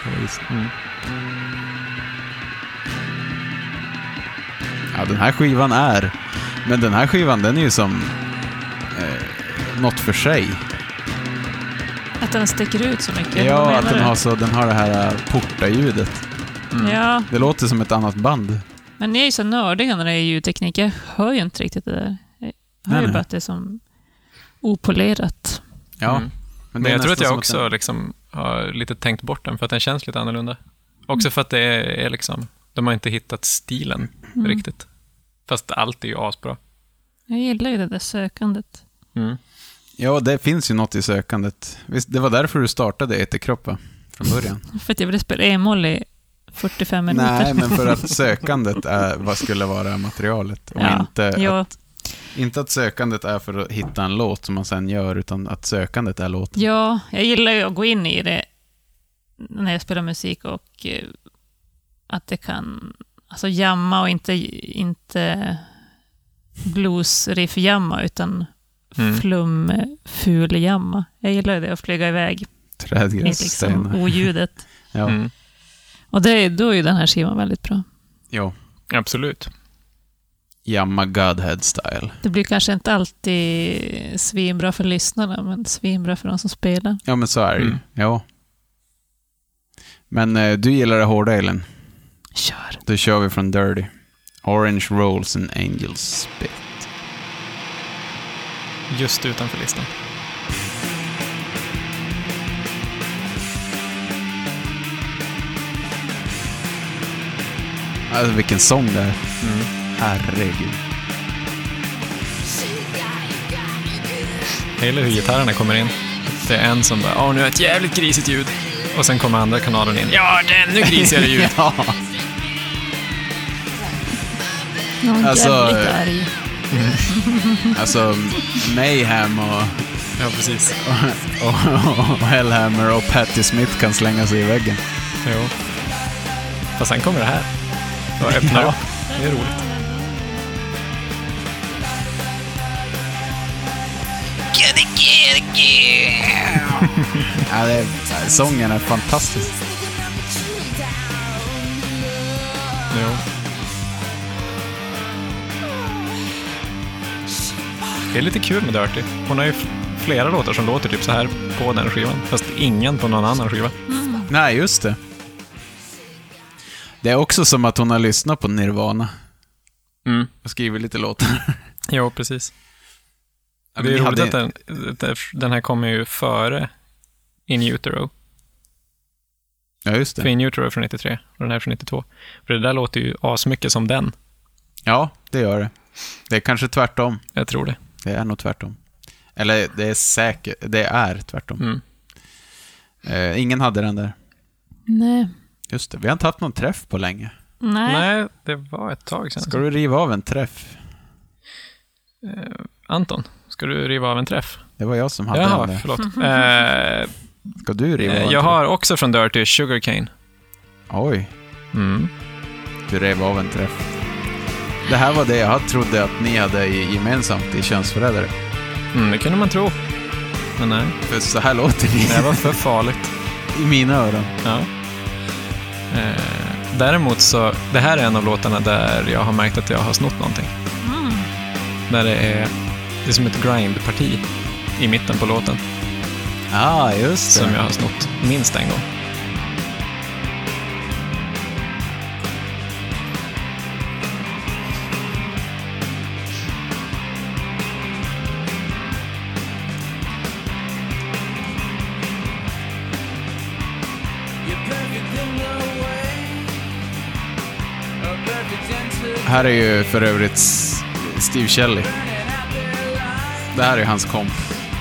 på isen. Ja, den här skivan är... Men den här skivan den är ju som eh, något för sig. Att den sticker ut så mycket? Vad Ja, menar att den du? har, så, den har det här eh, porta-ljudet. Ja, Det låter som ett annat band. men ni är ju så nördiga när det är ljudteknik. Jag hör ju inte riktigt det där. Jag Nej, hör ju nej. bara att det är som opolerat. Ja. Mm. Men, det Men är jag tror att nästan jag som också liksom har lite tänkt bort den, för att den känns lite annorlunda. Också för att det är, är liksom, de har inte hittat stilen Mm. riktigt. Fast allt är ju asbra. Jag gillar ju det där sökandet. Mm. den, ja, det finns ju något i sökandet. Visst, det var därför du startade Eterkropp, va? Från början. För att jag ville spela e-moll i 45 minuter. Nej, men för att sökandet är, vad skulle vara materialet. Och ja. inte, ja. inte att sökandet är för att hitta en låt som man sen gör, utan att sökandet är låten. Ja, jag gillar ju att gå in i det när jag spelar musik och eh, att det kan alltså jamma och inte, inte blues-riff-jamma utan Mm. flum-ful-jamma. Jag gillar ju det, att flyga iväg i liksom Trädgrässtenar. oljudet. Ja. Mm. Och det, är- då är ju den här skivan väldigt bra. Jo. Absolut. Jamma Godhead-style. Det blir kanske inte alltid svinbra för lyssnarna, men svinbra för de som spelar. Ja, men så är det ju. Mm. Ja. Men eh, du gillar det hårda, Elin. Kör! Då kör vi från Dirty. Orange Rolls and Angels Spit. Just utanför listan. Alltså vilken sång det är. Mm. Herregud. Jag gillar hur gitarrerna kommer in. Det är en som bara, åh nu är det ett jävligt grisigt ljud. Och sen kommer andra kanalen in, ja det är ännu grisigare ljud. Ja. Någon Alltså, jävligt eh, arg. Alltså Mayhem och, Ja, precis. och, och Hellhammer och Patti Smith kan slänga sig i väggen. Jo. Fast sen kommer det här. Och öppnar upp. Det är roligt. Ja, det, är- sången är fantastisk. Jo. Det är lite kul med Dirty. Hon har ju f- flera låtar som låter typ så här på den skivan. Fast ingen på någon annan skiva. Nej, just det. Det är också som att hon har lyssnat på Nirvana Mm. och skrivit lite låtar. Jo, precis. Ja, det är men ni roligt hade- att den, den här kommer ju före In Utero. Ja, just För det. In Utero är från 93 och den här är från 92. För det där låter ju asmycket som den. Ja, det gör det. Det är kanske tvärtom. Jag tror det. Det är nog tvärtom. Eller det är säkert, det är tvärtom. Mm. Eh, ingen hade den där. Nej. Just det, vi har inte haft någon träff på länge. Nej. Nej, det var ett tag sedan. Ska du riva av en träff? Anton, ska du riva av en träff? Det var jag som hade Jaha, den där. förlåt. Eh, Ska du riva av en eh, träff? jag har också från Dirty Sugarcane. Oj, Mm. du rev av en träff. Det här var det jag trodde att ni hade i- gemensamt i Könsförrädare. Mm, det kunde man tro. Men nej, För så här låter det här ni var för farligt. i mina öron. Ja. Eh, däremot så, det här är en av låtarna där jag har märkt att jag har snott någonting. Där det är, det är som ett grindparti i mitten på låten. Ja, just som det. jag har snott minst en gång. Här är ju för övrigt S- Steve Shelley. Det här är hans komp.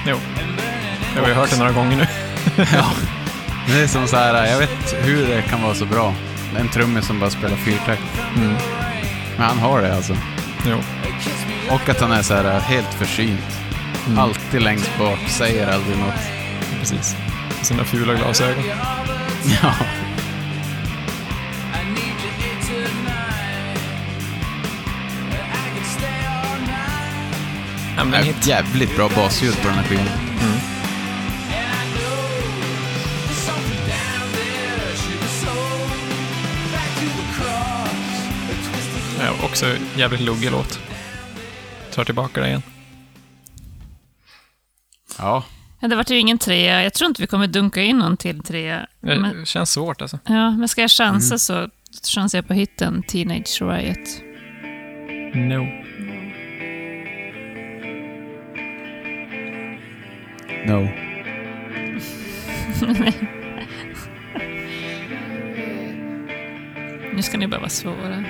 Jo. Jag har ju hört det några gånger nu. Ja. Det är som så här, jag vet hur det kan vara så bra. En trummis som bara spelar fyrtakt. Men han har det alltså. Jo. Och att han är så här helt försynt. Alltid längst bak, säger aldrig något. Precis. Sina fula glasögon. Ja. Ja, men Det en är ett hit. jävligt bra basljud på den här skivan. Ja, också jävligt luggig låt. Tar tillbaka det igen. Ja. Ja, det vart ju ingen trea. Jag tror inte vi kommer dunka in någon till trea. Det Men, känns svårt alltså. ja, men ska jag chansa så chansar jag på hitten Teenage Riot. No. No. Nu ska ni bara vara svåra.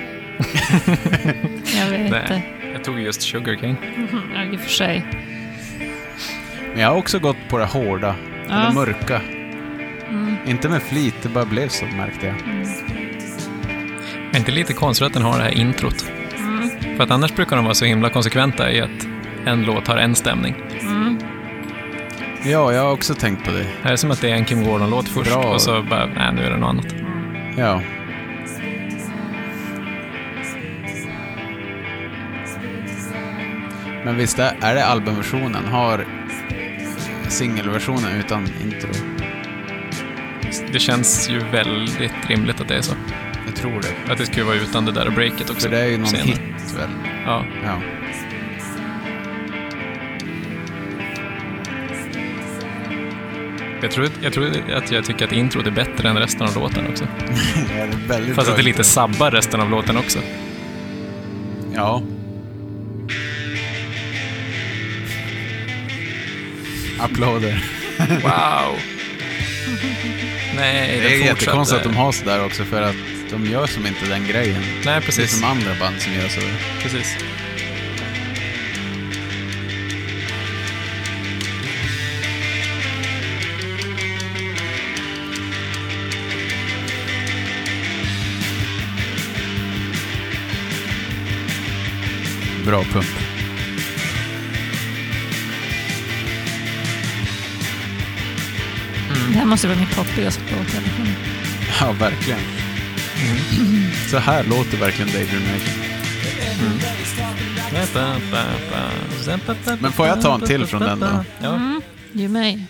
jag vet det. Nej, jag tog just Sugar King. Ja, i och för sig. Men jag har också gått på det hårda, eller Ja. mörka. Inte med flit, det bara blev så märkte jag. Är inte lite konstigt att den har det här introt? För att annars brukar de vara så himla konsekventa i att en låt har en stämning. Ja, jag har också tänkt på det. Det är som att det är en Kim Gordon-låt först Bra. och så bara, nej nu är det något annat. Ja. Men visst är är det albumversionen? Har singelversionen utan intro? Det känns ju väldigt rimligt att det är så. Jag tror det. Att det skulle vara utan det där breaket också. För det är ju någon senare. hit väl? Ja. Ja. Jag tror, jag tror att jag tycker att introt är bättre än resten av låten också. det är väldigt Fast bra att det lite intro. sabbar resten av låten också. Ja. Applåder. Wow! Nej, Det är den jättekonstigt att fortsätter. de har sådär också för att de gör som inte den grejen. Nej, Det är precis. som andra band som gör sådär. precis. Bra pump. Det här måste vara min poppigaste låt i alla fall. Ja, verkligen. Så här låter verkligen Daydream Nation. Men får jag ta en till från den då? Ja. Ge mig.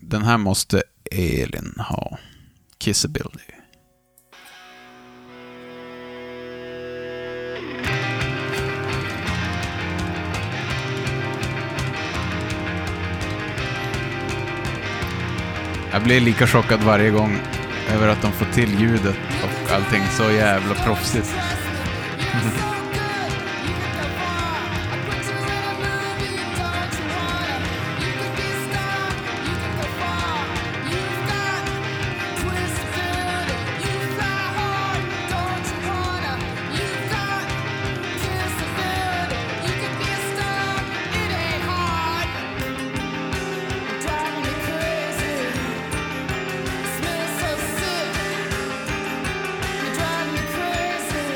Den här måste Elin ha. Kissability. Jag blir lika chockad varje gång över att de får till ljudet och allting så jävla proffsigt. Crazy.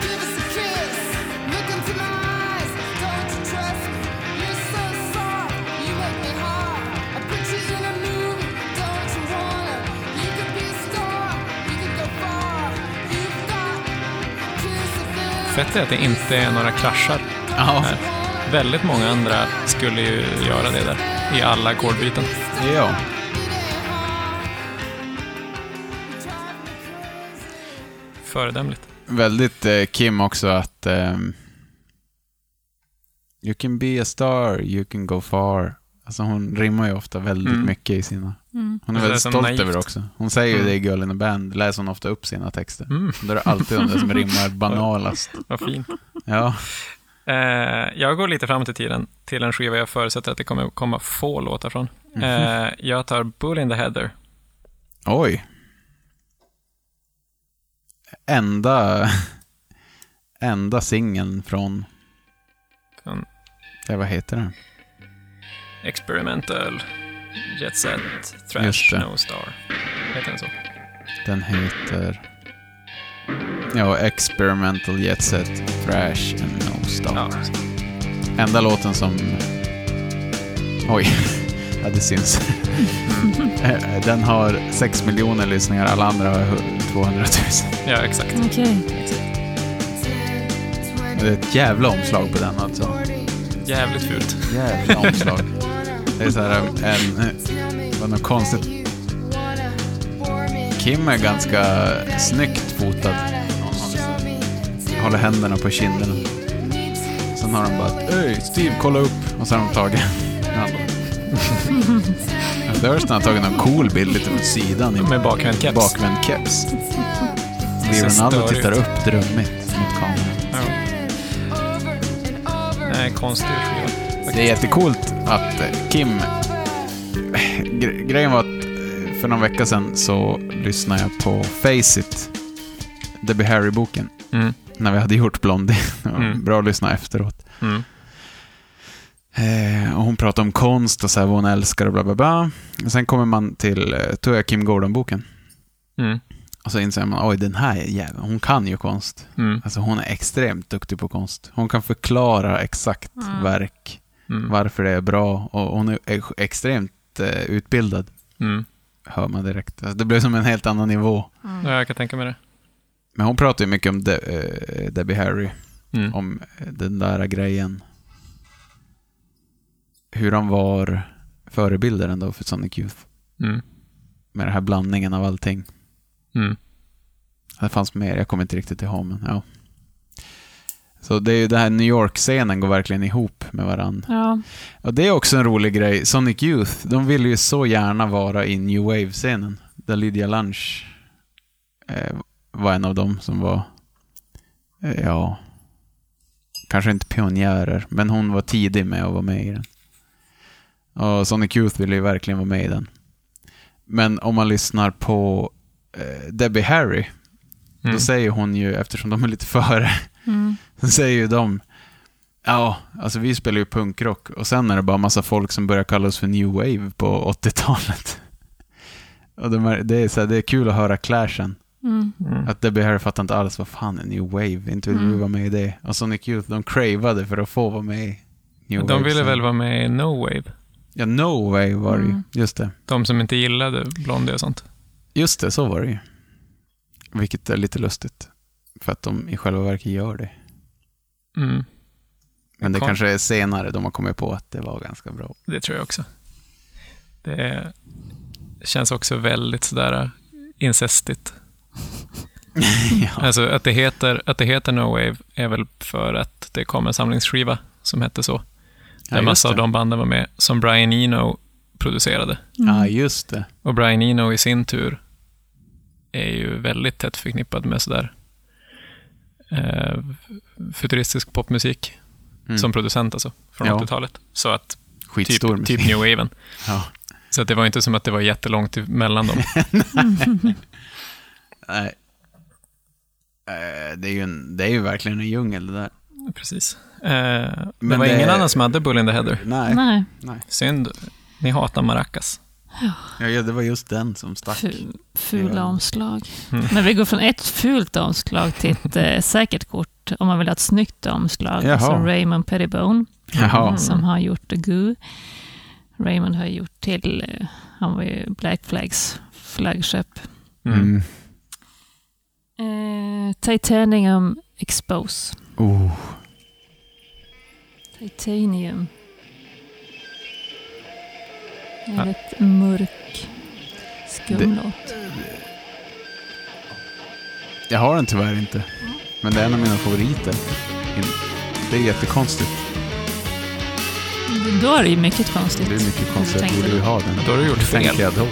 Give us a kiss. Look into my eyes. Don't you trust me? You're so soft. You make me hard. I put you in a movie. Don't you wanna? You could be a star. You could go far. You've got kissability. Fett är att det inte är några kraschar. Ja. här. Väldigt många andra skulle ju göra det där i alla ackordbyten. Ja. It ain't hard. You drive me crazy. Föredömligt. Väldigt eh, Kim också att ehm, You can be a star, you can go far. Alltså hon rimmar ju ofta väldigt Mm. mycket i sina... Mm. Hon är Det är väldigt så stolt naivt. över det också. Hon säger ju Mm. det i Girl in a Band, läser hon ofta upp sina texter. Mm, Då är det alltid de där som rimmar banalast. vad fint. Ja, Eh, jag går lite framåt i tiden till en skiva jag förutsätter att det kommer komma få låtar från. Mhm. Eh, jag tar Bull in the Heather. oj. Enda... Enda singeln från... Från- Ja, vad heter den? Experimental, Jet Set, Just Trash, det. No Star. Heter den så? Den heter... Ja, Experimental Jet Set, Thrash and No Stop. Ja, Enda låten som... Oj. Ja, det syns. Eh, Den har 6 miljoner lyssningar, alla andra har hu- 200 000. ja exakt. Okej. Det är ett jävla omslag på den alltså. Jävligt fult. Jävla omslag. Det är så här en... Det var något konstigt. Kim är ganska snyggt fotad. Håller händerna på kinderna. Sen har de bara Öj, Steve, kolla upp! Och så har de tagit... Ja. Ja, Durst har tagit någon cool bild lite åt sidan i Med bakvänd keps. bakvänd keps. Steve Ser Ronaldo störig tittar ut. upp drömmigt mot kameran. Nej, konstig skiva. Det är jättecoolt att eh, Kim... Gre- Grejen var att eh, för någon vecka sedan så lyssnade jag på Faceit, Debbie Harry-boken, Mm. när vi hade gjort Blondie. Det var Mm. Bra att lyssna efteråt. Mm. Eh, och hon pratar om konst och så här, vad hon älskar och bla bla bla. Och sen kommer man till, eh, tror jag, Kim Gordon-boken. Mm. Och så inser man, oj den här jäveln, hon kan ju konst. Mm. Alltså hon är extremt duktig på konst. Hon kan förklara exakt Mm. verk, Mm. varför det är bra. Och hon är ex- extremt eh, utbildad, Mm. hör man direkt. Alltså, det blev som en helt annan nivå. Mm. Ja, jag kan tänka mig det. Men hon pratar ju mycket om De- eh, Debbie Harry. Mm. om eh, den där grejen. Hur han var förebilder ändå för Sonic Youth. Mm. Med den här blandningen av allting. Mm. Det fanns mer, jag kommer inte riktigt ihåg men ja. Så det är ju det här New York-scenen går verkligen ihop med varann. Ja. Och det är också en rolig grej. Sonic Youth, de ville ju så gärna vara i New Wave-scenen. Där Lydia Lunch eh, var en av dem som var, eh, ja, kanske inte pionjärer, men hon var tidig med att vara med i den. Och Sonic Youth ville ju verkligen vara med i den. Men om man lyssnar på eh, Debbie Harry, Mm. då säger hon ju, eftersom de är lite före, Mm. Sen säger ju de, ja, alltså vi spelar ju punkrock och sen är det bara massa folk som börjar kalla oss för new wave på 80-talet. Och de är, det, är så här, det är kul att höra clashen. Mm. Mm. Att Debbie Harry fattar inte alls, vad fan är new wave? Inte vill vi Mm. vara med i det. Och Sonic Youth, de cravade för att få vara med i new De wave. ville sen. väl vara med i No Wave? Ja, no wave var det ju. Mm. Just det. De som inte gillade Blondie och sånt. Just det, så var det ju. Vilket är lite lustigt. För att de i själva verket gör det. Mm. Men det Kon- kanske är senare de har kommit på att det var ganska bra. Det tror jag också. Det känns också väldigt sådär äh, incestigt. ja. Alltså att det, heter, att det heter No Wave är väl för att det kom en samlingsskiva som hette så. Där just massa av det. de banden var med som Brian Eno producerade. Ja, just det. Och Brian Eno i sin tur är ju väldigt tätt förknippad med sådär eh, futuristisk popmusik Mm. som producent alltså, från Ja. 80-talet. Så att typ, Skitstor musik. typ New Waven. Ja. Så att det var inte som att det var jättelångt mellan dem. Nej. Eh, Det är, ju en, det är ju verkligen en djungel det där. Precis. Eh, det Men var det- ingen annan som hade Bull in the Heather. Nej, Nej. Synd. Ni hatar maracas. Ja, ja, det var just den som stack. Ful, Det fula var- omslag. Mm. Men vi går från ett fult omslag till ett eh, säkert kort om man vill ha ett snyggt omslag. Jaha. Alltså Raymond Pettibone Jaha. Mm. som har gjort The Goo. Raymond har gjort till, eh, han var ju Black Flags flaggskepp. Mm. Mm. Eh, Titanium Expose. Oh. Titanium. Ah. Ja. Väldigt mörk, skum låt. Jag har den tyvärr inte. Men det är en av mina favoriter. In- Det är jättekonstigt. Då är det ju mycket konstigt. Det är mycket konstigt. Jag Tänkte borde ju du. ha den. Då har du gjort fel. Tänkte jag då.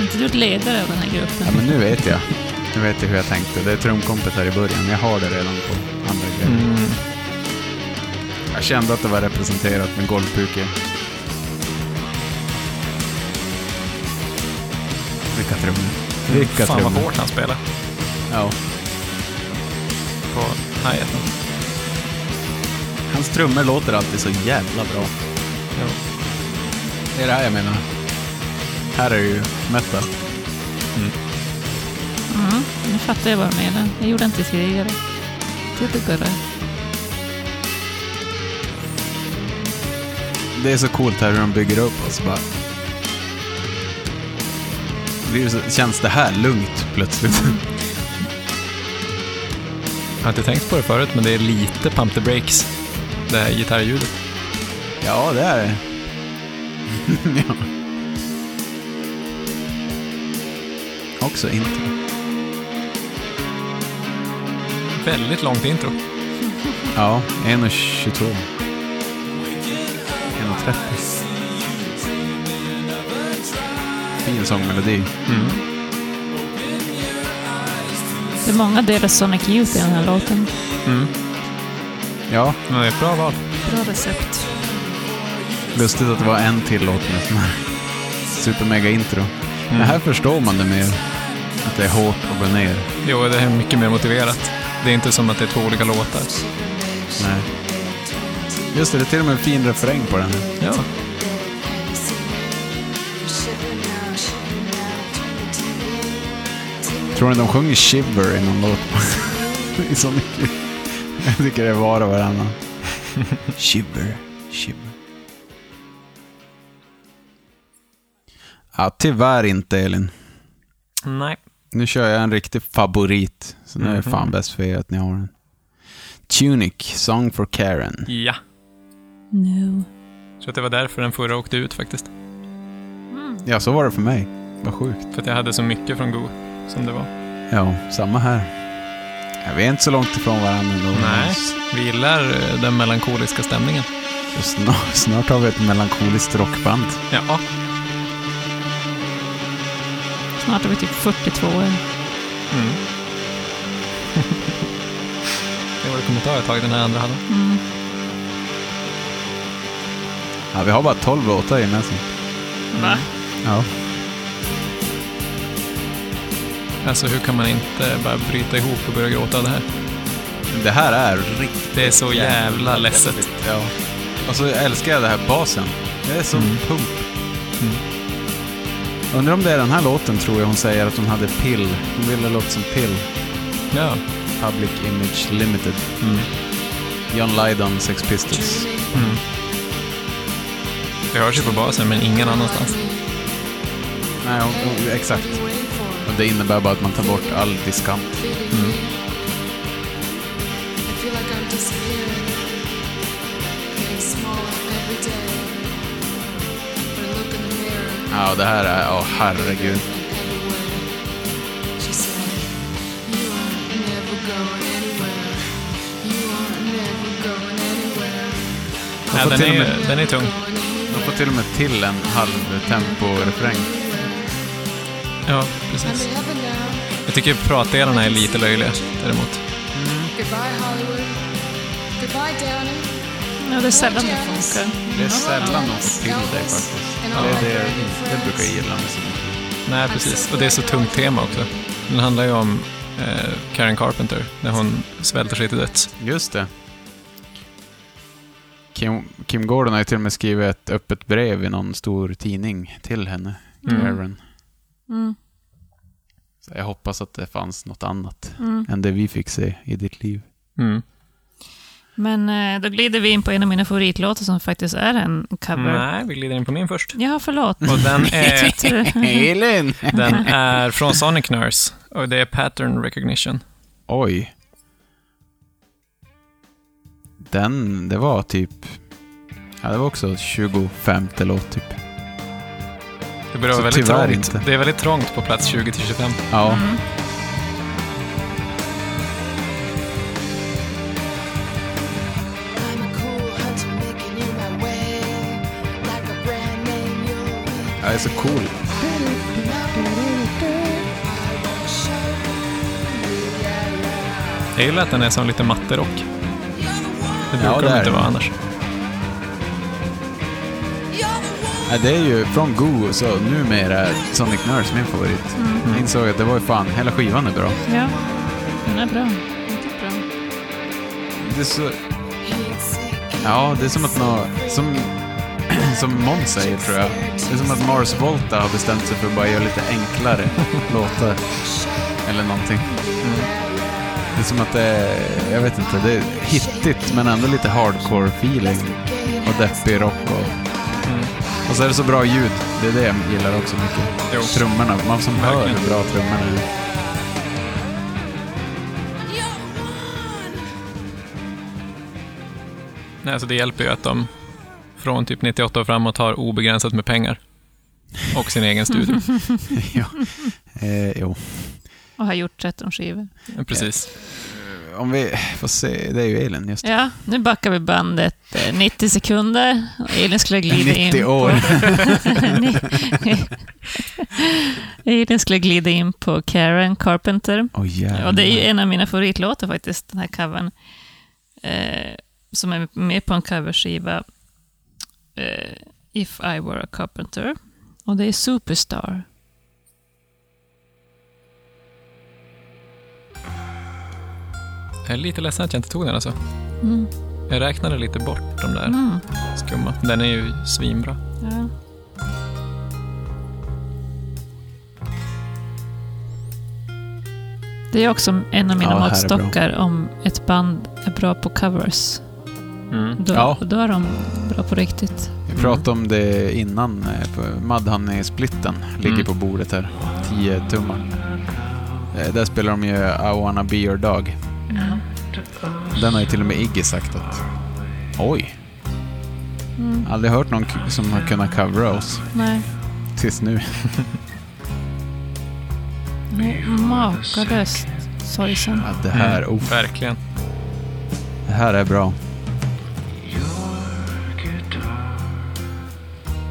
Inte du ledare av den här gruppen? Ja, men nu vet jag. Nu vet jag hur jag tänkte. Det är trumkompet här i början. Jag har det redan på andra grejer. Mm. Jag kände att det var representerat med golvpuke. Vilka trummor. Vilka Mm, Fan vad trummor. hårt han spelar Ja. på hi-haten. Hans trummor låter alltid så jävla bra. Ja. Det är det här jag menar. Här är det ju metal. Nu fattar jag vad du menar. Jag gjorde inte tidigare. Titta gurra. Det är så coolt här hur de bygger upp och så bara... Blir det så, känns det här lugnt plötsligt? Jag har inte tänkt på det förut, men det är lite pump the brakes. Det här gitarrljudet. ja, det är det. ja. Också inte. Väldigt långt intro. Ja, 1.22. 1.30. Fin sångmelodi. Det är många delar Sonic Youth i den här låten. Ja, Men det är ett bra val. Bra recept. Lustigt att det var en till låt med sån här supermega-intro. Men här förstår man det mer. Att det är hårt att gå ner. Jo, det är mycket mer motiverat. Det är inte som att det är två olika låtar. Nej. Just det, det är till och med en fin refräng på den här. Ja. Tror ni de sjunger Shiver i någon låt? I så mycket. Jag tycker det är var och varannan. Shiver, Shiver. Ja, tyvärr inte Elin. Nej. Nu kör jag en riktig favorit. Så nu är det Mhm. fan bäst för er att ni har den. Tunic, Song for Karen. Ja. No. Jag tror att det var därför den förra åkte ut faktiskt. Ja, så var det för mig. Vad sjukt. För att jag hade så mycket från Go som det var. Ja, samma här. Ja, vi är inte så långt ifrån varandra ändå. Nej. Vi gillar eh, den melankoliska stämningen. Och Snart, snart har vi ett melankoliskt rockband. Ja. Snart är vi typ 42 år. Mm. det var det kommer ta ett tag, den här andra hade. Ja, vi har bara 12 låtar gemensamt. Va? Ja. Alltså, hur kan man inte bara bryta ihop och börja gråta av det här? Det här är riktigt Det är så jävla ledset. Ja. Och så älskar Alltså, jag det här basen. Det är som pump. Mm. Undrar om det är den här låten, tror jag hon säger att hon hade Pill. Hon ville låta som Pill. Ja. Public Image Limited. John Lydon, Sex Pistols. Det hörs ju på basen, men ingen annanstans. Nej, hon, hon, Oh, exakt. Och det innebär bara att man tar bort all diskant. Ja, och det här är... Åh, herregud. Ja, får den, till och är, med- den är tung. De får till och med till en halv tempo-refräng. Ja, precis. Jag tycker pratdelarna är lite löjliga däremot. Mm. Goodbye Hollywood. Goodbye Downey. Ja, det är sällan det funkar. Det är sällan de får till det faktiskt. Det är det jag inte brukar gilla med så mycket. Nej, precis. Och det är så tungt tema också. Den handlar ju om eh, Karen Carpenter, när hon svälter sig till döds. Just det. Kim, Kim Gordon har ju till och med skrivit ett öppet brev i någon stor tidning till henne, Karen. Mm. Så jag hoppas att det fanns något annat än det vi fick se i ditt liv. Mm. Men eh, då glider vi in på en av mina favoritlåtar som faktiskt är en cover. Nej, vi glider in på min först. Ja, förlåt. Och den Jag är, tyckte det- Elin! den är från Sonic Nurse. Och det är Pattern Recognition. Oj. Den, det var typ... Ja, det var också 25 låt typ. Det börjar Så vara väldigt tyvärr trångt. inte. Det är väldigt trångt på plats 20-25. Ja. I'm a cool hunter making you är så cool. Jag gillar att den är som lite matterock. Det brukar det är de inte den. vara annars. Ja, det är ju från Goo, så numera är Sonic Nurse min favorit. Jag insåg att det var ju fan, hela skivan är bra. Ja, den är bra. Riktigt bra. Det är så... Ja, det är som att nå... Som, som Måns säger, tror jag. Det är som att Mars Volta har bestämt sig för att bara göra lite enklare låtar. Eller någonting. Det är som att det är, Jag vet inte, det är hittigt men ändå lite hardcore-feeling. Och deppig rock och... Och så är det så bra ljud. Det är det jag gillar också mycket. Jo. Trummorna. Man som hör Verkligen. hur bra trummorna är. Nej, alltså det hjälper ju att de från typ 98 och framåt har obegränsat med pengar. Och sin egen studio. ja. eh, jo. Och har gjort 13 skivor. Precis. Om vi... Får se. Det är ju Elin, just det. Ja, nu backar vi bandet eh, 90 sekunder. Och Elin skulle glida in 90 på... år. Elin skulle glida in på Karen Carpenter. Åh jävlar. Och det är ju en av mina favoritlåtar faktiskt, den här covern. Eh, som är med på en coverskiva, eh, If I Were A Carpenter. Och det är Superstar. Jag är lite ledsen att jag inte tog den alltså. Mm. Jag räknade lite bort de där Mm. skumma. Den är ju svinbra. Ja. Det är också en av mina Ja, här är måttstockar om ett band är bra på covers. Då, Ja. då är de bra på riktigt. Vi pratade om det innan. eh, på Mudhoney-splitten ligger Mm. på bordet här. 10 tummar. Eh, Där spelar de ju I wanna be your dog. Den har ju till och med Iggy sagt att... Oj! Mm. Aldrig hört någon k- som har kunnat covera oss Nej, tills nu. den är makalöst sorgsen. Att det här, Mm. oh, Verkligen. det här är bra.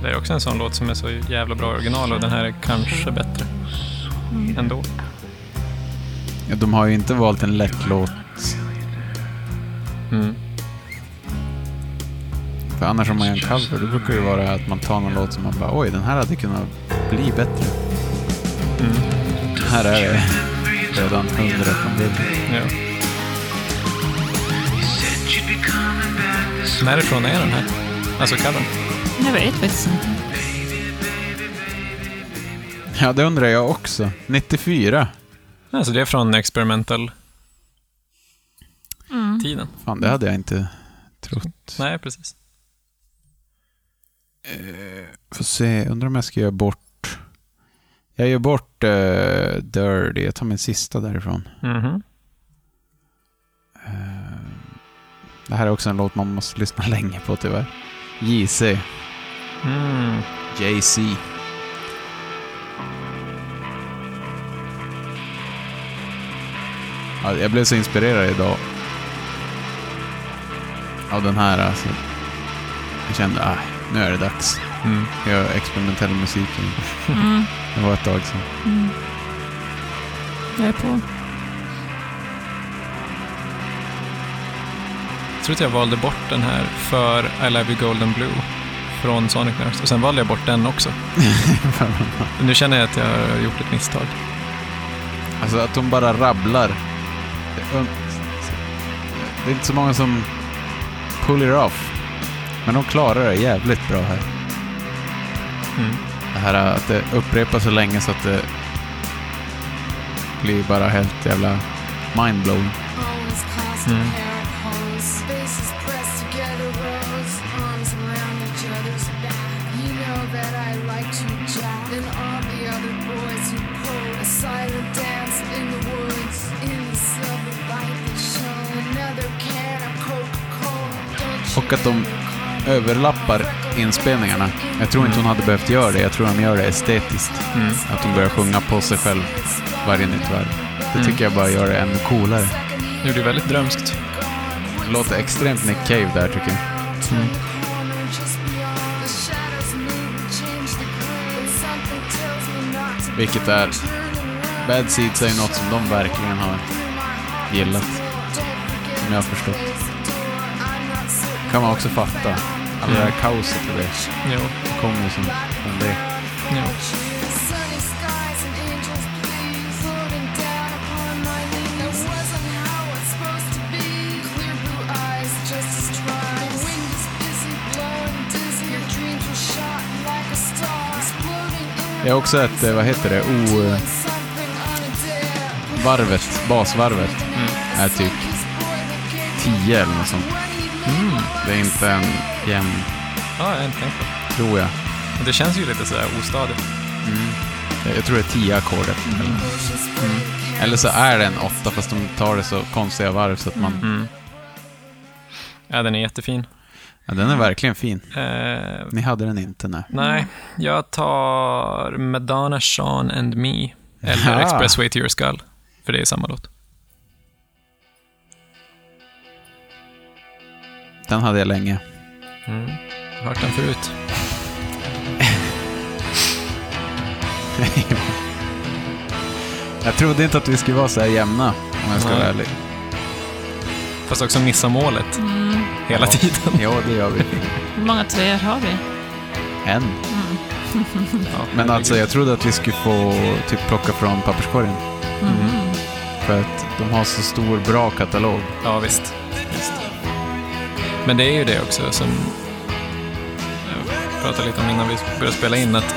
Det är också en sån låt som är så jävla bra i original och den här är kanske bättre. Mm. Ändå. Ja, De har ju inte valt en lätt låt. Mm. För annars om man gör en cover, då brukar det ju vara att man tar någon låt som man bara oj, den här hade kunnat bli bättre. Här är det redan hundra från början. Ja. Närifrån är den här? Alltså covern? Jag vet faktiskt inte. Ja, det undrar jag också. 94. Alltså det är från experimental-tiden. Fan, det hade jag inte trott. Nej, precis. Får se, undrar om jag ska göra bort... Jag gör bort eh, Dirty. Jag tar min sista därifrån. Mhm. Det här är också en låt man måste lyssna länge på tyvärr. JC. Mm. JC. Ja, jag blev så inspirerad idag. Av den här alltså. Jag kände, ah, nu är det dags. Mm. Jag gör experimentell musik. igen. det var ett tag sedan. Jag är på. Jag tror att jag valde bort den här för I Love You Golden Blue från Sonic Nurse. Och sen valde jag bort den också. nu känner jag att jag har gjort ett misstag. Alltså att de bara rabblar. Det är inte så många som pull it off. Men de klarar det jävligt bra här. Mm. Det här att det upprepas så länge så att det blir bara helt jävla mindblown. Hmm. Silent dance in the woods, in the silver light that shone. Another can of Coca-Cola. Don't you Och att de överlappar inspelningarna. Jag tror inte hon hade behövt göra det. Jag tror de gör det estetiskt. Mm. Att de börjar sjunga på sig själv varje nytt varv. Det tycker jag bara gör det ännu coolare. Nu är det väldigt drömskt. Det låter extremt Nick Cave där tycker jag. Just beyond the shadows move, change the groove. Vilket är... Bad Seeds är ju något som de verkligen har gillat. Som jag har förstått. Kan man också fatta. All det här kaoset och det Jo, kommer ju som från det. jo. Det är också ett, eh, vad heter det, o... eh, Varvet, basvarvet, Mm. är typ 10 eller något sånt. Mm, Det är inte en jämn, Ja, jag har inte tänkt på det. tror jag. Men Det känns ju lite sådär ostadigt. Jag tror det är 10 ackord efter. mm. Eller så är det en åtta, fast de tar det så konstiga varv så att man... Ja, den är jättefin. Ja, den är verkligen fin. Eh, Ni hade den inte, nej. nej, jag tar Madonna, Sean and Me. Eller Ja. Expressway to your skull. För det är samma låt. Den hade jag länge. Jag har hört den förut. Jag trodde inte att vi skulle vara så här jämna, om jag ska Nej. vara ärlig. Fast också missa målet. Hela tiden. Ja, det gör vi. Hur många treor har vi? En. Ja, Men alltså, herregud. jag trodde att vi skulle få typ plocka från papperskorgen. Mm. För att de har så stor, bra katalog. Ja, visst. Men det är ju det också som jag pratade lite om innan vi började spela in. att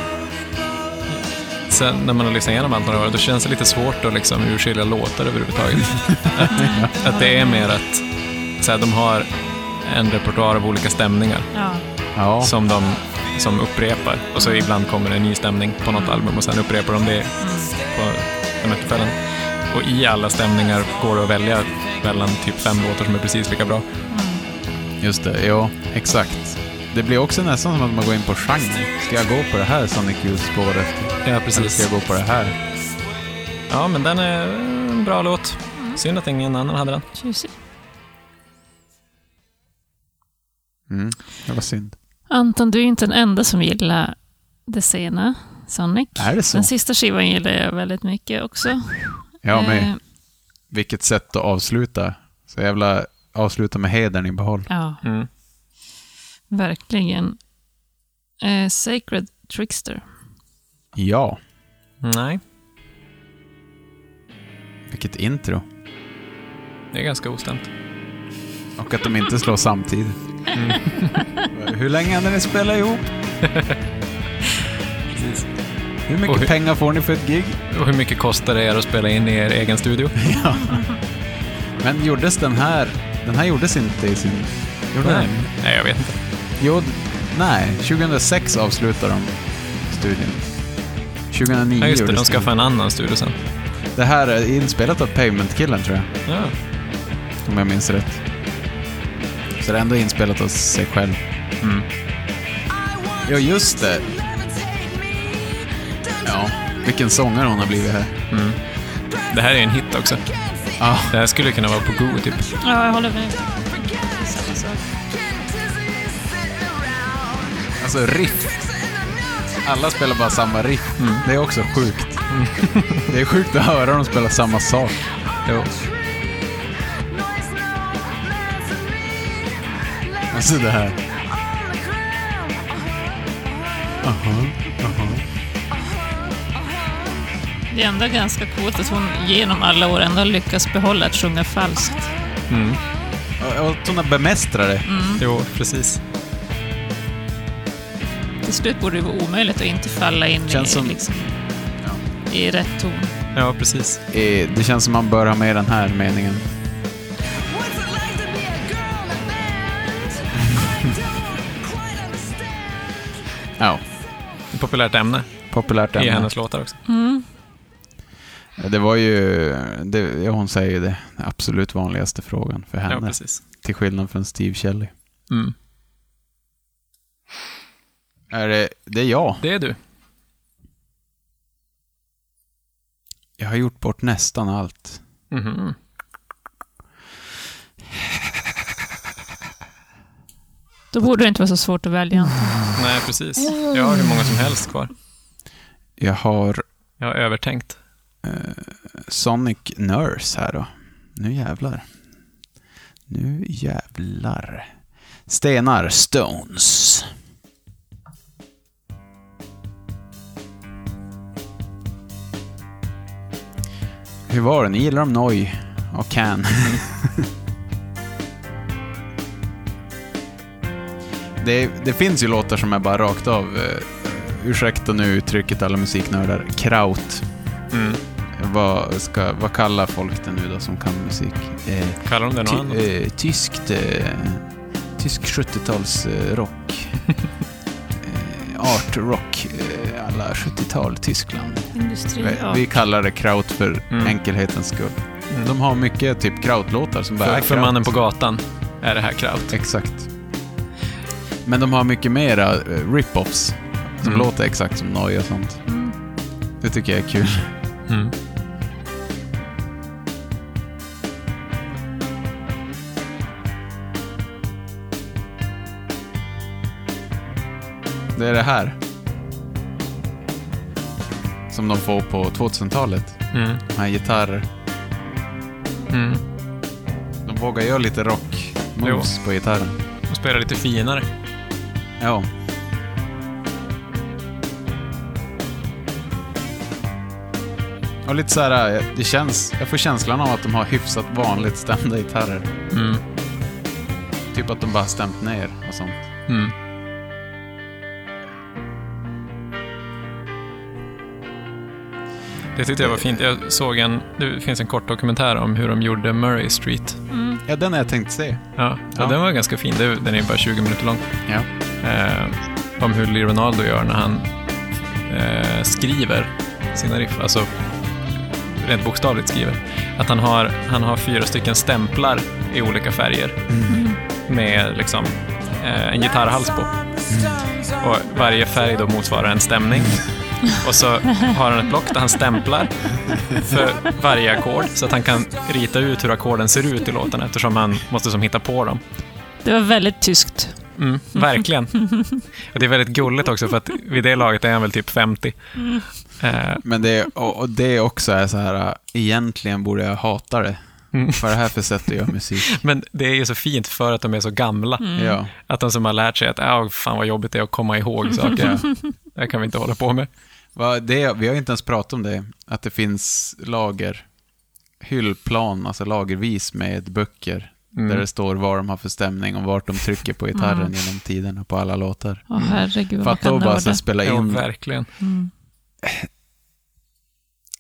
Sen när man har lyssnat igenom allt några år, då känns det lite svårt att liksom urskilja låtar överhuvudtaget. att, att det är mer att så här, de har en repertoar av olika stämningar Ja. Ja, som de som upprepar. Och så ibland kommer det en ny stämning på något album och sen upprepar de det på de här tillfällen. Och i alla stämningar går det att välja mellan typ fem låtar som är precis lika bra. just det. Ja, exakt. Det blir också nästan som att man går in på genre. Ska jag gå på det här Sonic Youth-spåret? Ja, Eller ska jag gå på det här? Ja, men den är en bra låt. Synd att ingen annan hade den. Tjusig. Det var synd. Anton, du är inte den enda som gillar det sena Sonic. Är det så? Den sista skivan gillar jag väldigt mycket också. Ja, Eh, men vilket sätt att avsluta. Så jävla avsluta med hedern i behåll. ja Mm. verkligen. Eh, Sacred Trickster. Ja, Nej, vilket intro. det är ganska ostämt. Och att de inte slår samtidigt. Mm. Hur länge hade ni spelat ihop? Precis. Hur mycket Och hur- pengar får ni för ett gig? Och hur mycket kostar det er att spela in i er egen studio? Men gjordes den här... Den här gjordes inte i sin... Gjorde Nej, den? Nej jag vet inte. Jo, d- nej. 2006 avslutade de studien. 2009 Ja, just det, de gjordes skaffade en annan studio sen. den. Det här är inspelat av Pavement-killen tror jag. Ja. Om jag minns rätt. Så det är ändå inspelat av sig själv. Ja, just det. Ja, vilken sångare hon har blivit här. Det här är en hit också. Ja, Det här skulle kunna vara på Go, typ. Ja, jag håller med. alltså riff. Alla spelar bara samma riff. Mm. Det är också sjukt. det är sjukt att höra dem spela samma sak. Jo. Mm. Alltså det här. Det är ändå ganska coolt att hon genom alla år ändå har lyckats behålla att sjunga falskt. Och- Och att hon har bemästrat det. jo, precis. Till slut borde det vara omöjligt att inte falla in Känns i, som- liksom, i rätt ton. Ja, precis. Eh, Det känns som man bör ha med den här meningen. Ja, Ett populärt ämne populärt i ämne. hennes låtar också. Det var ju... Det, ja, hon säger ju det. Den absolut vanligaste frågan för Ja, henne. precis. till skillnad från Steve Shelley. Mm. Är det, det är jag. Det är du. Jag har gjort bort nästan allt. Mhm. Då borde det inte vara så svårt att välja. Mm. Nej, precis. Jag har hur många som helst kvar. Jag har Jag har övertänkt. Sonic Nurse här då. Nu jävlar. Nu jävlar. Stenar, stones. Hur var det? Ni gillar dem noj och can. det, det finns ju låtar som är bara rakt av, eh, ursäkta nu uttrycket alla musiknördar, kraut. Vad, ska, vad kallar folk det nu då som kan musik? Eh, Kallar de det något annat? ty, eh, tyskt, eh, tysk 70-talsrock. eh, art rock, eh, alla 70-tal Tyskland. Industri, Vi, ja. vi kallar det kraut för Mm. enkelhetens skull. Mm. De har mycket typ krautlåtar som bara För, är för kraut. mannen på gatan är det här kraut. Exakt. Men de har mycket mera eh, rip-offs som Mm. låter exakt som Noi och sånt. Det tycker jag är kul. Mm. Det är det här. Som de får på 2000-talet. Mm. De här gitarrer. Mm. De vågar göra lite rock moves på gitarren. Och spelar lite finare. Ja. Och lite så här, eh, det känns, jag får känslan av att de har hyfsat vanligt stämda gitarrer. Mm. Typ att de bara stämt ner och sånt. Mm. Det tyckte jag var fint. Jag såg en, det finns en kort dokumentär om hur de gjorde Murray Street. Ja, den har jag tänkt se. Ja, ja. Ja. den var ganska fin. Det- Den är bara 20 minuter lång. Ja. Eh, om hur Lee Ronaldo gör när han eh, skriver sina riff. Alltså, rent bokstavligt skriver. Att han har, han har fyra stycken stämplar i olika färger. Mm. Med liksom eh, en gitarrhals på. Och varje färg då motsvarar en stämning. Och så har han ett block där han stämplar för varje ackord så att han kan rita ut hur ackorden ser ut i låten eftersom han måste som hitta på dem. Det var väldigt tyskt. Mm, verkligen. Och det är väldigt gulligt också för att vid det laget är han väl typ 50. Eh, Men det, och, och det också är så här, äh, egentligen borde jag hata det. Mm. Vad är det här för sätt att göra musik? men det är ju så fint för att de är så gamla. Ja. Att de som har lärt sig att ah, fan vad jobbigt det är att komma ihåg saker. Det här kan vi inte hålla på med. Va, det. Vi har ju inte ens pratat om det, att det finns lager, hyllplan, alltså lagervis med böcker, Mm. där det står vad de har för stämning och vart de trycker på gitarren genom tiderna på alla låtar. Åh herregud, vad man Fatta kan att bara så nörda. här Mm. spela Jo, in verkligen.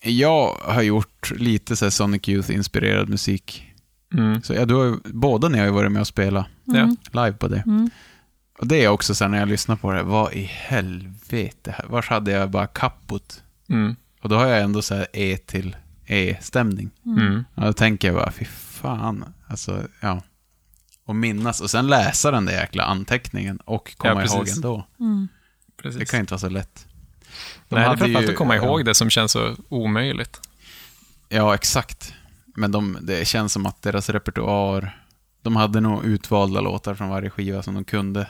Jag har gjort lite så här Sonic Youth-inspirerad musik. Mm. Så ja, du har, ju- båda ni har ju varit med och spelat Ja. live på det. Och det är också sen när jag lyssnar på det, vad i helvete, här- vars hade jag bara kappot? Mm. Och då har jag ändå så här E till E-stämning. Mm. Och då tänker jag bara, fy fan, alltså ja. Och minnas, och sen läsa den där jäkla anteckningen och komma precis. ihåg ändå. Det Precis. kan ju inte vara så lätt. De Nej, det är hade framförallt ju- att komma ja. ihåg det som känns så omöjligt. Ja, exakt. Men de, det känns som att deras repertoar, de hade nog utvalda låtar från varje skiva som de kunde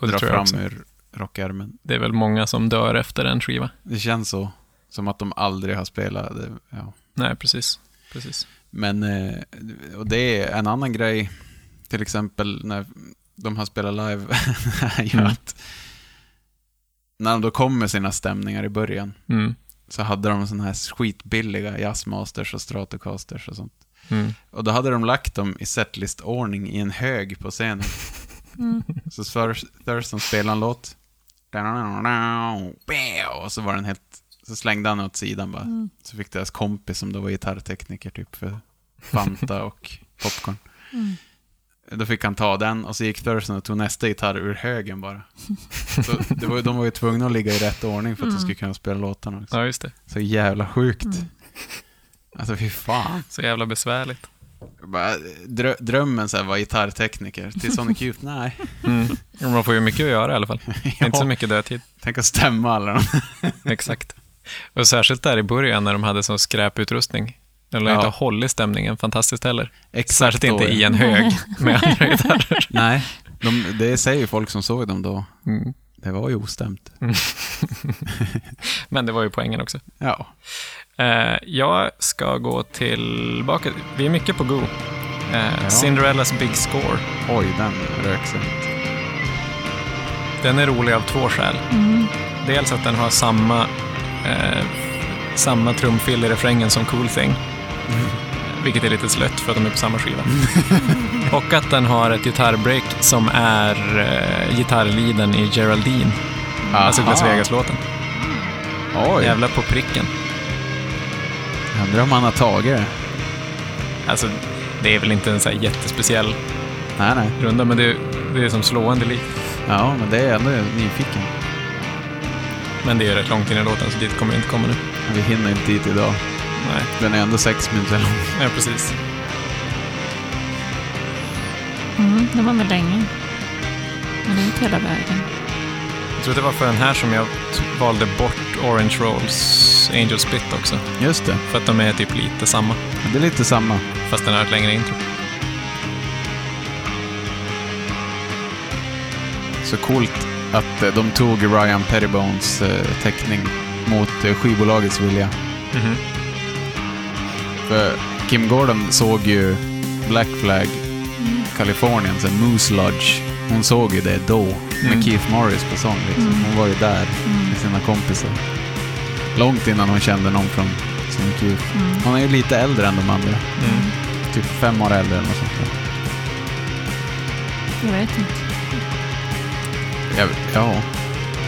Och det dra tror jag fram också. ur rockärmen. Det är väl många som dör efter en skiva. Det känns så, som att de aldrig har spelat. det- Ja. Nej, precis. precis. Men, eh, och det är en annan grej, till exempel när de har spelat live, är ju Mm. att när de då kom med sina stämningar i början Mm. så hade de sådana här skitbilliga jazzmasters och stratocasters och sånt. Mm. Och då hade de lagt dem i setlist-ordning i en hög på scenen. Så Thur- Thurston spelade en låt. Och så var den helt... Så slängde han åt sidan bara. Mm. Så fick deras kompis som då var gitarrtekniker typ för Fanta och Popcorn. Då fick han ta den och så gick Thurston och tog nästa gitarr ur högen bara. Så det var, ju- de var ju tvungna att ligga i rätt ordning för att de skulle kunna spela låtarna. Också. Mm. Ja, Mm. just det. Så jävla sjukt. Alltså fy fan. Så jävla besvärligt. Bara, drö- drömmen så här var gitarrtekniker. Till Sonic Youth, nej. Mm. Men Man får ju mycket att göra i alla fall. Ja. Inte så mycket dödtid. Tänk att stämma alla de Exakt. Och särskilt där i början när de hade sån skräputrustning. De lär Ja. inte ha hållit stämningen fantastiskt heller. Exakt Särskilt då, inte ja. i en hög med andra gitarrer. Mm. Nej, de, det säger ju folk som såg dem då. Det var ju ostämt. Men det var ju poängen också. Ja. Eh, jag ska gå tillbaka. Vi är mycket på Go. Eh, Cinderellas Big Score. Oj, den rök sig. Den är rolig av två skäl. Dels att den har samma, eh, samma trumfill i refrängen som Cool Thing. Vilket är lite slött för att de är på samma skiva. Och att den har ett gitarrbreak som är eh, gitarrliden i Geraldine, alltså Las Vegas-låten. Oj, Jävla på pricken. undrar om han har tagit det. Alltså, det är väl inte en så här jättespeciell Nej, nej. runda, men det, det är som slående likt. Ja, men det är jag ändå nyfiken. Men det är ju rätt långt in i låten, så dit kommer vi inte komma nu. Vi hinner inte dit idag. Nej, Den är ändå sex minuter lång. ja, precis. Mm, det var väl länge. Men det är inte hela vägen. Jag tror att det var för den här som jag t- valde bort Orange Rolls Angel Split också. Just det. För att de är typ lite samma, Det är lite samma. fast den har ett längre intro. Så coolt att eh, de tog Ryan Pettybones eh, teckning mot eh, skivbolagets vilja. För Kim Gordon såg ju Black Flag, Kalifornien, sen Moose Lodge. Hon såg ju det då, med Mm. Keith Morris på sång. Liksom. Hon var ju där med sina kompisar. Långt innan hon kände någon från sin Keith. Hon är ju lite äldre än de andra. Typ fem år äldre eller något sånt där. Jag vet inte. Jag, ja,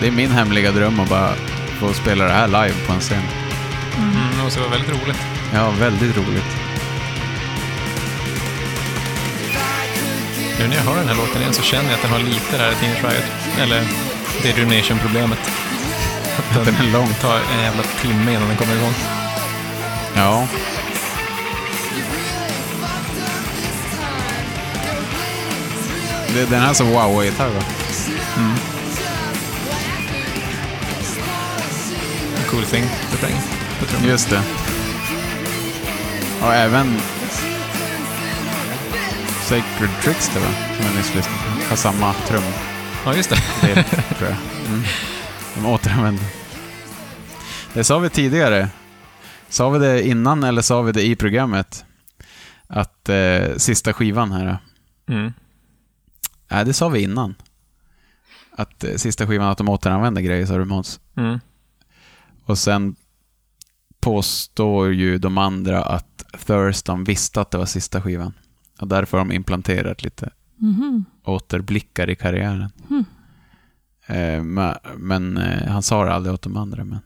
det är min hemliga dröm att bara få spela det här live på en scen. Mm, och så var det väldigt roligt. Ja, väldigt roligt. Nu när jag hör den här låten igen så känner jag att den har lite det här Teenage Riot, eller Daydream Nation-problemet. Att Den den är lång. tar en jävla timme innan den kommer igång. Ja, det är den här som wow-gitarr va? Cool thing, refrängen. på trummor. Just det. Och även Sacred Trickster va? Som jag nyss lyssnade på. Har samma trumdel Ja, just det. tror jag. Mm. De återanvänder. Det sa vi tidigare. Sa vi det innan eller sa vi det i programmet? Att eh, sista skivan här. eh, Mm. Nej, det sa vi innan. Att eh, sista skivan att de återanvänder grejer, sa du Måns. Mm. Och sen påstår ju de andra att Thurston visste att det var sista skivan. Och därför har de implanterat lite Mm. återblickar i karriären. Hmm. Eh, men men eh, han sa det aldrig åt de andra. Men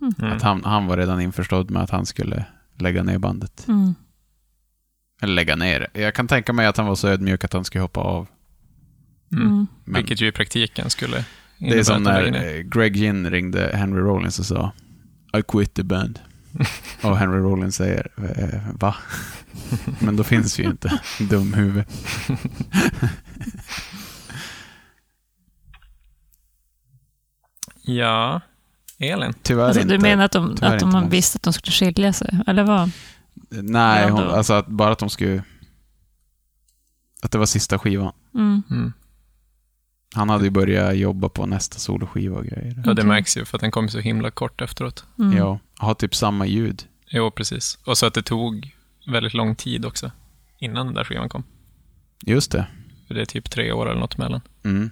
Mm. Mm. att han, han var redan införstådd med att han skulle lägga ner bandet. Mm. Eller lägga ner det. Jag kan tänka mig att han var så ödmjuk att han skulle hoppa av. Mm. Men- Vilket ju i praktiken skulle Det är innebära som att de lägger när ner. eh, Greg Ginn ringde Henry Rollins och sa I quit the band. och Henry Rollins säger eh, va? Men då finns vi ju inte, dumhuvud. Ja, Elin. Tyvärr Alltså, inte. du menar att de, tyvärr att de inte har Måns. visste att de skulle skilja sig, eller vad? Nej, Ja, hon, då. alltså att bara att de skulle... Att det var sista skivan. Mm. Han hade ju börjat jobba på nästa soloskiva och grejer. Ja, det märks ju för att den kom så himla kort efteråt. Mm. Ja, ha typ samma ljud. Jo, precis. Och så att det tog väldigt lång tid också innan den där skivan kom. Just det. För det är typ tre år eller något mellan. Mm.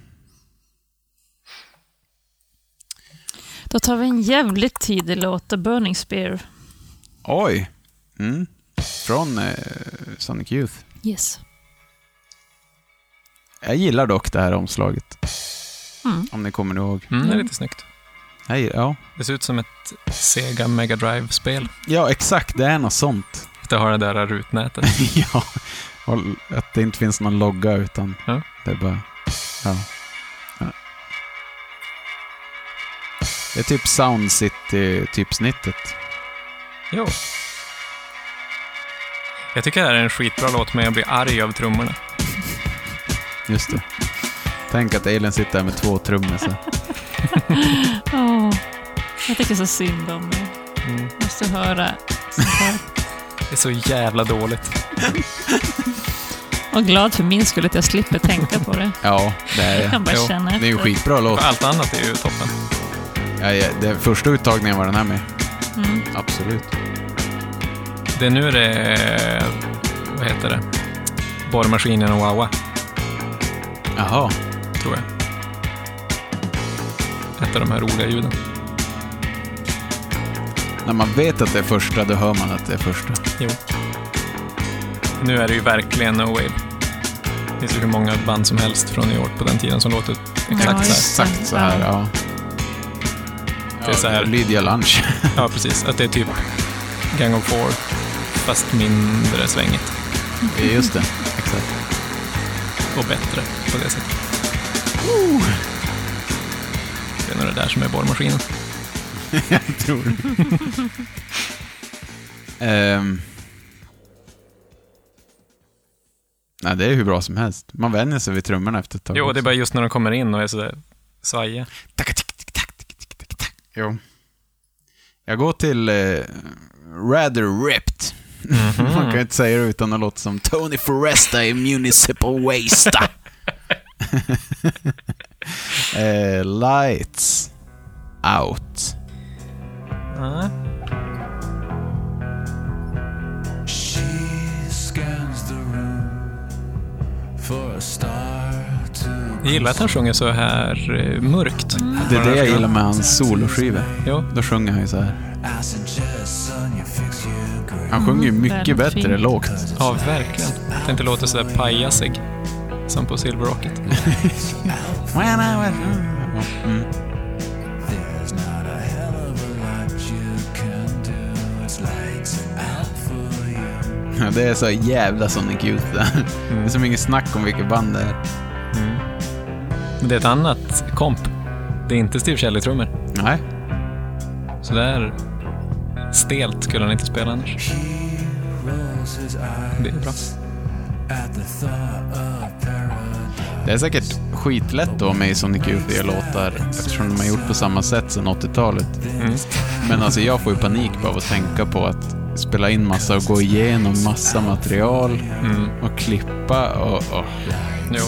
Då tar vi en jävligt tidig låt, The Burning Spear. Oj! Mm. Från eh, Sonic Youth. Yes. Jag gillar dock det här omslaget. Mm. Om ni kommer ihåg. Mm, Det är lite snyggt. Jag gillar- Ja. Det ser ut som ett Sega Mega Drive-spel. ja, exakt. Det är något sånt. Att Det har det där rutnätet. ja. Och att det inte finns någon logga utan Ja. det är bara... Ja. ja. Det är typ Sound City-typsnittet. Jo. Jag tycker det här är en skitbra låt, men jag blir arg av trummorna. Just det. Tänk att Elin sitter här med två trummisar. Åh, jag tycker så synd om er. Mm. Måste höra sånt här. Det är så jävla dåligt. Och glad för min skull att jag slipper tänka på det. Ja, det är Jag kan det. bara Jo, känna Det är ju en efter. skitbra låt. Allt annat är ju toppen. Ja, ja, det första uttagningen var den här med. Mm. Absolut. Det är nu det är, vad heter det, borrmaskinen och Wawa, Jaha. tror jag. Ett av de här roliga ljuden. När man vet att det är första, då hör man att det är första. Jo. Nu är det ju verkligen no wave. Det finns ju hur många band som helst från New York på den tiden som låter Ja, exakt så här. just det. Exakt så här, Ja. ja. Det är så här. Lydia Lunch. Ja, precis. Att det är typ Gang of Four, fast mindre svängigt Just det. Exakt. och bättre på det sättet. Det är nog det där som är borrmaskinen. tror Ehm. Nej, det är hur bra som helst. Man vänjer sig vid trummorna efter ett tag. Jo, det är också. bara just när de kommer in och är sådär svajiga. Jo. Jag går till eh, Rather Ripped. Man kan ju inte säga det utan att låta som Tony Foresta i Municipal Waste. eh, lights Out. Ja. She scans the room for a star to Jag gillar att han sjunger så här eh, mörkt. Det är det jag gillar med hans soloskivor. Jo, Då sjunger han ju så här. I suggest, son, you fix your grade. Han sjunger ju mycket väldigt bättre fint. lågt. ja verkligen. Att det inte låter sådär pajasig. Som på Silver Rocket. When I was... Mm. There's not a hell of a lot you can do. It's lights out for you. Ja, Det är så jävla Sonic Youth det. Det är som inget snack om vilket band det är. Men det är ett annat komp. Det är inte Steve Shelley-trummor. Nej. Så där stelt skulle han inte spela annars. He rolls his Det är bra. eyes at the thought of paradise. Det är säkert skitlätt då med i Sonic Youth att göra låtar eftersom de har gjort på samma sätt sedan 80-talet. Men alltså jag får ju panik bara av att tänka på att spela in massa och gå igenom massa material och klippa och, och Jo,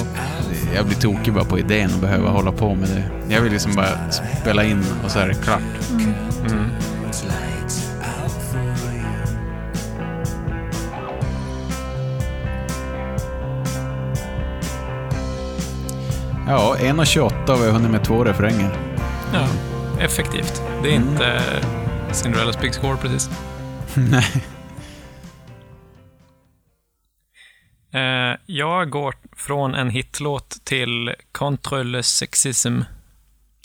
jag blir tokig bara på idén att behöva hålla på med det. Jag vill liksom bara spela in och så är det klart. It's lights out for you. Ja, 1.28 och vi har hunnit med två refränger. ja. Effektivt. Det är inte Cinderellas Big Score precis. Nej. Eh, jag går från en hitlåt till Contre le sexism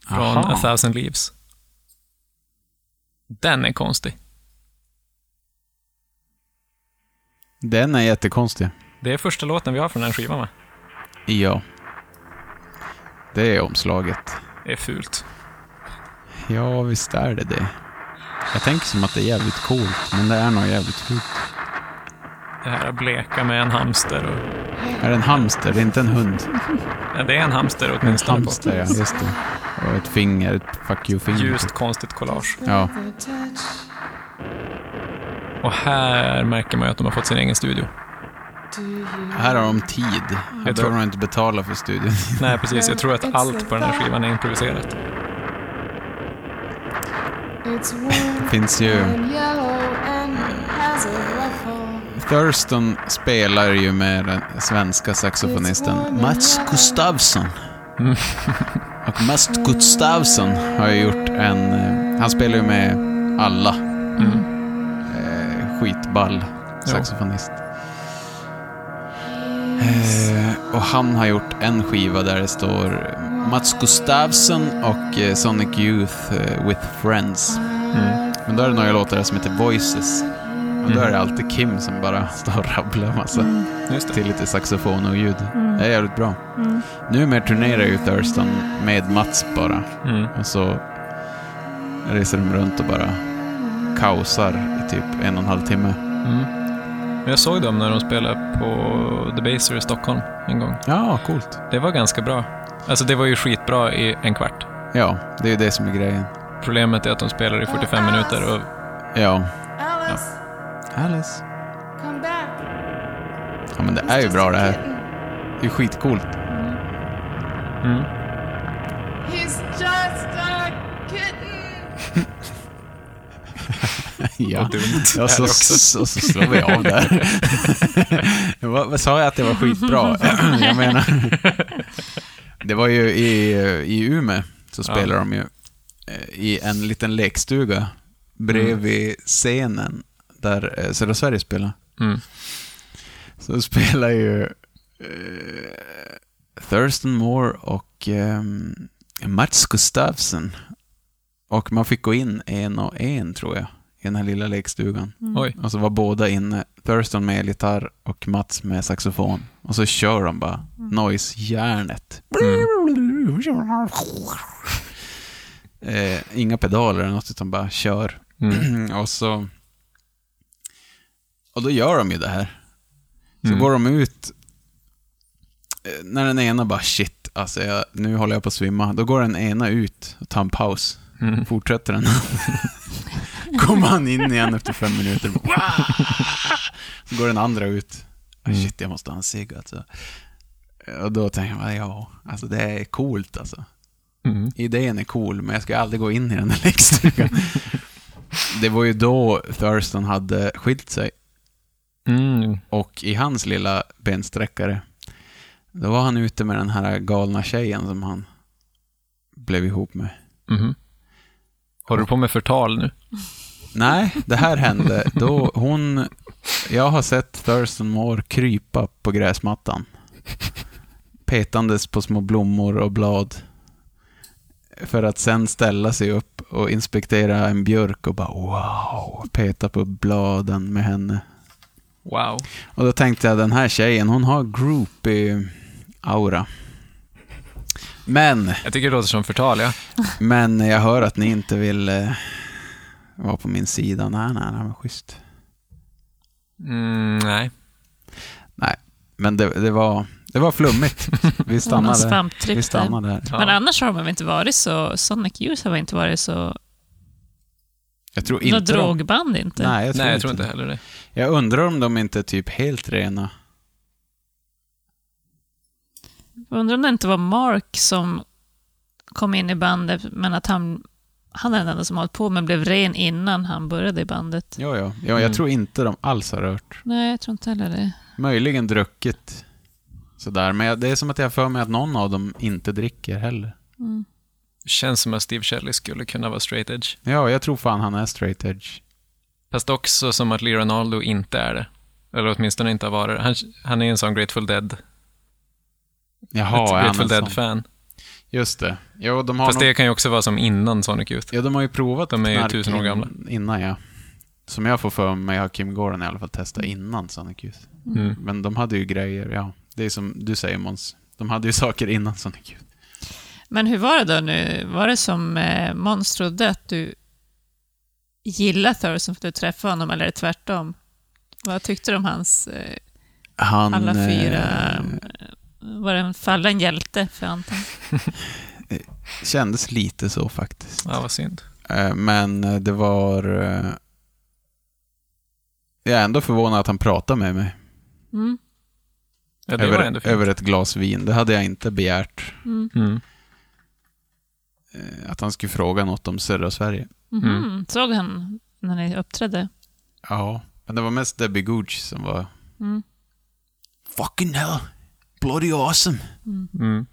från Aha. A thousand leaves. Den är konstig. Den är jättekonstig. Det är första låten vi har från den skivan, va? Ja. Det är omslaget. Det är fult. Ja, visst är det det. Jag tänker som att det är jävligt coolt, men det är nog jävligt fult. Det här bleka med en hamster. Och... Är det en hamster? Det är inte en hund. Ja, det är en hamster En åtminstone. på. hamster, ja. Just det. Och ett finger, ett fuck you-finger. Ljust, konstigt collage. Ja. Och här märker man ju att de har fått sin egen studio. Här har de tid. Här Jag tror- behöver de inte betala för studion. Nej, precis. Jag tror att allt på den här skivan är improviserat. It's warm Finns ju... and yellow and has a ruffle. Thurston spelar ju med den svenska saxofonisten Mats Gustafsson. Och Mats Gustafsson har ju gjort en... eh, Han spelar ju med alla. Eh, skitball saxofonist. Eh, och han har gjort en skiva där det står Mats Gustafsson och eh, Sonic Youth eh, with Friends. Mm. Men då är det några låtar som heter Voices. Och då är det alltid Kim som bara står och rabblar massa Just det. till lite saxofon och ljud. Det är jävligt bra. Numera turnerar ju Thurston med Mats bara. Mm. Och så reser de runt och bara kaosar i typ en och en halv timme. Mm. Men jag såg dem när de spelade på The Baser i Stockholm en gång. Ja, coolt. Det var ganska bra. Alltså det var ju skitbra i en kvart. Ja, det är ju det som är grejen. Problemet är att de spelar i 45 minuter och Ja. Alice, Alice. come back. Ja, men det är ju bra det här. Det är ju skitcoolt. He's just a kitten. Ja, Vad dumt ja så, så, så slår vi av där. vad, vad sa jag att det var skitbra? jag menar... Det var ju i, i Umeå, så spelar de ju eh, i en liten lekstuga bredvid scenen där eh, Södra Sverige spelar. Mm. Så spelar ju eh, Thurston Moore och eh, Mats Gustafsson. Och man fick gå in en och en, tror jag, i den här lilla lekstugan. Oj. Och så var båda inne. Thurston med gitarr och Mats med saxofon. Och så kör de bara noise-järnet. Eh, inga pedaler eller något, utan bara kör. och så... Och då gör de ju det här. Så går de ut. eh, När den ena bara shit, alltså jag, nu håller jag på att svimma. Då går den ena ut och tar en paus. Fortsätter den kommer han in igen efter fem minuter. Så går den andra ut. Ah, Shit, jag måste ha en cigg alltså. Och då tänker man, ja, alltså det är coolt alltså. Mm. Idén är cool, men jag ska aldrig gå in i den här lekstugan. det var ju då Thurston hade skilt sig Mm. och i hans lilla bensträckare, då var han ute med den här galna tjejen som han blev ihop med. Mhm. Håller du på med förtal nu? Nej, det här hände då hon... Jag har sett Thurston Moore krypa på gräsmattan. Petandes på små blommor och blad. För att sen ställa sig upp och inspektera en björk och bara wow, peta på bladen med henne. Wow. Och då tänkte jag, den här tjejen, hon har groupie-aura. Men, Jag tycker det låter som förtal, ja. men jag hör att ni inte vill eh, vara på min sida. Nej, nej, nej, men schysst. Mm, nej. Nej, men det, det, var, det var flummigt. Vi Någon stannade där. svamptripp Vi där. stannade där. Men annars har de väl inte varit så... Sonic Youth har väl inte varit så... Jag tror Några inte de, drogband inte? Nej, jag tror, Nej, jag tror inte heller det. Jag undrar om de inte är typ helt rena. Jag undrar om det inte var Mark som kom in i bandet, men att han... Han är den enda som har hållit på, men blev ren innan han började i bandet. Ja, ja. ja jag Mm. tror inte de alls har rört. Nej, jag tror inte heller det. Möjligen druckit. Sådär, men jag, det är som att jag har för mig att någon av dem inte dricker heller. Känns som att Steve Shelley skulle kunna vara straight edge. Ja, jag tror fan han är straight edge. Fast också som att Lee Ronaldo inte är det. Eller åtminstone inte har varit det. Han, han är en sån Grateful Dead. ett Jaha, är han Grateful en sån? Dead-fan. Just det. Jo, de har Fast nog- det kan ju också vara som innan Sonic Youth. Ja, de har ju provat De är ju knark tusen år in- gamla. Innan, ja. Som jag får för mig har Kim Gordon i alla fall testat innan Sonic Youth. Mm. Men de hade ju grejer, ja. Det är som du säger Måns. De hade ju saker innan Sonic Youth. Men hur var det då nu? Var det som eh, Måns trodde att du gillade Thurston för att du träffade honom, eller är det tvärtom? Vad tyckte du om hans eh, Han, alla fyra... eh, eh, Var det en fallen hjälte för Anton? kändes lite så faktiskt. Ja, vad synd. Eh, Men eh, det var... eh, Jag är ändå förvånad att han pratade med mig Mm. Ja, det var ändå över, fint. över ett glas vin. Det hade jag inte begärt. Mm. eh, Att han skulle fråga något om södra Sverige. Mhm. Mm. Såg han när ni uppträdde? Ja, men det var mest Debbie Gooch som var... Mm. Fucking hell! Bloody awesome! Mm.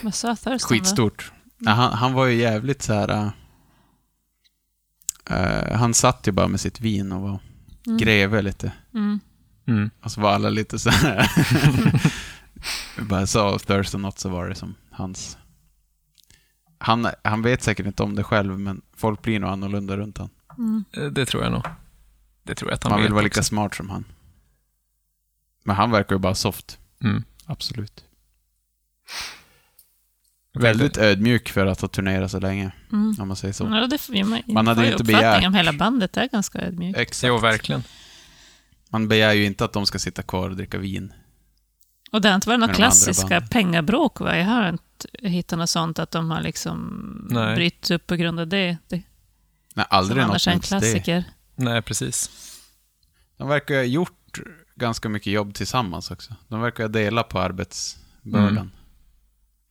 Vad sa Thurston? då? Skitstort. Ja, han, han var ju jävligt så här... eh, han satt ju bara med sitt vin och var greve lite. Mm. Mm. Och så var alla lite så här... bara sa Thurston något så var det som hans... Han, han vet säkert inte om det själv, men folk blir nog annorlunda runt han. Eh, Det tror jag nog. Det tror jag att han Man vet vill vara också. lika smart som han. Men han verkar ju bara soft. Mm. Absolut. Väldigt ödmjuk för att ha turnerat så länge, Mm. om man säger så. Ja, det, ja, man, Man hade får ju ju inte uppfattning begärt- om hela bandet är ganska ödmjukt. Exakt. Jo, verkligen. Man begär ju inte att de ska sitta kvar och dricka vin. Och det har inte varit några Eh, Med de andra klassiska banden. pengabråk, va? Jag har inte hittat något sånt att de har liksom Nej. brytts upp på grund av det. det Nej, som aldrig något annars är en mot det. klassiker. Nej, precis. De verkar ju ha gjort ganska mycket jobb tillsammans också. De verkar dela på arbetsbördan.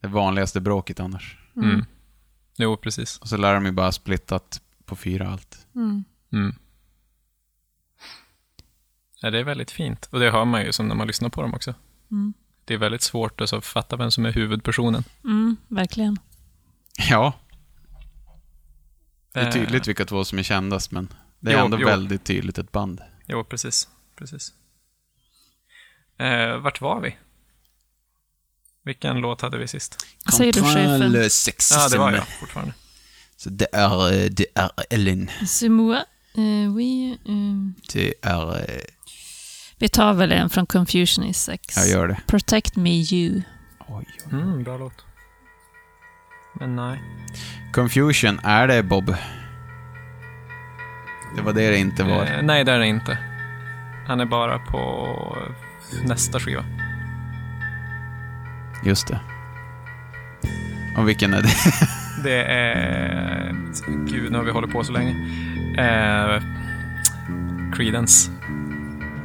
Det vanligaste bråket annars. Mm. Jo, precis. Och så lär de ju bara splittat på fyra allt. Mm. Ja, det är väldigt fint. Och det hör man ju som när man lyssnar på dem också. Det är väldigt svårt alltså, att fatta vem som är huvudpersonen. Mm, verkligen. Ja, det är Eh, tydligt vilka två som är kändast, men det är Jo, ändå jo. väldigt tydligt ett band. Jo, precis. precis. Eh, vart var vi? Vilken låt hade vi sist? Vad säger du, chefen? sexism. Ja, ah, det var jag fortfarande. Så det är, eh, det är Ellen. C'est moi. Eh, oui, eh, Det är... eh, vi tar väl en från Confusion is sex. Jag gör det. Protect me you. Oj, oj. Mm, bra låt. Men nej. Confusion, är det Bob? Det var det det inte var. Eh, nej, det är det inte. Han är bara på nästa skiva. Just det. Och vilken är det? Det är... Gud, nu har vi hållit på så länge. Eh, Creedence.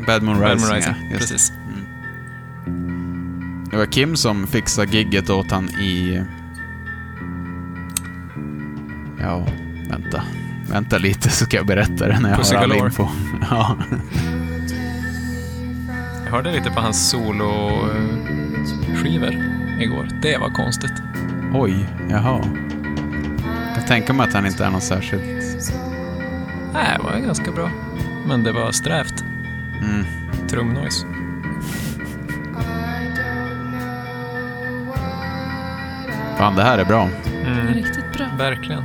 Bad Moon Rising. Bad Moon Ja, Rising. just Precis. det. det var Kim som fixade gigget åt han i... Ja, vänta. Vänta lite så ska jag berätta det när jag Pussy har all Galore. info. Ja. Jag hörde lite på hans solo-skivor igår. Det var konstigt. Oj, jaha. Jag tänker mig att han inte är någon särskilt... Nej, Äh, det var ganska bra. Men det var strävt. Mm. Trumnoise. Fan, det här är bra. Mm, Riktigt bra. verkligen.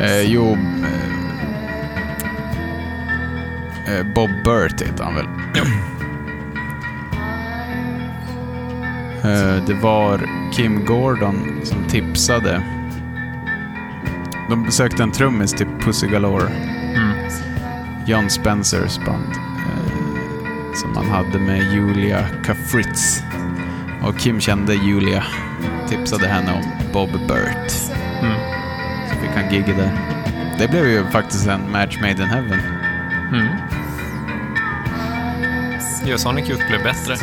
Eh, jo... Eh, eh, Bob Burt heter han väl? Eh, det var Kim Gordon som tipsade. De besökte en trummis till Pussy Galore. John Spencers band. Eh, som han hade med Julia Kafritz. Och Kim kände Julia. Tipsade henne om Bob Burt. Så fick han gigga där. Det blev ju faktiskt en match made in heaven. Mm. Ja, Sonic Youth blev bättre.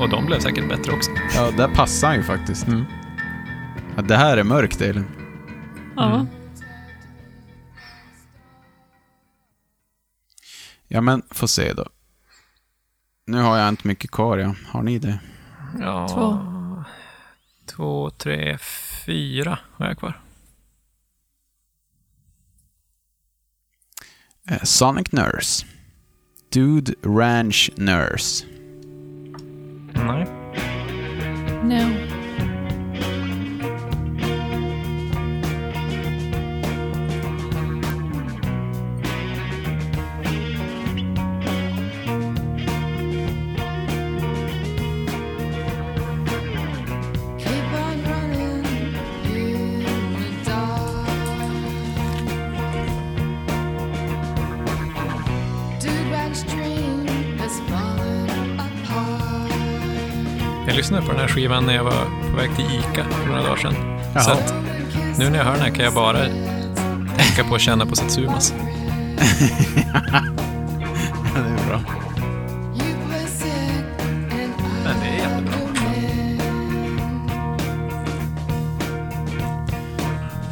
Och de blev säkert bättre också. Ja, där passar han ju faktiskt. Mm. Ja, det här är mörkt, Elin. Ja. Mm. Ja, men få se då. Nu har jag inte mycket kvar, ja. Har ni det? Ja, Två. två, tre, fyra har jag kvar. Eh, Sonic Nurse. Dude Ranch Nurse. Nej. No. Keep on running, you will die. Dude Ranch dream is falling apart. Jag lyssnade på den här skivan när jag var på väg till Ica för några dagar sedan. Jaha. Så att nu när jag hör den här kan jag bara tänka på att känna på Satsumas. det är bra. You were sick and Men det är jättebra.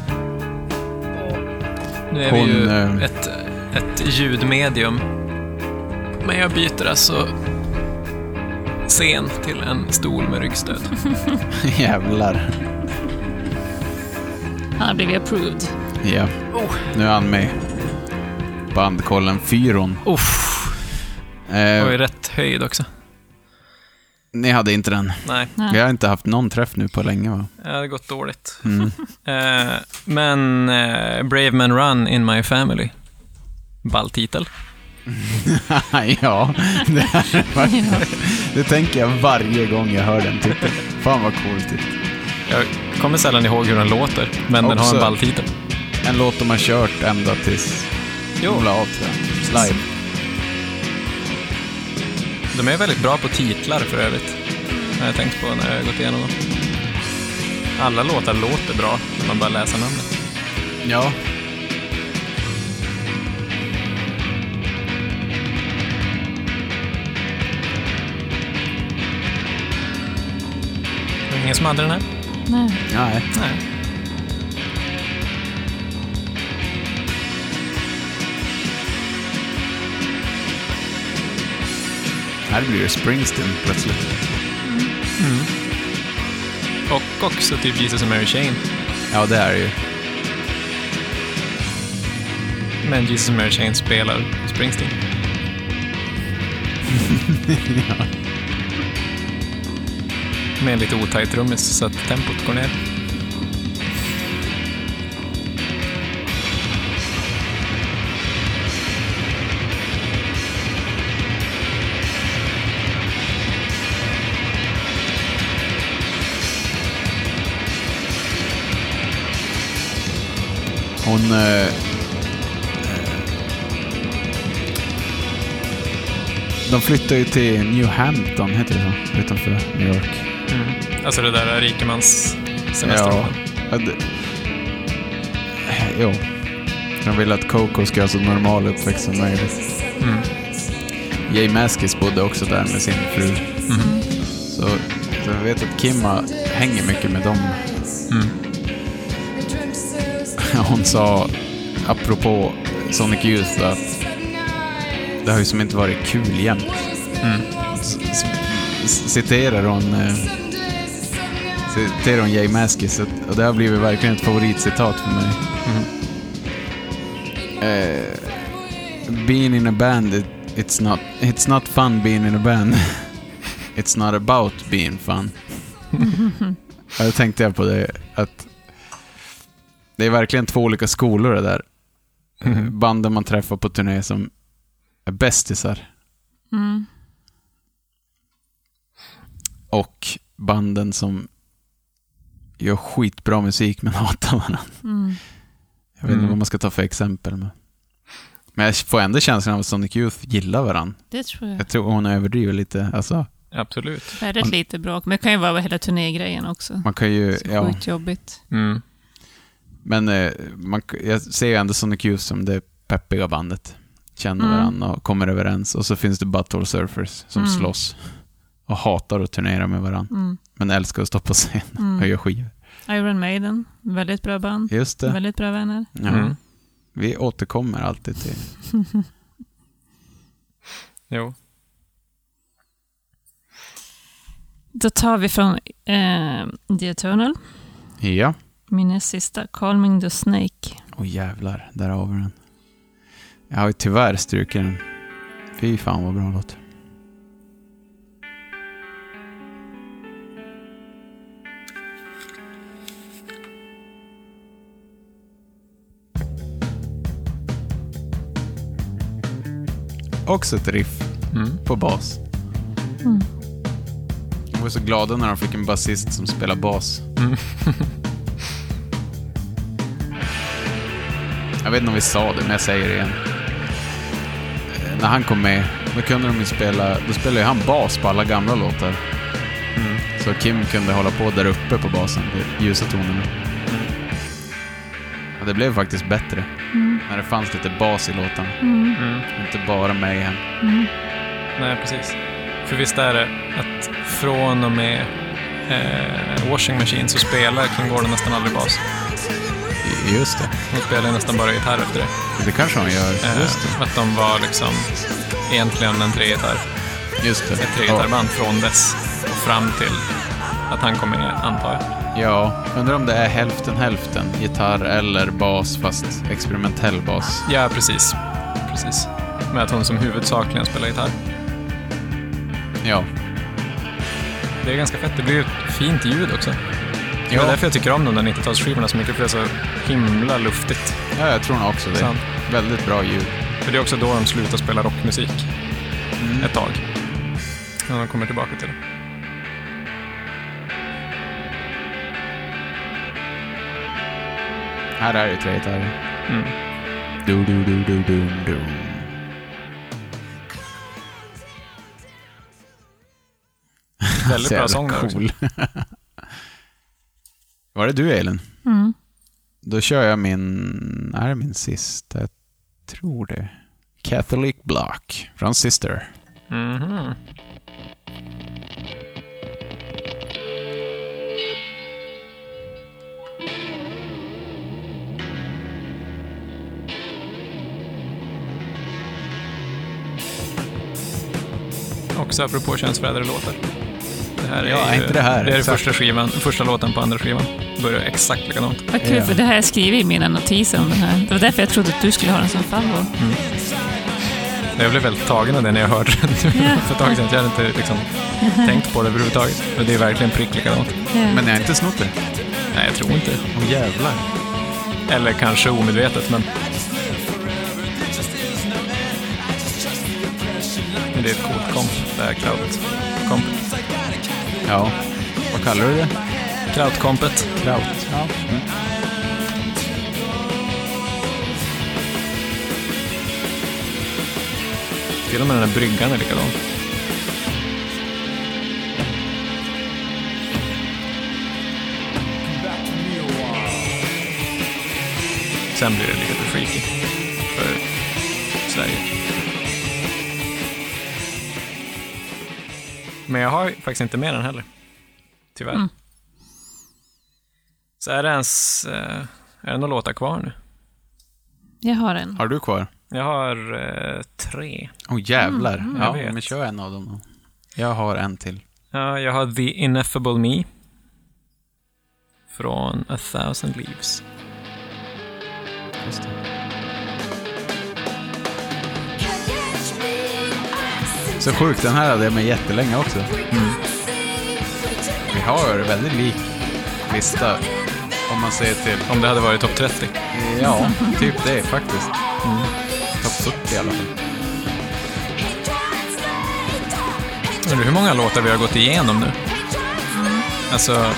Mm. Nu är vi Hon, ju eh, ett, ett ljudmedium. Men jag byter alltså scen till en stol med ryggstöd. Jävlar. Han har blivit approved. Ja. Nu är han med. Bandkollen Fyron. Uff, det var ju Eh, rätt höjd också. ni hade inte den. Nej, Vi har inte haft någon träff nu på länge, va? det hade gått dåligt. Mm. Eh, men eh, Brave Man Run In My Family. Ball titel. ja, det, här är faktiskt- det tänker jag varje gång jag hör den typen. Fan vad coolt. Jag kommer sällan ihåg hur den låter, men den har Också. en ball titel. En låt de har kört ända tills de la av tror jag. Live. De är väldigt bra på titlar för övrigt. Har jag tänkt på när jag gått igenom dem. Alla låtar låter bra när man bara läser namnet. Ja. ingen som hade den här? Nej. Nej. Nej. Här blir det Springsteen plötsligt. Och också typ Jesus and Mary Chain. Ja, det är det ju. Men Jesus and Mary Chain spelar Springsteen. Med en lite otajt trummis så att tempot går ner. Hon... Eh, eh, de flyttar ju till New Hampton, heter det så? Utanför New York. Alltså det där rikemans Ja. semesterhoppen. ja det, jo. De vill att Coco ska ha så normal uppväxt som möjligt. Jay Maskis bodde också där med sin fru. Så, så jag vet att Kim har- hänger mycket med dem. Hon sa, apropå Sonic Youth, att det har ju som inte varit kul jämt. S- s- Citerar hon... Eh, citerar hon Jay Maskis. att- Och det har blivit verkligen ett favoritcitat för mig. Eh, being in a band, it, it's, not, it's not fun being in a band. it's not about being fun. ja, då tänkte jag på det, att det är verkligen två olika skolor det där. Banden man träffar på turné som är bästisar. Mm. och banden som gör skitbra musik men hatar varandra. Mm. Jag vet inte Mm. vad man ska ta för exempel. Men, men jag får ändå känslan av att Sonic Youth gillar varandra. Det tror jag. Jag tror hon överdriver lite. Alltså, Absolut. Väldigt Man- lite bråk, men det kan ju vara hela turnégrejen också. man kan ju... Så Ja, sjukt jobbigt. Mm. men eh, man, jag ser ju ändå Sonic Youth som det peppiga bandet. Känner Mm. varandra och kommer överens. Och så finns det Butthole Surfers som Mm. slåss och hatar att turnera med varandra. Mm. Men älskar att stå på scen och Mm. göra skivor. Iron Maiden, väldigt bra band. Just det. Väldigt bra vänner. Ja. Mm. Vi återkommer alltid till Jo. Då tar vi från eh, The Eternal, Ja. min näst sista, Calming the Snake. Åh jävlar, där har vi den. Jag har ju tyvärr strukit den. Fy fan vad bra låt. Också ett riff Mm. på bas. De var så glada när de fick en basist som spelar bas. Jag vet inte om vi sa det, men jag säger det igen. Eh, När han kom med, då kunde de ju spela... Då spelade ju han bas på alla gamla låtar. Mm. Så Kim kunde hålla på där uppe på basen, de ljusa tonerna. Och det blev faktiskt bättre. När det fanns lite bas i låtarna. Inte bara Mayhem. Nej, precis. För visst är det att från och med eh, Washing Machine så spelar King Gordon nästan aldrig bas. I- Just det. Hon spelar nästan bara gitarr efter det. Det kanske han gör. Eh, Just För att de var liksom egentligen en tregitarr, det. Just det. ett tregitarrband från dess och fram till att han kom med, antar jag. Ja, undrar om det är hälften hälften. Gitarr eller bas, fast experimentell bas. Ja, precis. Precis. Med att hon som huvudsakligen spelar gitarr. Ja. Det är ganska fett. Det blir ju ett fint ljud också. Det är därför jag tycker om de där 90-talsskivorna så mycket, för det är så himla luftigt. ja, jag tror nog också det. Sant. Väldigt bra ljud. För det är också då de slutar spela rockmusik. Mm. Ett tag. När de kommer tillbaka till det. Här är det tre gitarrer. Du, du, du, du, du, du. Väldigt Så bra jävla sång där också. cool. Var det du, Elin? Mm. Då kör jag min... Är det min sista? Jag tror det. Catholic Block från Sister. Mhm. också, apropå könsförrädare-låtar. Det här är Ja, ju, inte det här, Det är exakt. första, skivan, första låten på andra skivan. Börjar exakt likadant. Vad kul, Ja. för det här skriver i mina notiser om den här. Det var därför jag trodde att du skulle ha den som favorit. Mm. Jag blev väldigt tagen av det när jag hörde den för ett tag sedan. Jag hade inte liksom tänkt på det överhuvudtaget. Men det är verkligen prick likadant. Men eh, jag har inte snott det. Nej, jag tror inte. Åh jävlar. Eller kanske omedvetet, men... Men det är ett coolt komp, det här krautkomp. Ja. Vad kallar du det? Krautkompet. Kraut. Ja. Mm. Till och med den här bryggan är likadan. Sen blir det lite för freaky för Sverige. Men jag har ju faktiskt inte med den heller. Tyvärr. Så är det ens... eh, Är det några låtar kvar nu? Jag har en. Har du kvar? Jag har eh, tre. Åh jävlar. ja, Mm, jag vet. men kör en av dem då. Jag har en till. Ja, jag har The Ineffable Me. Från A Thousand Leaves. Just det. Så sjukt, den här hade jag med jättelänge också. Vi har väldigt lik lista. Om man ser till, Om det hade varit topp 30. ja, typ det faktiskt. Mm. Topp 40 i alla fall. Undrar hur många låtar vi har gått igenom nu? Alltså,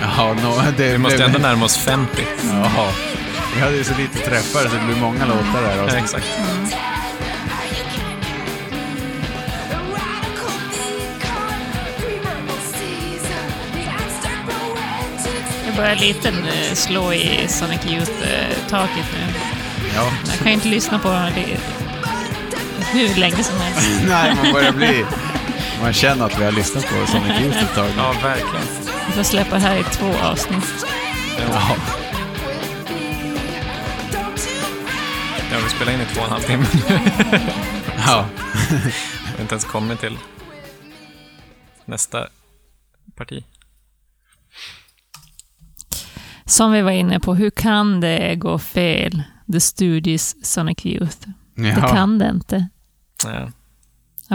Ja, nå det vi måste ändå närma oss 50. Ja, vi hade ju så lite träffar så det blir många låtar där. Ja, Och exakt. Jag börjar lite eh, slå i Sonic Youth-taket nu. ja. Jag kan ju inte lyssna på dem det- hur länge som helst. Nej, man börjar bli... Man känner att vi har lyssnat på Sonic Youth ett tag nu. Ja, verkligen. Vi får släppa det här i två avsnitt. Ja. Ja, vi spelar in i två och en halv timme nu. ja. Vi har inte ens kommit till nästa parti. Som vi var inne på, hur kan det gå fel? The Studios Sonic Youth. Det ja. kan det inte. Ja.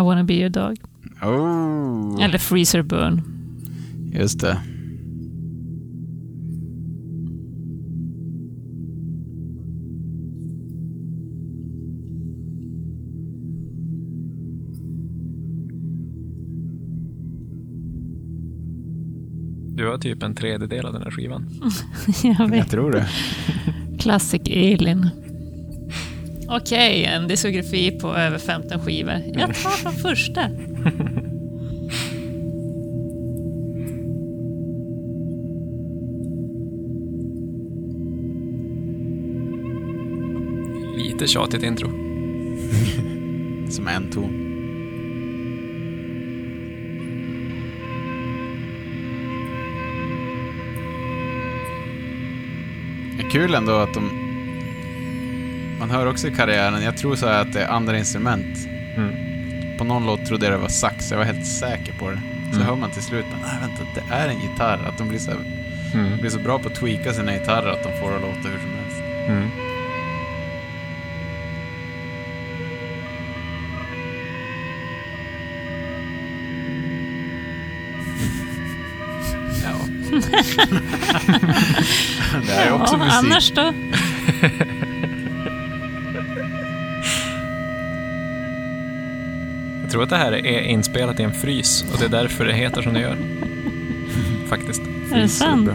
I wanna be your dog. Oh, Eller Freezer Burn. just det. Du har typ en tredjedel av den här skivan. Jag vet. Jag tror det. Classic Elin. Okej, en diskografi på över 15 skivor. Jag tar från första. Lite tjatigt intro. Som en ton. Det är kul ändå att de... Man hör också i karriären, jag tror så här att det är andra instrument. På någon låt trodde jag det var sax, jag var helt säker på det. Så hör man till slut, men nej vänta, det är en gitarr. Att de blir så, här, de Mm. blir så bra på att tweaka sina gitarrer att de får det att låta hur som helst. Ja. det här är också Ja, musik. annars då? Jag tror att det här är inspelat i en frys och det är därför det heter som det gör. Faktiskt. Är det sant?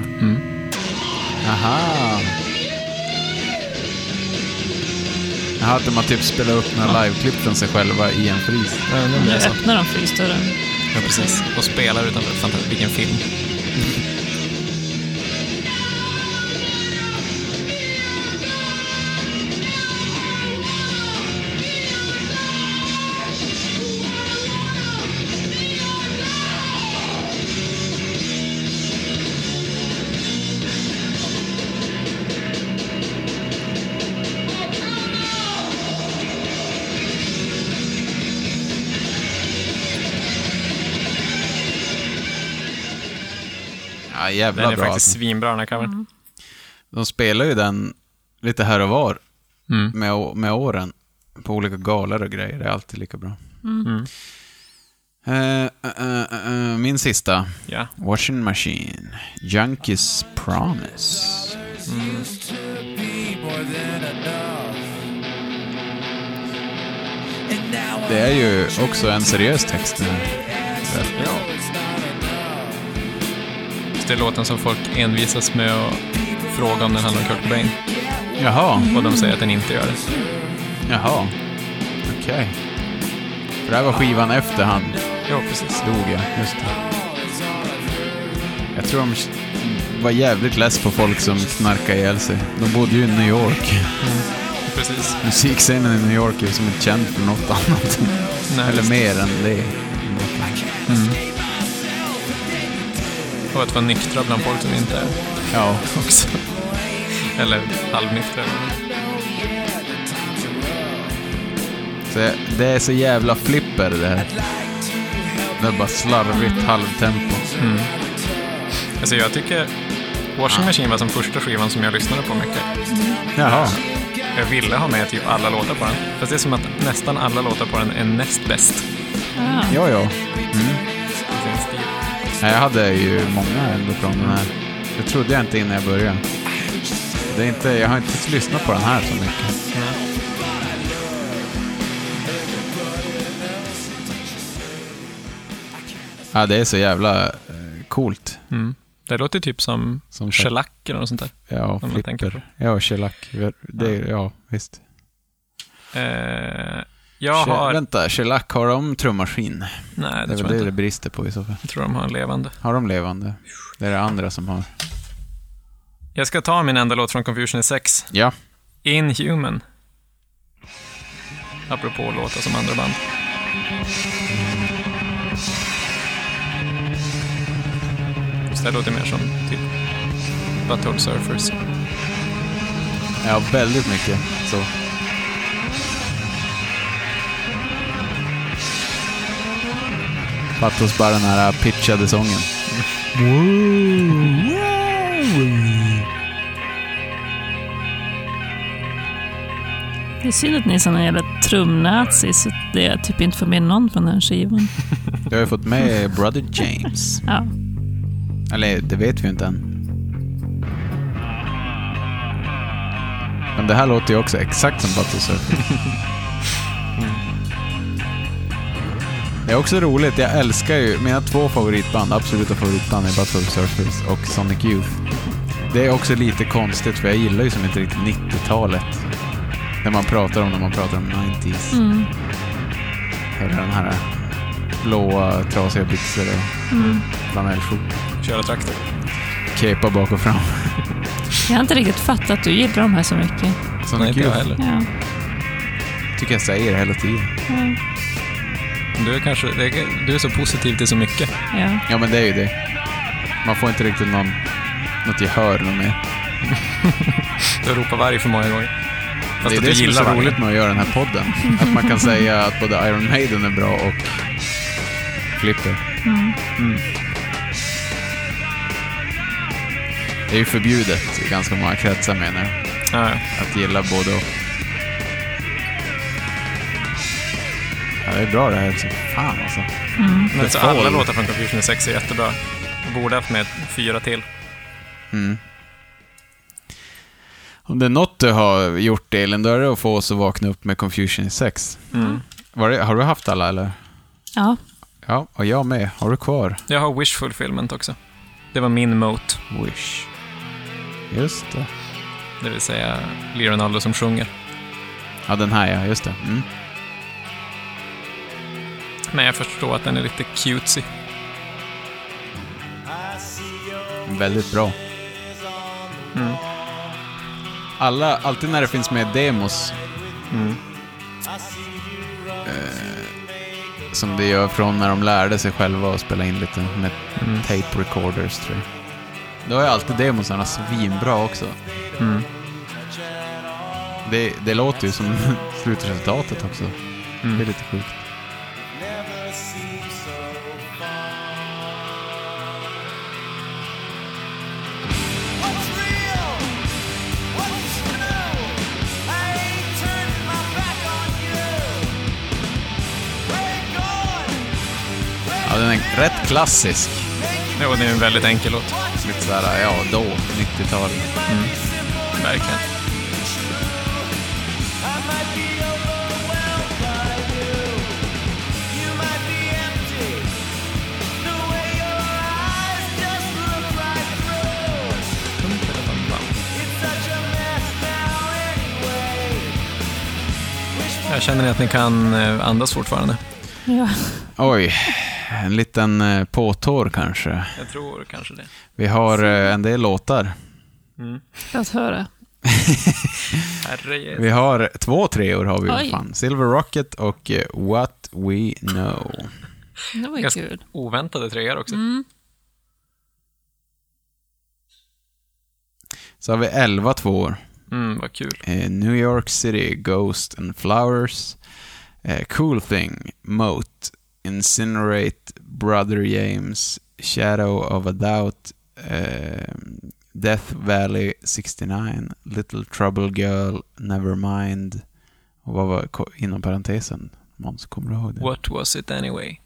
Aha. Jaha, att de har typ spelat upp några liveklipp från sig själva i en frys. Ja, nu blir Nu det så. öppnar de frysdörren. Ja, precis. Och spelar utanför. Fantastiskt. Vilken film. Ja, jävla Den är bra. faktiskt alltså. svinbra den här covern. De spelar ju den lite här och var Mm. med, å- med åren. På olika galor och grejer. Det är alltid lika bra. Mm. Eh, eh, eh, eh, min sista. Ja. Washing Machine. Junkies Promise. Det är ju också en seriös text. den här. Det är låten som folk envisas med att fråga om den handlar om Kurt Cobain. Jaha, Och de säger att den inte gör det. jaha. Okej. För det här var skivan efter han Ja, precis. dog, ja. Just det. Jag tror de var jävligt less på folk som knarkade ihjäl sig. De bodde ju i New York. precis. Musikscenen i New York är ju som inte känd för något annat. Nej, Eller just- mer än det. Och att vara nyktra bland folk som inte är Ja. också. Eller halvnyktra. Så jag- det är så jävla flipper det här. Det är bara slarvigt halvtempo. Alltså jag tycker Washing Machine var som första skivan som jag lyssnade på mycket. Jaha. Jag ville ha med typ alla låtar på den. Fast det är som att nästan alla låtar på den är näst bäst. Ja, ja. i sin stil. Nej, jag hade ju många ändå från den här. Det trodde jag inte innan jag började. Det är inte, jag har inte lyssnat på den här så mycket. Ja, det är så jävla eh, coolt. Det låter typ som, Som sagt. shellac eller något sånt där. Ja, man tänker på. flipper. Ja, shellac. Det är, ja, visst. Eh, jag She- har... Vänta, shellac, har de trummaskin? Nej, Det det är tror väl jag det inte. det brister på i så fall. Jag tror de har en levande. Har de levande? Det är det andra som har. Jag ska ta min enda låt från Confusion 6. Ja. Inhuman. Apropå låtar som andra band. Så det här låter mer som typ Butthole Surfers. Ja, väldigt mycket så. Fattas bara den här pitchade sången. Det är synd att ni är såna jävla trumnazis, så det jag typ inte får med någon från den här skivan. Du har ju fått med Brother James. Ja. Eller det vet vi ju inte än. Men det här låter ju också exakt som Butthole Surfers. Det är också roligt, jag älskar ju mina två favoritband, absoluta favoritband är Butthole Surfers och Sonic Youth. Det är också lite konstigt för jag gillar ju som inte riktigt 90-talet. När man pratar om när man pratar om 90s. Mm. Hela den här eh, blåa trasiga byxor och flanellskjortor. Köra traktor. Kepa bak och fram. Jag har inte riktigt fattat att du gillar de här så mycket. Sonic Nej, inte jag Youth. heller. Ja. tycker jag säger det hela tiden. Du är, kanske, det är- du är så positiv till så mycket. Ja. Ja, men det är ju det. Man får inte riktigt någon, något gehör någon mer. Du ropar varg för många gånger. Fast det är att det du som är gillar så varg. roligt med att göra den här podden. Att man kan säga att både Iron Maiden är bra och Flipper. Mm. Det är ju förbjudet i ganska många kretsar menar jag. Ja, ja. Att gilla både och. Ja, det är bra det här. Så fan alltså. Men så Fall. alla låtar från Confusion 6 är jättebra. Jag borde haft med fyra till. Om det är något du har gjort, Elin, då är det att få oss att vakna upp med Confusion 6. Var det, har du haft alla, eller? ja. Ja, och jag med. Har du kvar? Jag har Wish Fulfillment också. Det var min mote, Wish. Just det. det vill säga Lee Ronaldo som sjunger. Ja, den här ja. Just det. Mm. Men jag förstår att den är lite cutesy. Väldigt bra. Mm. Alla, alltid när det finns med demos. Mm. Eh, som det gör från när de lärde sig själva att spela in lite med tape recorders, tror jag. Då är alltid demosarna svinbra också. Mm. Det, det låter ju som slutresultatet också. Det är lite sjukt. en rätt klassisk. Jo, det är en väldigt enkel låt. Lite såhär, ja, då, 90-tal. Verkligen. Jag känner att ni kan eh, andas fortfarande. Ja. Oj, en liten eh, påtår kanske. Jag tror kanske det. Vi har eh, en del låtar. Låt höra. Herre Vi har två treor har vi Oj. ju fan. Silver Rocket och eh, What We Know. Det var ju Ganska- kul. Oväntade treor också. Så har vi 11 tvåor. Mm, vad kul. Eh, New York City, Ghost and Flowers. Eh, cool Thing, Moat, Incinerate, Brother James, Shadow of a Doubt, eh, Death Valley 69, Little Trouble Girl, Nevermind. Och vad var ko- inom parentesen? Måns, kommer du ihåg det? What was it anyway?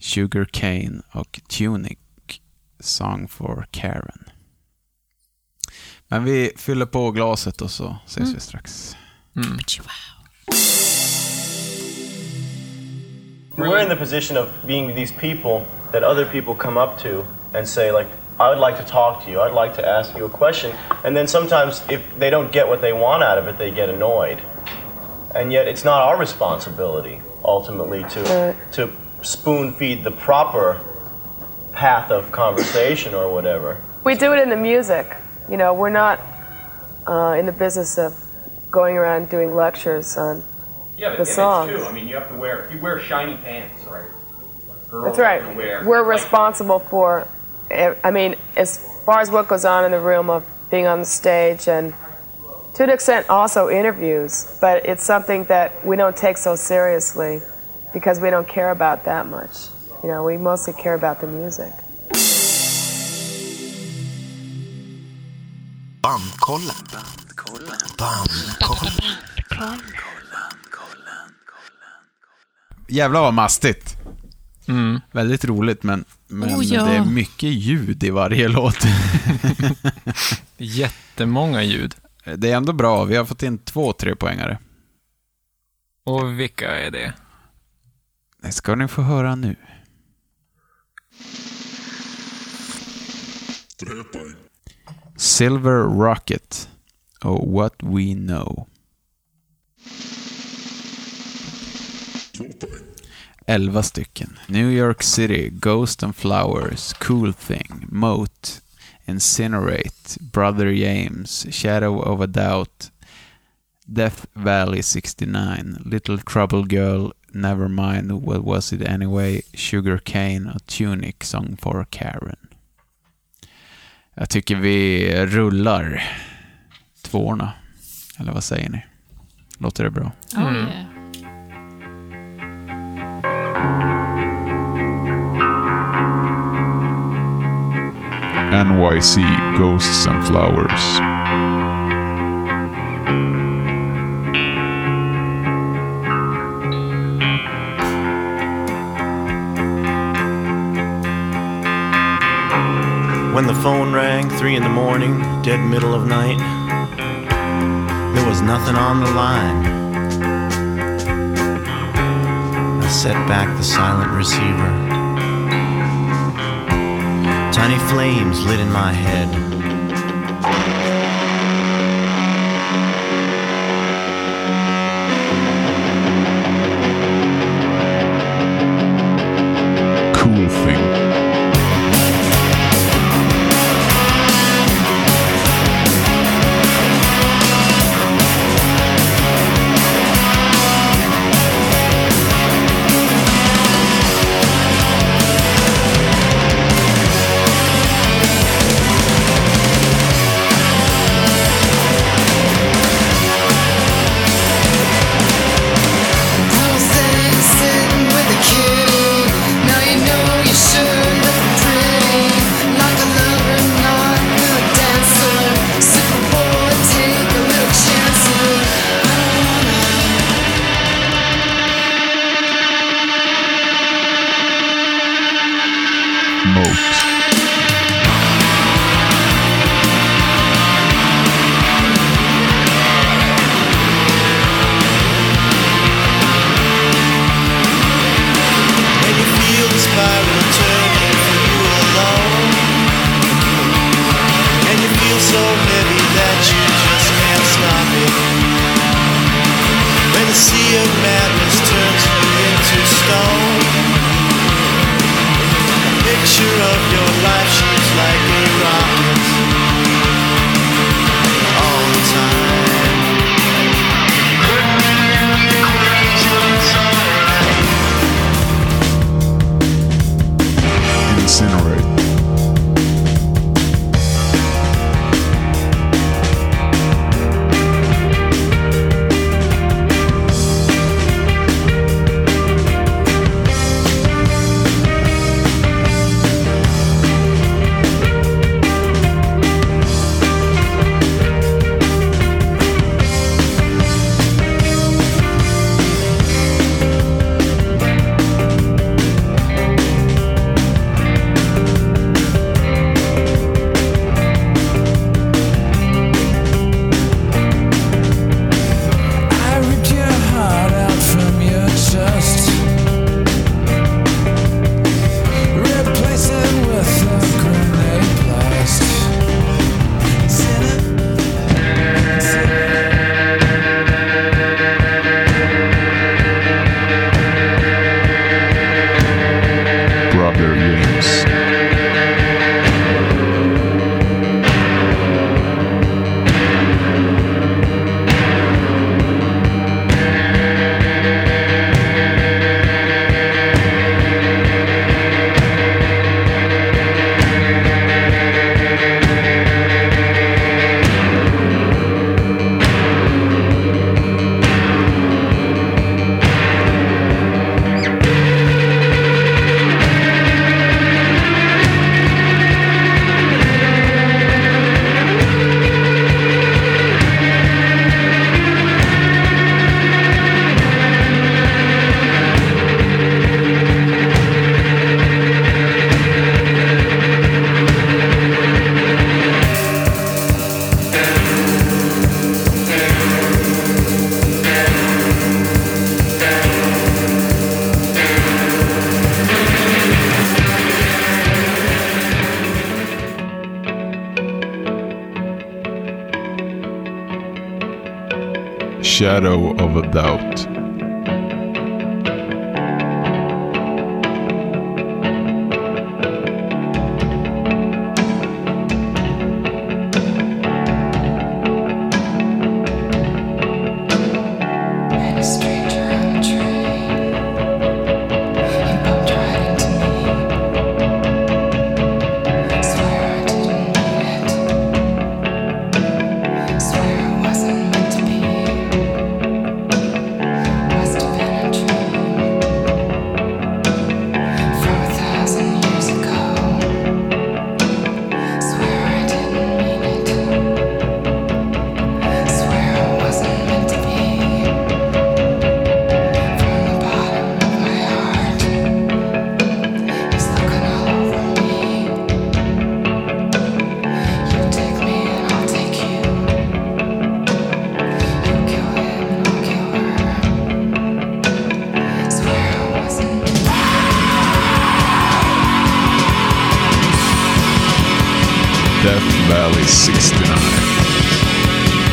Sugar Cane och Tunic, Song for Karen. Men vi fyller på glaset och så ses vi strax. We're in the position of being these people that other people come up to and say, like, I would like to talk to you. I'd like to ask you a question. And then sometimes, if they don't get what they want out of it, they get annoyed. And yet, it's not our responsibility, ultimately, to, to spoon feed the proper path of conversation or whatever. We do it in the music. You know, we're not uh, in the business of going around doing lectures on. Yeah, but The image song. too. I mean, you have to wear if you wear shiny pants, right? Girls That's are right. gonna Wear, We're like, responsible for. I mean, as far as what goes on in the room of being on the stage and to an extent also interviews, but it's something that we don't take so seriously because we don't care about that much. You know, we mostly care about the music. Bandkollen. Bandkollen. Jävlar vad mastigt. Väldigt roligt, men, men Oh, ja. det är mycket ljud i varje låt. Jättemånga ljud. det är ändå bra. Vi har fått in två trepoängare. Och vilka är det? Det ska ni få höra nu. Silver Rocket och What We Know. 11 stycken. New York City, Ghost and Flowers, Cool Thing, Moat, Incinerate, Brother James, Shadow of a Doubt, Death Valley 69, Little Trouble Girl, Nevermind, What Was It Anyway, Sugar Cane och Tunic, Song for Karen. Jag tycker vi rullar tvåorna. Eller vad säger ni? Låter det bra? Oh, yeah. NYC Ghosts and Flowers. When the phone rang, three in the morning, dead middle of night, there was nothing on the line. I set back the silent receiver. Tiny flames lit in my head. Cool Thing. The sea of madness turns you into stone. A picture of your life shoots like a rocket. All the time. Incinerate. I ripped your heart out from your chest, replace it with a grenade blast. Brother Games. Shadow of a Doubt. Death Valley 69.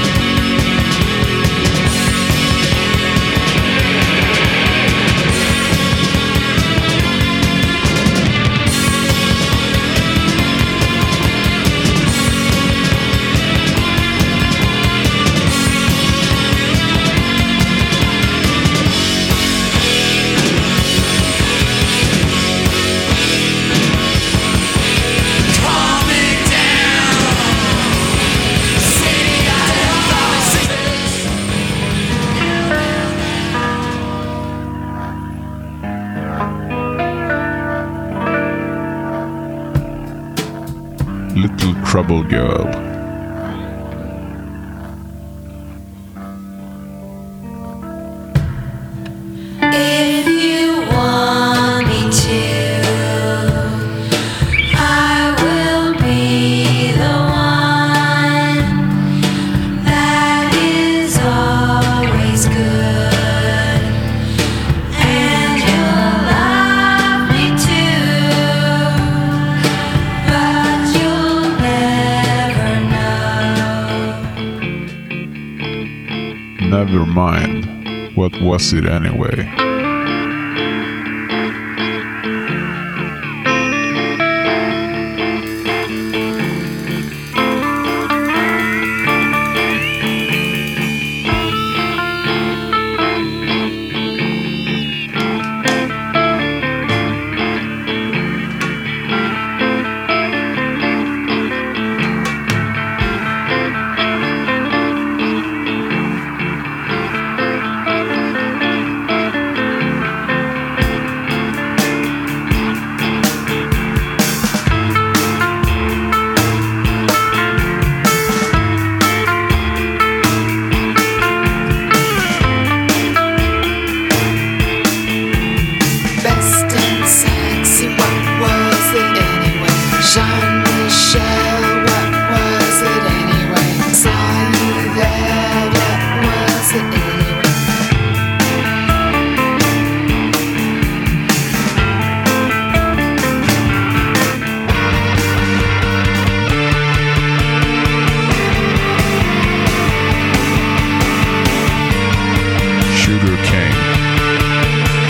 Little Trouble Girl. If you want me to, I will be the one that is always good, and you'll love me too, but you'll never know. Never mind. What was it anyway? Best and sexy, what was it anyway? Jean Michel, what was it anyway? Saw you there, what was it anyway? Sugar cane.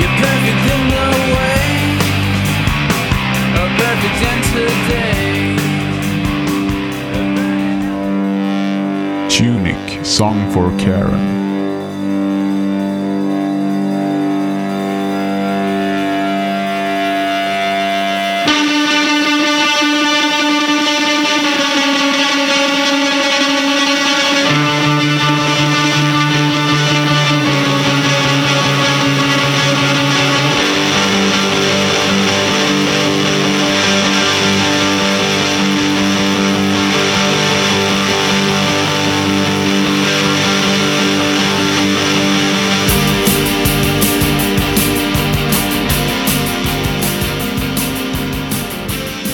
You're perfect in no way, a perfect end today. Tunic. Song for Karen.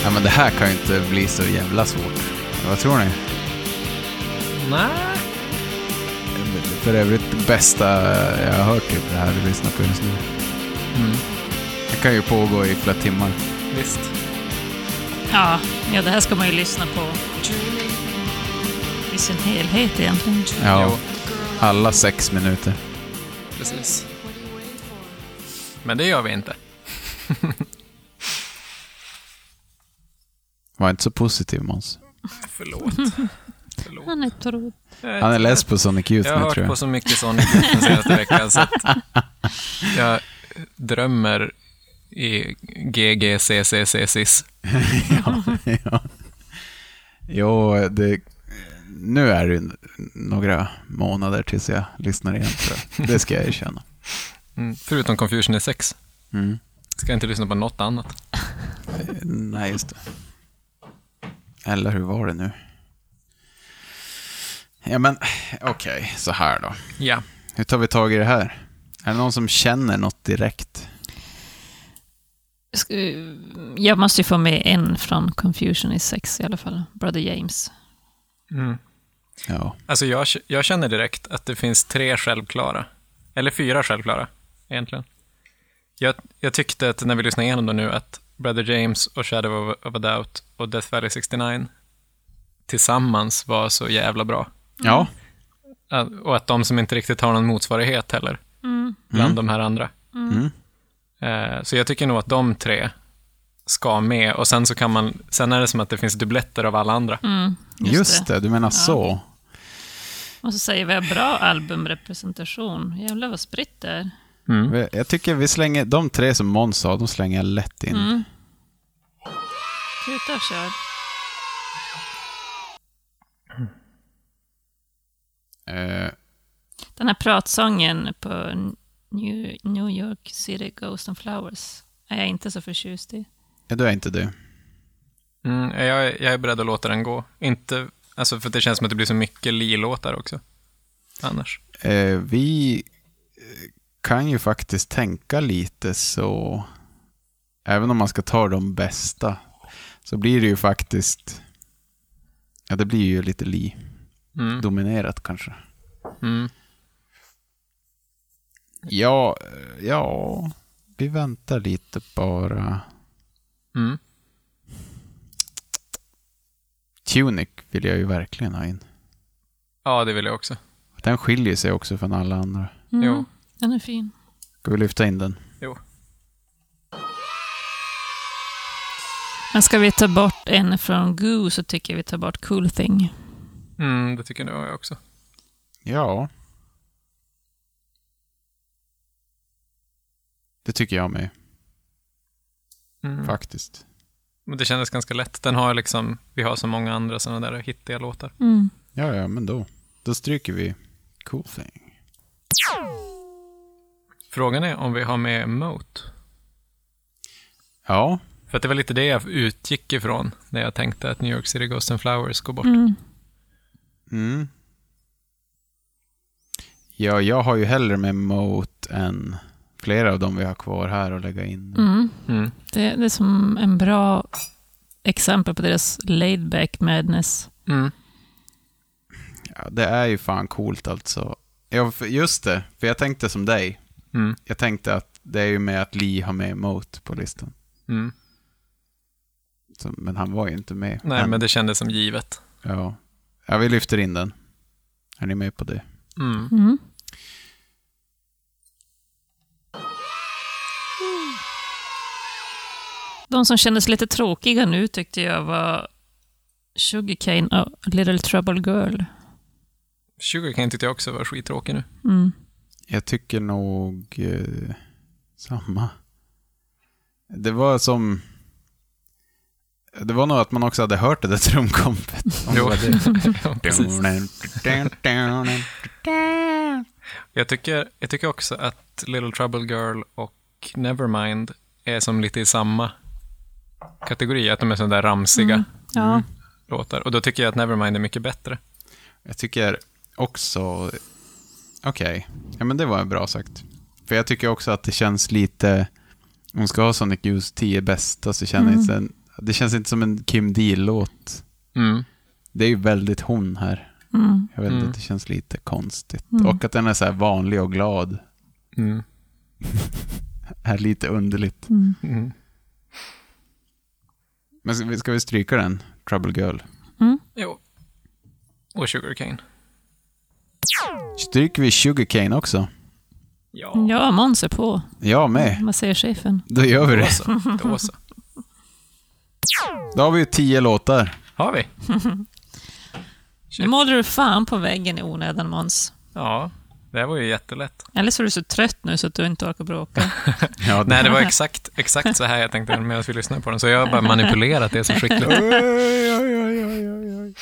Ja, men det här kan ju inte bli så jävla svårt. Vad tror ni? Nej. För övrigt det bästa jag har hört typ det här vi lyssnar på just nu. Mm. Det kan ju pågå i flera timmar. Visst. Ja, ja, det här ska man ju lyssna på i sin helhet egentligen. Ja, Jo. alla sex minuter. Precis. Men det gör vi inte. Var inte så positiv Måns. Förlåt. Han är tråd. Han är less på Sonic Youth Jag har nu tror hört på jag. så mycket Sonic Youth den senaste veckan så att jag drömmer i GGCCCCIS. ja, ja. Jo, det, nu är det några månader tills jag lyssnar igen tror jag. Det ska jag erkänna. Mm. Förutom Confusion är sex. Mm. Ska jag inte lyssna på något annat. Nej, just det. Eller hur var det nu? Ja, men okej, så här då. Ja. Hur tar vi tag i det här? Är det någon som känner något direkt? Sk- Jag måste ju få med en från Confusion i sex i alla fall. Brother James. Mm. Ja. Alltså jag, jag känner direkt att det finns tre självklara. Eller fyra självklara, egentligen. Jag, jag tyckte att när vi lyssnade igenom det nu att Brother James och Shadow of, of a Doubt och Death Valley 69 tillsammans var så jävla bra. Ja. Att- Och att de som inte riktigt har någon motsvarighet heller, bland de här andra. Mm. Eh, Så jag tycker nog att de tre ska med och sen så kan man, sen är det som att det finns dubbletter av alla andra. Mm, Just, det. du menar så. Och så säger vi har bra albumrepresentation. Jävlar vad spritt det är. Vi- Jag tycker vi slänger, de tre som Måns sa, de slänger jag lätt in. Mm. Kuta och kör. Eh, Den här pratsången på New, New York City Ghost and Flowers är jag inte så förtjust i. ja, du är inte du. Mm, jag, är- jag är beredd att låta den gå. Inte Alltså för att det känns som att det blir så mycket Li-låtar också. Annars. Eh, vi eh, kan ju faktiskt tänka lite så, även om man ska ta de bästa, så blir det ju faktiskt, ja det blir ju lite li. Mm. Dominerat kanske. Mm. Ja, eh, ja, vi väntar lite bara. Mm. Tunic vill jag ju verkligen ha in. Ja, det vill jag också. Den skiljer sig också från alla andra. Mm. Jo. Den är fin. Ska vi lyfta in den? Jo. Men ska vi ta bort en från Goo så tycker jag vi tar bort Cool Thing. Mm, det tycker nog jag också. Ja. Det tycker jag med, Mm. faktiskt. Men det kändes ganska lätt. Den har liksom, vi har så många andra sådana där hittiga låtar. Mm. Ja, ja, men då. Då stryker vi Cool Thing. Frågan är om vi har med Moat. Ja, För att det var lite det jag utgick ifrån när jag tänkte att New York City Ghosts and Flowers går bort. Mm. Mm. Ja, jag har ju hellre med Moat än flera av dem vi har kvar här att lägga in. Mm. Mm. Det, det är som en bra exempel på deras laid back madness. Mm. Ja, det är ju fan coolt alltså. Ja, för- just det, för jag tänkte som dig. Mm. Jag tänkte att det är ju med att Lee har med Moat på listan. Mm. Så, men han var ju inte med. Nej, men det kändes som givet. Ja. ja, vi lyfter in den. Är ni med på det? Mm. Mm. De som kändes lite tråkiga nu tyckte jag var Sugarcane och Little Trouble Girl. Sugarcane tyckte jag också var skittråkig nu. Mm. Jag tycker nog eh, samma. Det var som... Det var nog att man också hade hört det där trumkompet. Om det Jo. var det. Ja, precis. jag, tycker, jag tycker också att Little Trouble Girl och Nevermind är som lite i samma kategori, att de är sådana där ramsiga Ja. låtar. Och då tycker jag att Nevermind är mycket bättre. Jag tycker också... Okej, ja, men det var bra sagt. För jag tycker också att det känns lite... Om man ska ha Sonic Youths 10 bästa så känner jag Mm. inte... en- Det känns inte som en Kim D-låt. Mm. Det är ju väldigt hon här. Mm. Jag vet Mm. att det känns lite konstigt. Mm. Och att den är så här vanlig och glad Mm. är lite underligt. Mm. Mm. Men ska vi, ska vi stryka den? Trouble Girl. Jo. Och Sugarcane. Stryker vi Sugarcane också? Ja, Mm. Ja, Måns är på. Jag med. Vad säger chefen? Då gör vi då det. så. Då så. Då har vi ju tio låtar. Har vi? Nu målade du fan på väggen i onödan, Måns. Ja, det här var ju jättelätt. Eller så är du så trött nu så att du inte orkar bråka. Ja, Nej, det var exakt, exakt så här jag tänkte medan vi lyssnade på den. Så jag har bara manipulerat det så skickligt.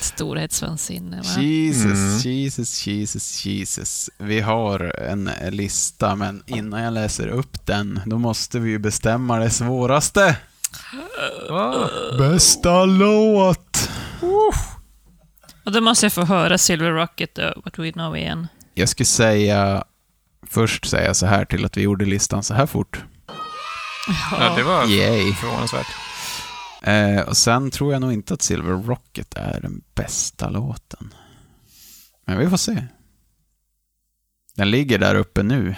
Storhetsvansinne, va? Jesus, Mm. Jesus, Jesus, Jesus. Vi har en lista, men innan jag läser upp den, då måste vi ju bestämma det svåraste. Åh, Bästa låt! Och då måste jag få höra Silver Rocket, uh, What We Know igen. Jag skulle säga, först säga så här till att vi gjorde listan så här fort. Ja, det var Yay. förvånansvärt. Eh, och sen tror jag nog inte att Silver Rocket är den bästa låten. Men vi får se. Den ligger där uppe nu.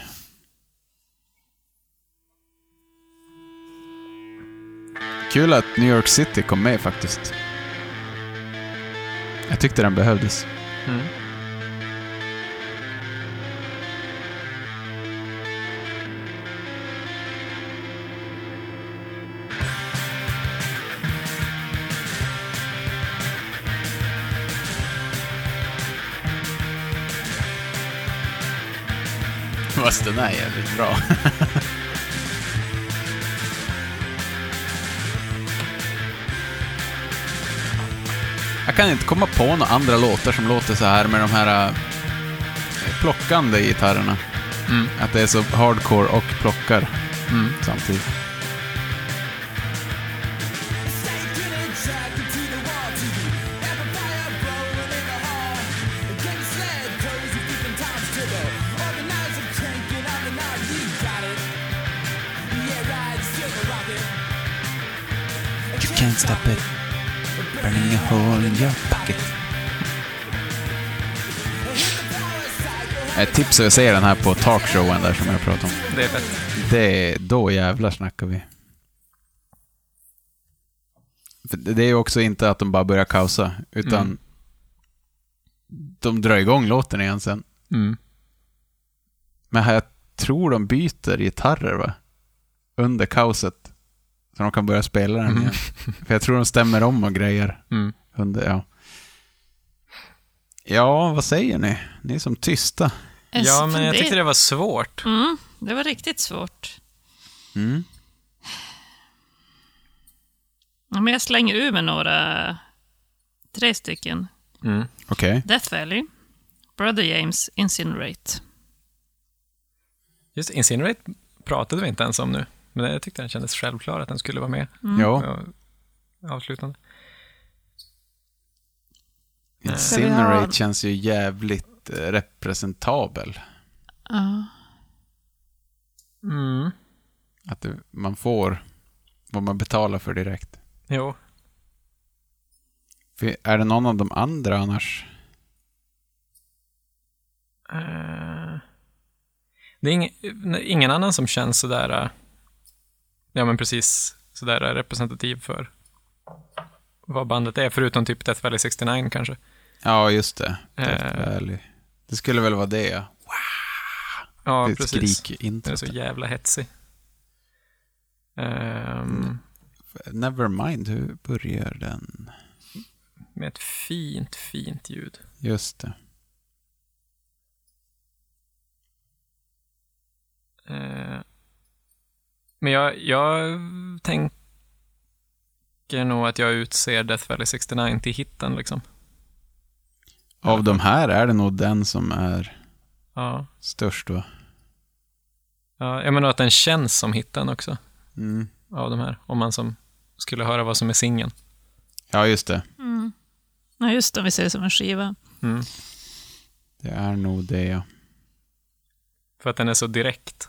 Kul att New York City kom med faktiskt. Jag tyckte den behövdes. Mm. Fast den är jävligt bra. Jag kan inte komma på några andra låtar som låter så här med de här eh, plockande gitarrerna. Mm. Att det är så hardcore och plockar Mm. samtidigt. Satan attracted to the wall to you. Amplifier stop it. Burning a hole in your pocket. Ett tips är att se den här på talkshowen där som jag pratade om. Det är fett. Det, då jävlar snackar vi. För det det är ju också inte att de bara börjar kaosa, utan Mm. de drar igång låten igen sen. Mm. Men här, jag tror de byter gitarrer va? Under kaoset. Så de kan börja spela den igen. För jag tror de stämmer om och grejer. Mm. Under, ja. ja, vad säger ni? Ni är som tysta. Ja, men jag tyckte det var svårt. Mm, det var riktigt svårt. Mm. Ja, men jag slänger ur med några, tre stycken. Mm. Okej. Death Valley, Brother James, Incinerate. Just Incinerate pratade vi inte ens om nu, men jag tyckte den kändes självklar att den skulle vara med. Mm. Ja. Ja, Avslutande. Ska vi Eh, ha- Incinerate känns ju jävligt eh, representabel. Ja. Mm. Att det, man får vad man betalar för direkt. Jo. För är det någon av de andra annars? Eh, Det är ing, nej, ingen annan som känns sådär, eh, ja men precis, sådär äh, representativ för vad bandet är, förutom typ Death Valley 69 kanske. Ja, just det. Death Eh. Valley. Det skulle väl vara det, ja. Ja, Det är ett precis. skrik i introt. Den är så jävla hetsig. Ehm, Nevermind, hur börjar den? med ett fint, fint ljud. Just det. Eh, Men jag, jag tänker nog att jag utser Death Valley 69 till hitten liksom. Av de här är det nog den som är Ja. störst, va? Ja, jag menar att den känns som hitten också. Mm. Av de här. Om man som skulle höra vad som är singeln. Ja, just det. Mm. Ja, just det, om vi ser det som en skiva. Mm. Det är nog det, ja. För att den är så direkt.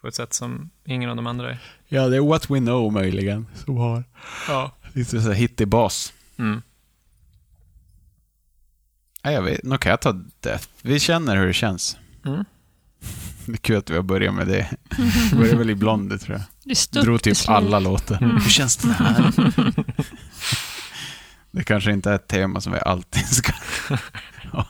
På ett sätt som ingen av de andra är. Ja, det är What We Know möjligen, som har Ja. lite så här hittig bas. Mm. Nej, jag vet. Nu kan jag ta Death. Vi känner hur det känns. Mm. Det är kul att vi har börjat med det. Vi började väl i Blond, det tror jag. Det är stort Drog typ beslut. alla låtar. Mm. Hur känns det här? det kanske inte är ett tema som vi alltid ska ha.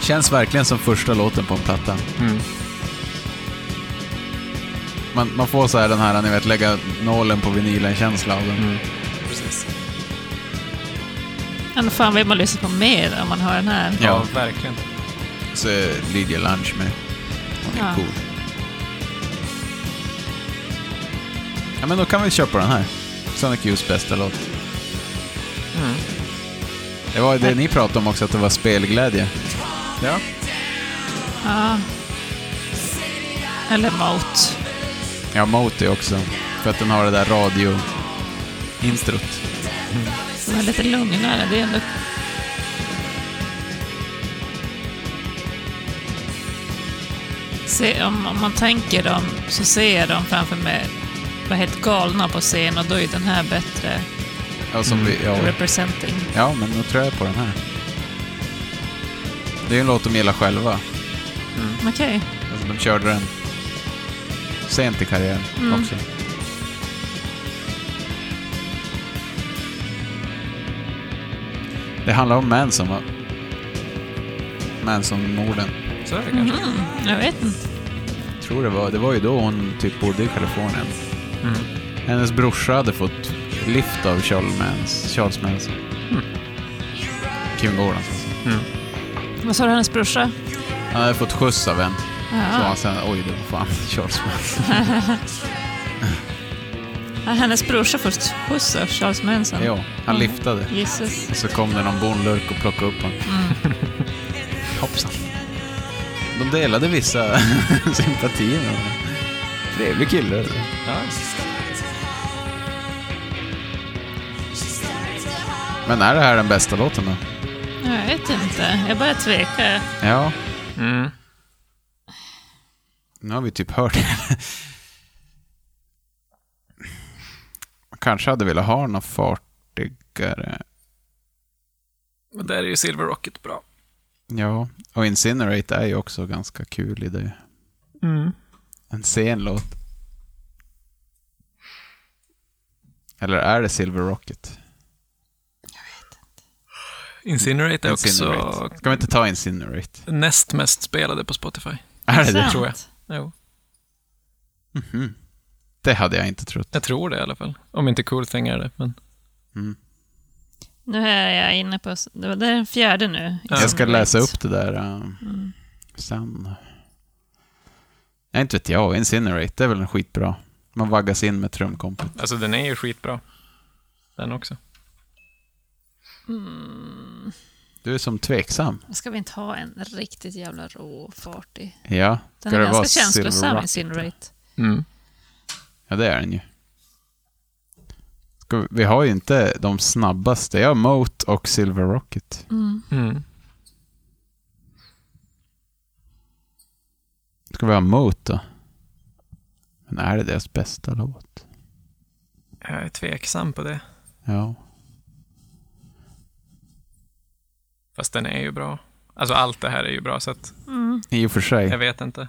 Känns verkligen som första låten på en platta. Mm. Man, man får så här den här, ni vet, lägga nålen på vinylen-känsla av den. Precis. Men fan vill man lyssna på mer om man hör den här. Ja, verkligen. Så är Lydia Lunch med. Hon är Ja. cool. Ja, men då kan vi köpa den här. Sonic Youths bästa låt. Mm. Det var det ni pratade om också, att det var spelglädje. Ja. Ja. Eller Moat. Ja, Moti också. För att den har det där radio-instrot. Som är lite lugnare. Det är ändå... Se, om, om man tänker dem så ser jag dem framför mig vara helt galna på scen och då är den här bättre. Ja, som Mm. vi, ja. Representing. ja, men nu tror jag på den här. Det är ju en låt de gillar själva. Okej. Alltså, de körde den sent i karriären Mm. också. Det handlar om Manson, va? Manson-morden. Så är det kanske. Mm, jag vet inte. Tror det var. Det var ju då hon typ bodde i Kalifornien. Mm. Hennes brorsa hade fått lift av Charles Manson. Charles Manson. Mm. Kim Gordon. alltså. Vad sa du, hennes brorsa? Han hade fått skjuts av en. Så Ja. han sen, oj, det var fan Charles Manson. Ja, hennes brorsa först skjuts av Charles Manson. ja, han Mm. liftade. Jesus. Och så kom det någon bonlurk och plockade upp honom. Hoppsan. De delade vissa sympatier med honom. Trevlig kille. Ja. Men är det här den bästa låten då? Jag vet inte. Jag börjar tveka. Ja. Mm. Nu har vi typ hört det. Man kanske hade velat ha något fartigare. Men där är ju Silver Rocket bra. Ja, och Incinerate är ju också ganska kul i det. Mm. En sen låt. Eller är det Silver Rocket? Incinerate är också Incinerate. Ska vi inte ta Incinerate? näst mest spelade på Spotify. Är det det? Tror jag. Jo. Mhm. Det hade jag inte trott. Jag tror det i alla fall. Om inte Cool Thing är det. Men... Nu är jag inne på... Det var- det är den fjärde nu. Jag ska Liksom. läsa upp det där eh, Mm. sen. Nej, inte vet jag. Incinerate, det är väl en skitbra. Man vaggas in med trumkompet. Alltså den är ju skitbra. Den också. Mm. Du är som tveksam. Ska vi inte ha en riktigt jävla rå och fartig? Ja. Den Ska är det vara ganska Silver känslosam, Rock? Incinerate. Mm. Ja, det är den ju. Ska vi, vi har ju inte de snabbaste. Jag har Moat och Silver Rocket. Mm. Ska vi ha Moat då? Men är det deras bästa låt? Jag är tveksam på det. Ja. Fast den är ju bra. Alltså allt det här är ju bra så att... Mm. I och för sig. Jag vet inte.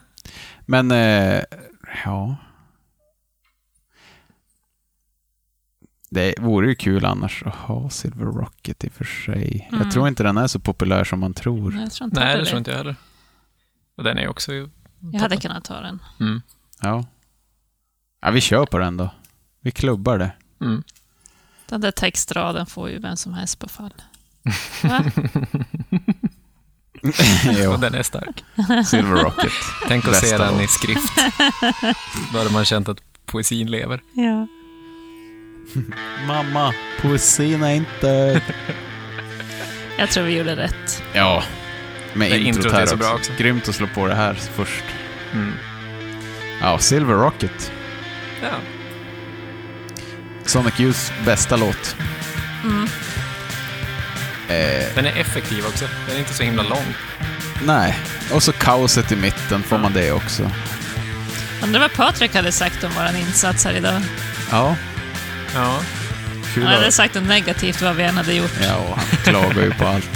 Men, eh, ja. Det vore ju kul annars att ha Silver Rocket i och för sig. Mm. Jag tror inte den är så populär som man tror. Nej, jag tror inte Nej, att det jag tror vet. inte jag heller. Och den är också ju... Jag hade kunnat ta den. Mm. Ja. ja, vi kör på den då. Vi klubbar det. Mm. Den där textraden får ju vem som helst på fall. Va? Och den är stark. Silver Rocket. Tänk att se Bästa den i låt. skrift. Då hade man känt att poesin lever. ja. Mamma, poesin är inte... Jag tror vi gjorde rätt. ja, med Det introt introt är här så också. bra Grymt att slå på det här först. Mm. Ja, Silver Rocket. Ja. Sonic Youths bästa låt. Mm. Eh, Den är effektiv också. Den är inte så himla lång. nej, och så kaoset i mitten får man det också. Undrar vad Patrik hade sagt om vår insats här idag. Ja. Ja. Kul Han hade att... sagt något negativt vad vi än hade gjort. Ja, och han klagar ju på allt.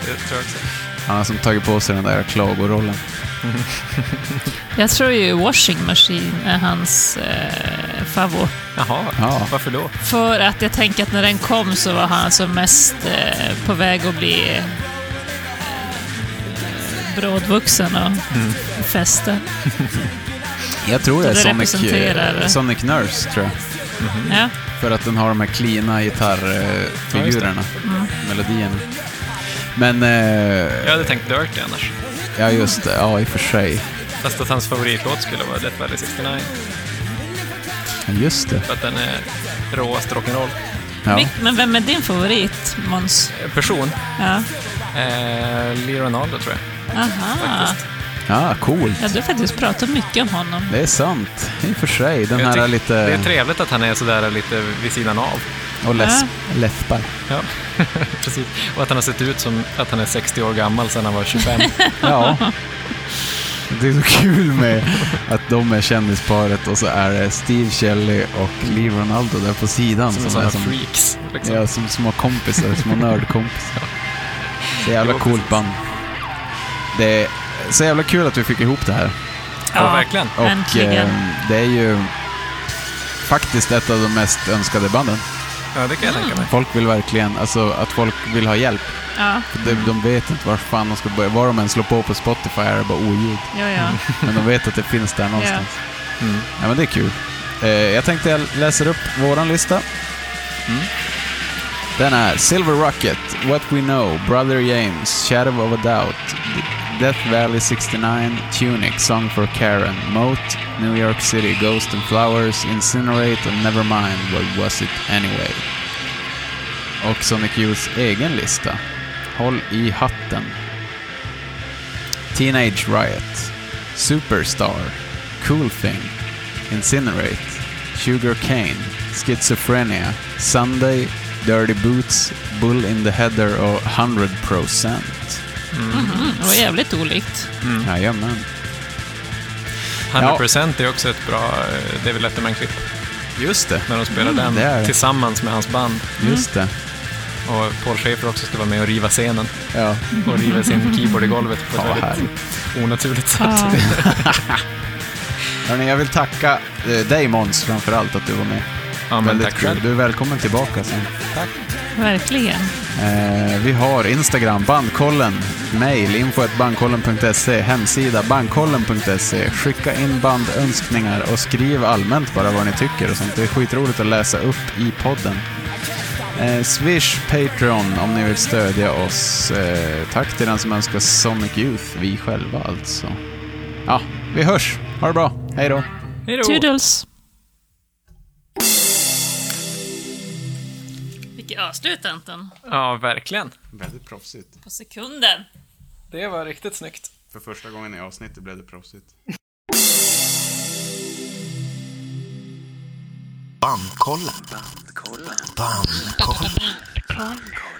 Det tror jag också. Han har som tagit på sig den där klagorollen. Jag tror ju Washing Machine är hans eh, favorit. Jaha, Ja. varför då? För att jag tänker att när den kom så var han som mest eh, på väg att bli eh, brådvuxen och Mm. fäste. Jag tror det är Det Sonic, eh, representerar- Sonic Nurse, tror jag. Mm. Ja. För att den har de här klina gitarrfigurerna, Mm. melodierna. Men, eh, Jag hade tänkt Dirty annars. ja just det, ja i och för sig. Fast att hans favoritlåt skulle vara Death Valley 69. Ja, Just det, För att den är råast rock'n'roll. ja. Vil- Men vem är din favorit, Måns? Eh, Person? Ja. Eh, Lee Ronaldo tror jag. Aha. Ja, cool. Ja, du har faktiskt pratat mycket om honom. Det är sant, i och för sig. Den jag här tyck- är Det är lite... trevligt att han är sådär lite vid sidan av. Och läsp, läspar. Ja, precis. Och att han har sett ut som att han är 60 år gammal sedan han var 25. Ja. Det är så kul med att de är kändisparet och så är det Steve Shelley och Lee Ronaldo där på sidan. som är sådana som, freaks. Liksom. ja, som små kompisar, små nördkompisar. Så jävla Jo, coolt band. Det är så jävla kul att vi fick ihop det här. Ja, verkligen. Och Äntligen. eh, det är ju faktiskt ett av de mest önskade banden. Ja, det kan jag tänka mig. Folk vill verkligen, alltså att folk vill ha hjälp. Ja, För de, de vet inte var fan de ska börja. Var de än slår på på Spotify är det bara oh, oljud. ja, ja. Men de vet att det finns där någonstans. Mm. Ja, men det är kul. Eh, jag tänkte jag läser upp våran lista. Den är Silver Rocket, What We Know, Brother James, Shadow of a Doubt, D- Death Valley 69, Tunic, Song for Karen, Moat, New York City, Ghost and Flowers, Incinerate and Nevermind, What Was It Anyway? Och Sonic Youths egen lista. Håll i hatten. Teenage Riot, Superstar, Cool Thing, Incinerate, Sugar Cane, Schizophrenia, Sunday, Dirty Boots, Bull in the Header och 100%. Mhm, Det var jävligt olikt. Jajamän. 100% är också ett bra eh, David Letterman-klipp. Just det. När de spelar Mm, det är den det. tillsammans med hans band. Just det. Och Paul Schaefer också ska vara med och riva scenen. Ja. Och riva sin keyboard i golvet på Ja, ett väldigt härligt. onaturligt sätt. Ja. Hörni, jag vill tacka eh, dig Måns framförallt att du var med. Ja, men Väldigt tack kul. själv. Du är välkommen tillbaka sen. Verkligen. Eh, vi har Instagram, bandkollen, mail, info.bandkollen.se, hemsida bandkollen.se. Skicka in bandönskningar och skriv allmänt bara vad ni tycker och sånt. Det är skitroligt att läsa upp i podden. Eh, Swish Patreon om ni vill stödja oss. Eh, tack till den som önskar Sonic Youth, vi själva alltså. Ja, vi hörs. Ha det bra. Hej då. Hej då. Toodles. Vilket avslut Anton. Ja, verkligen. Väldigt proffsigt. På sekunden. Det var riktigt snyggt. För första gången i avsnittet blev det proffsigt. Bandkollen. Bandkollen. Bandkollen.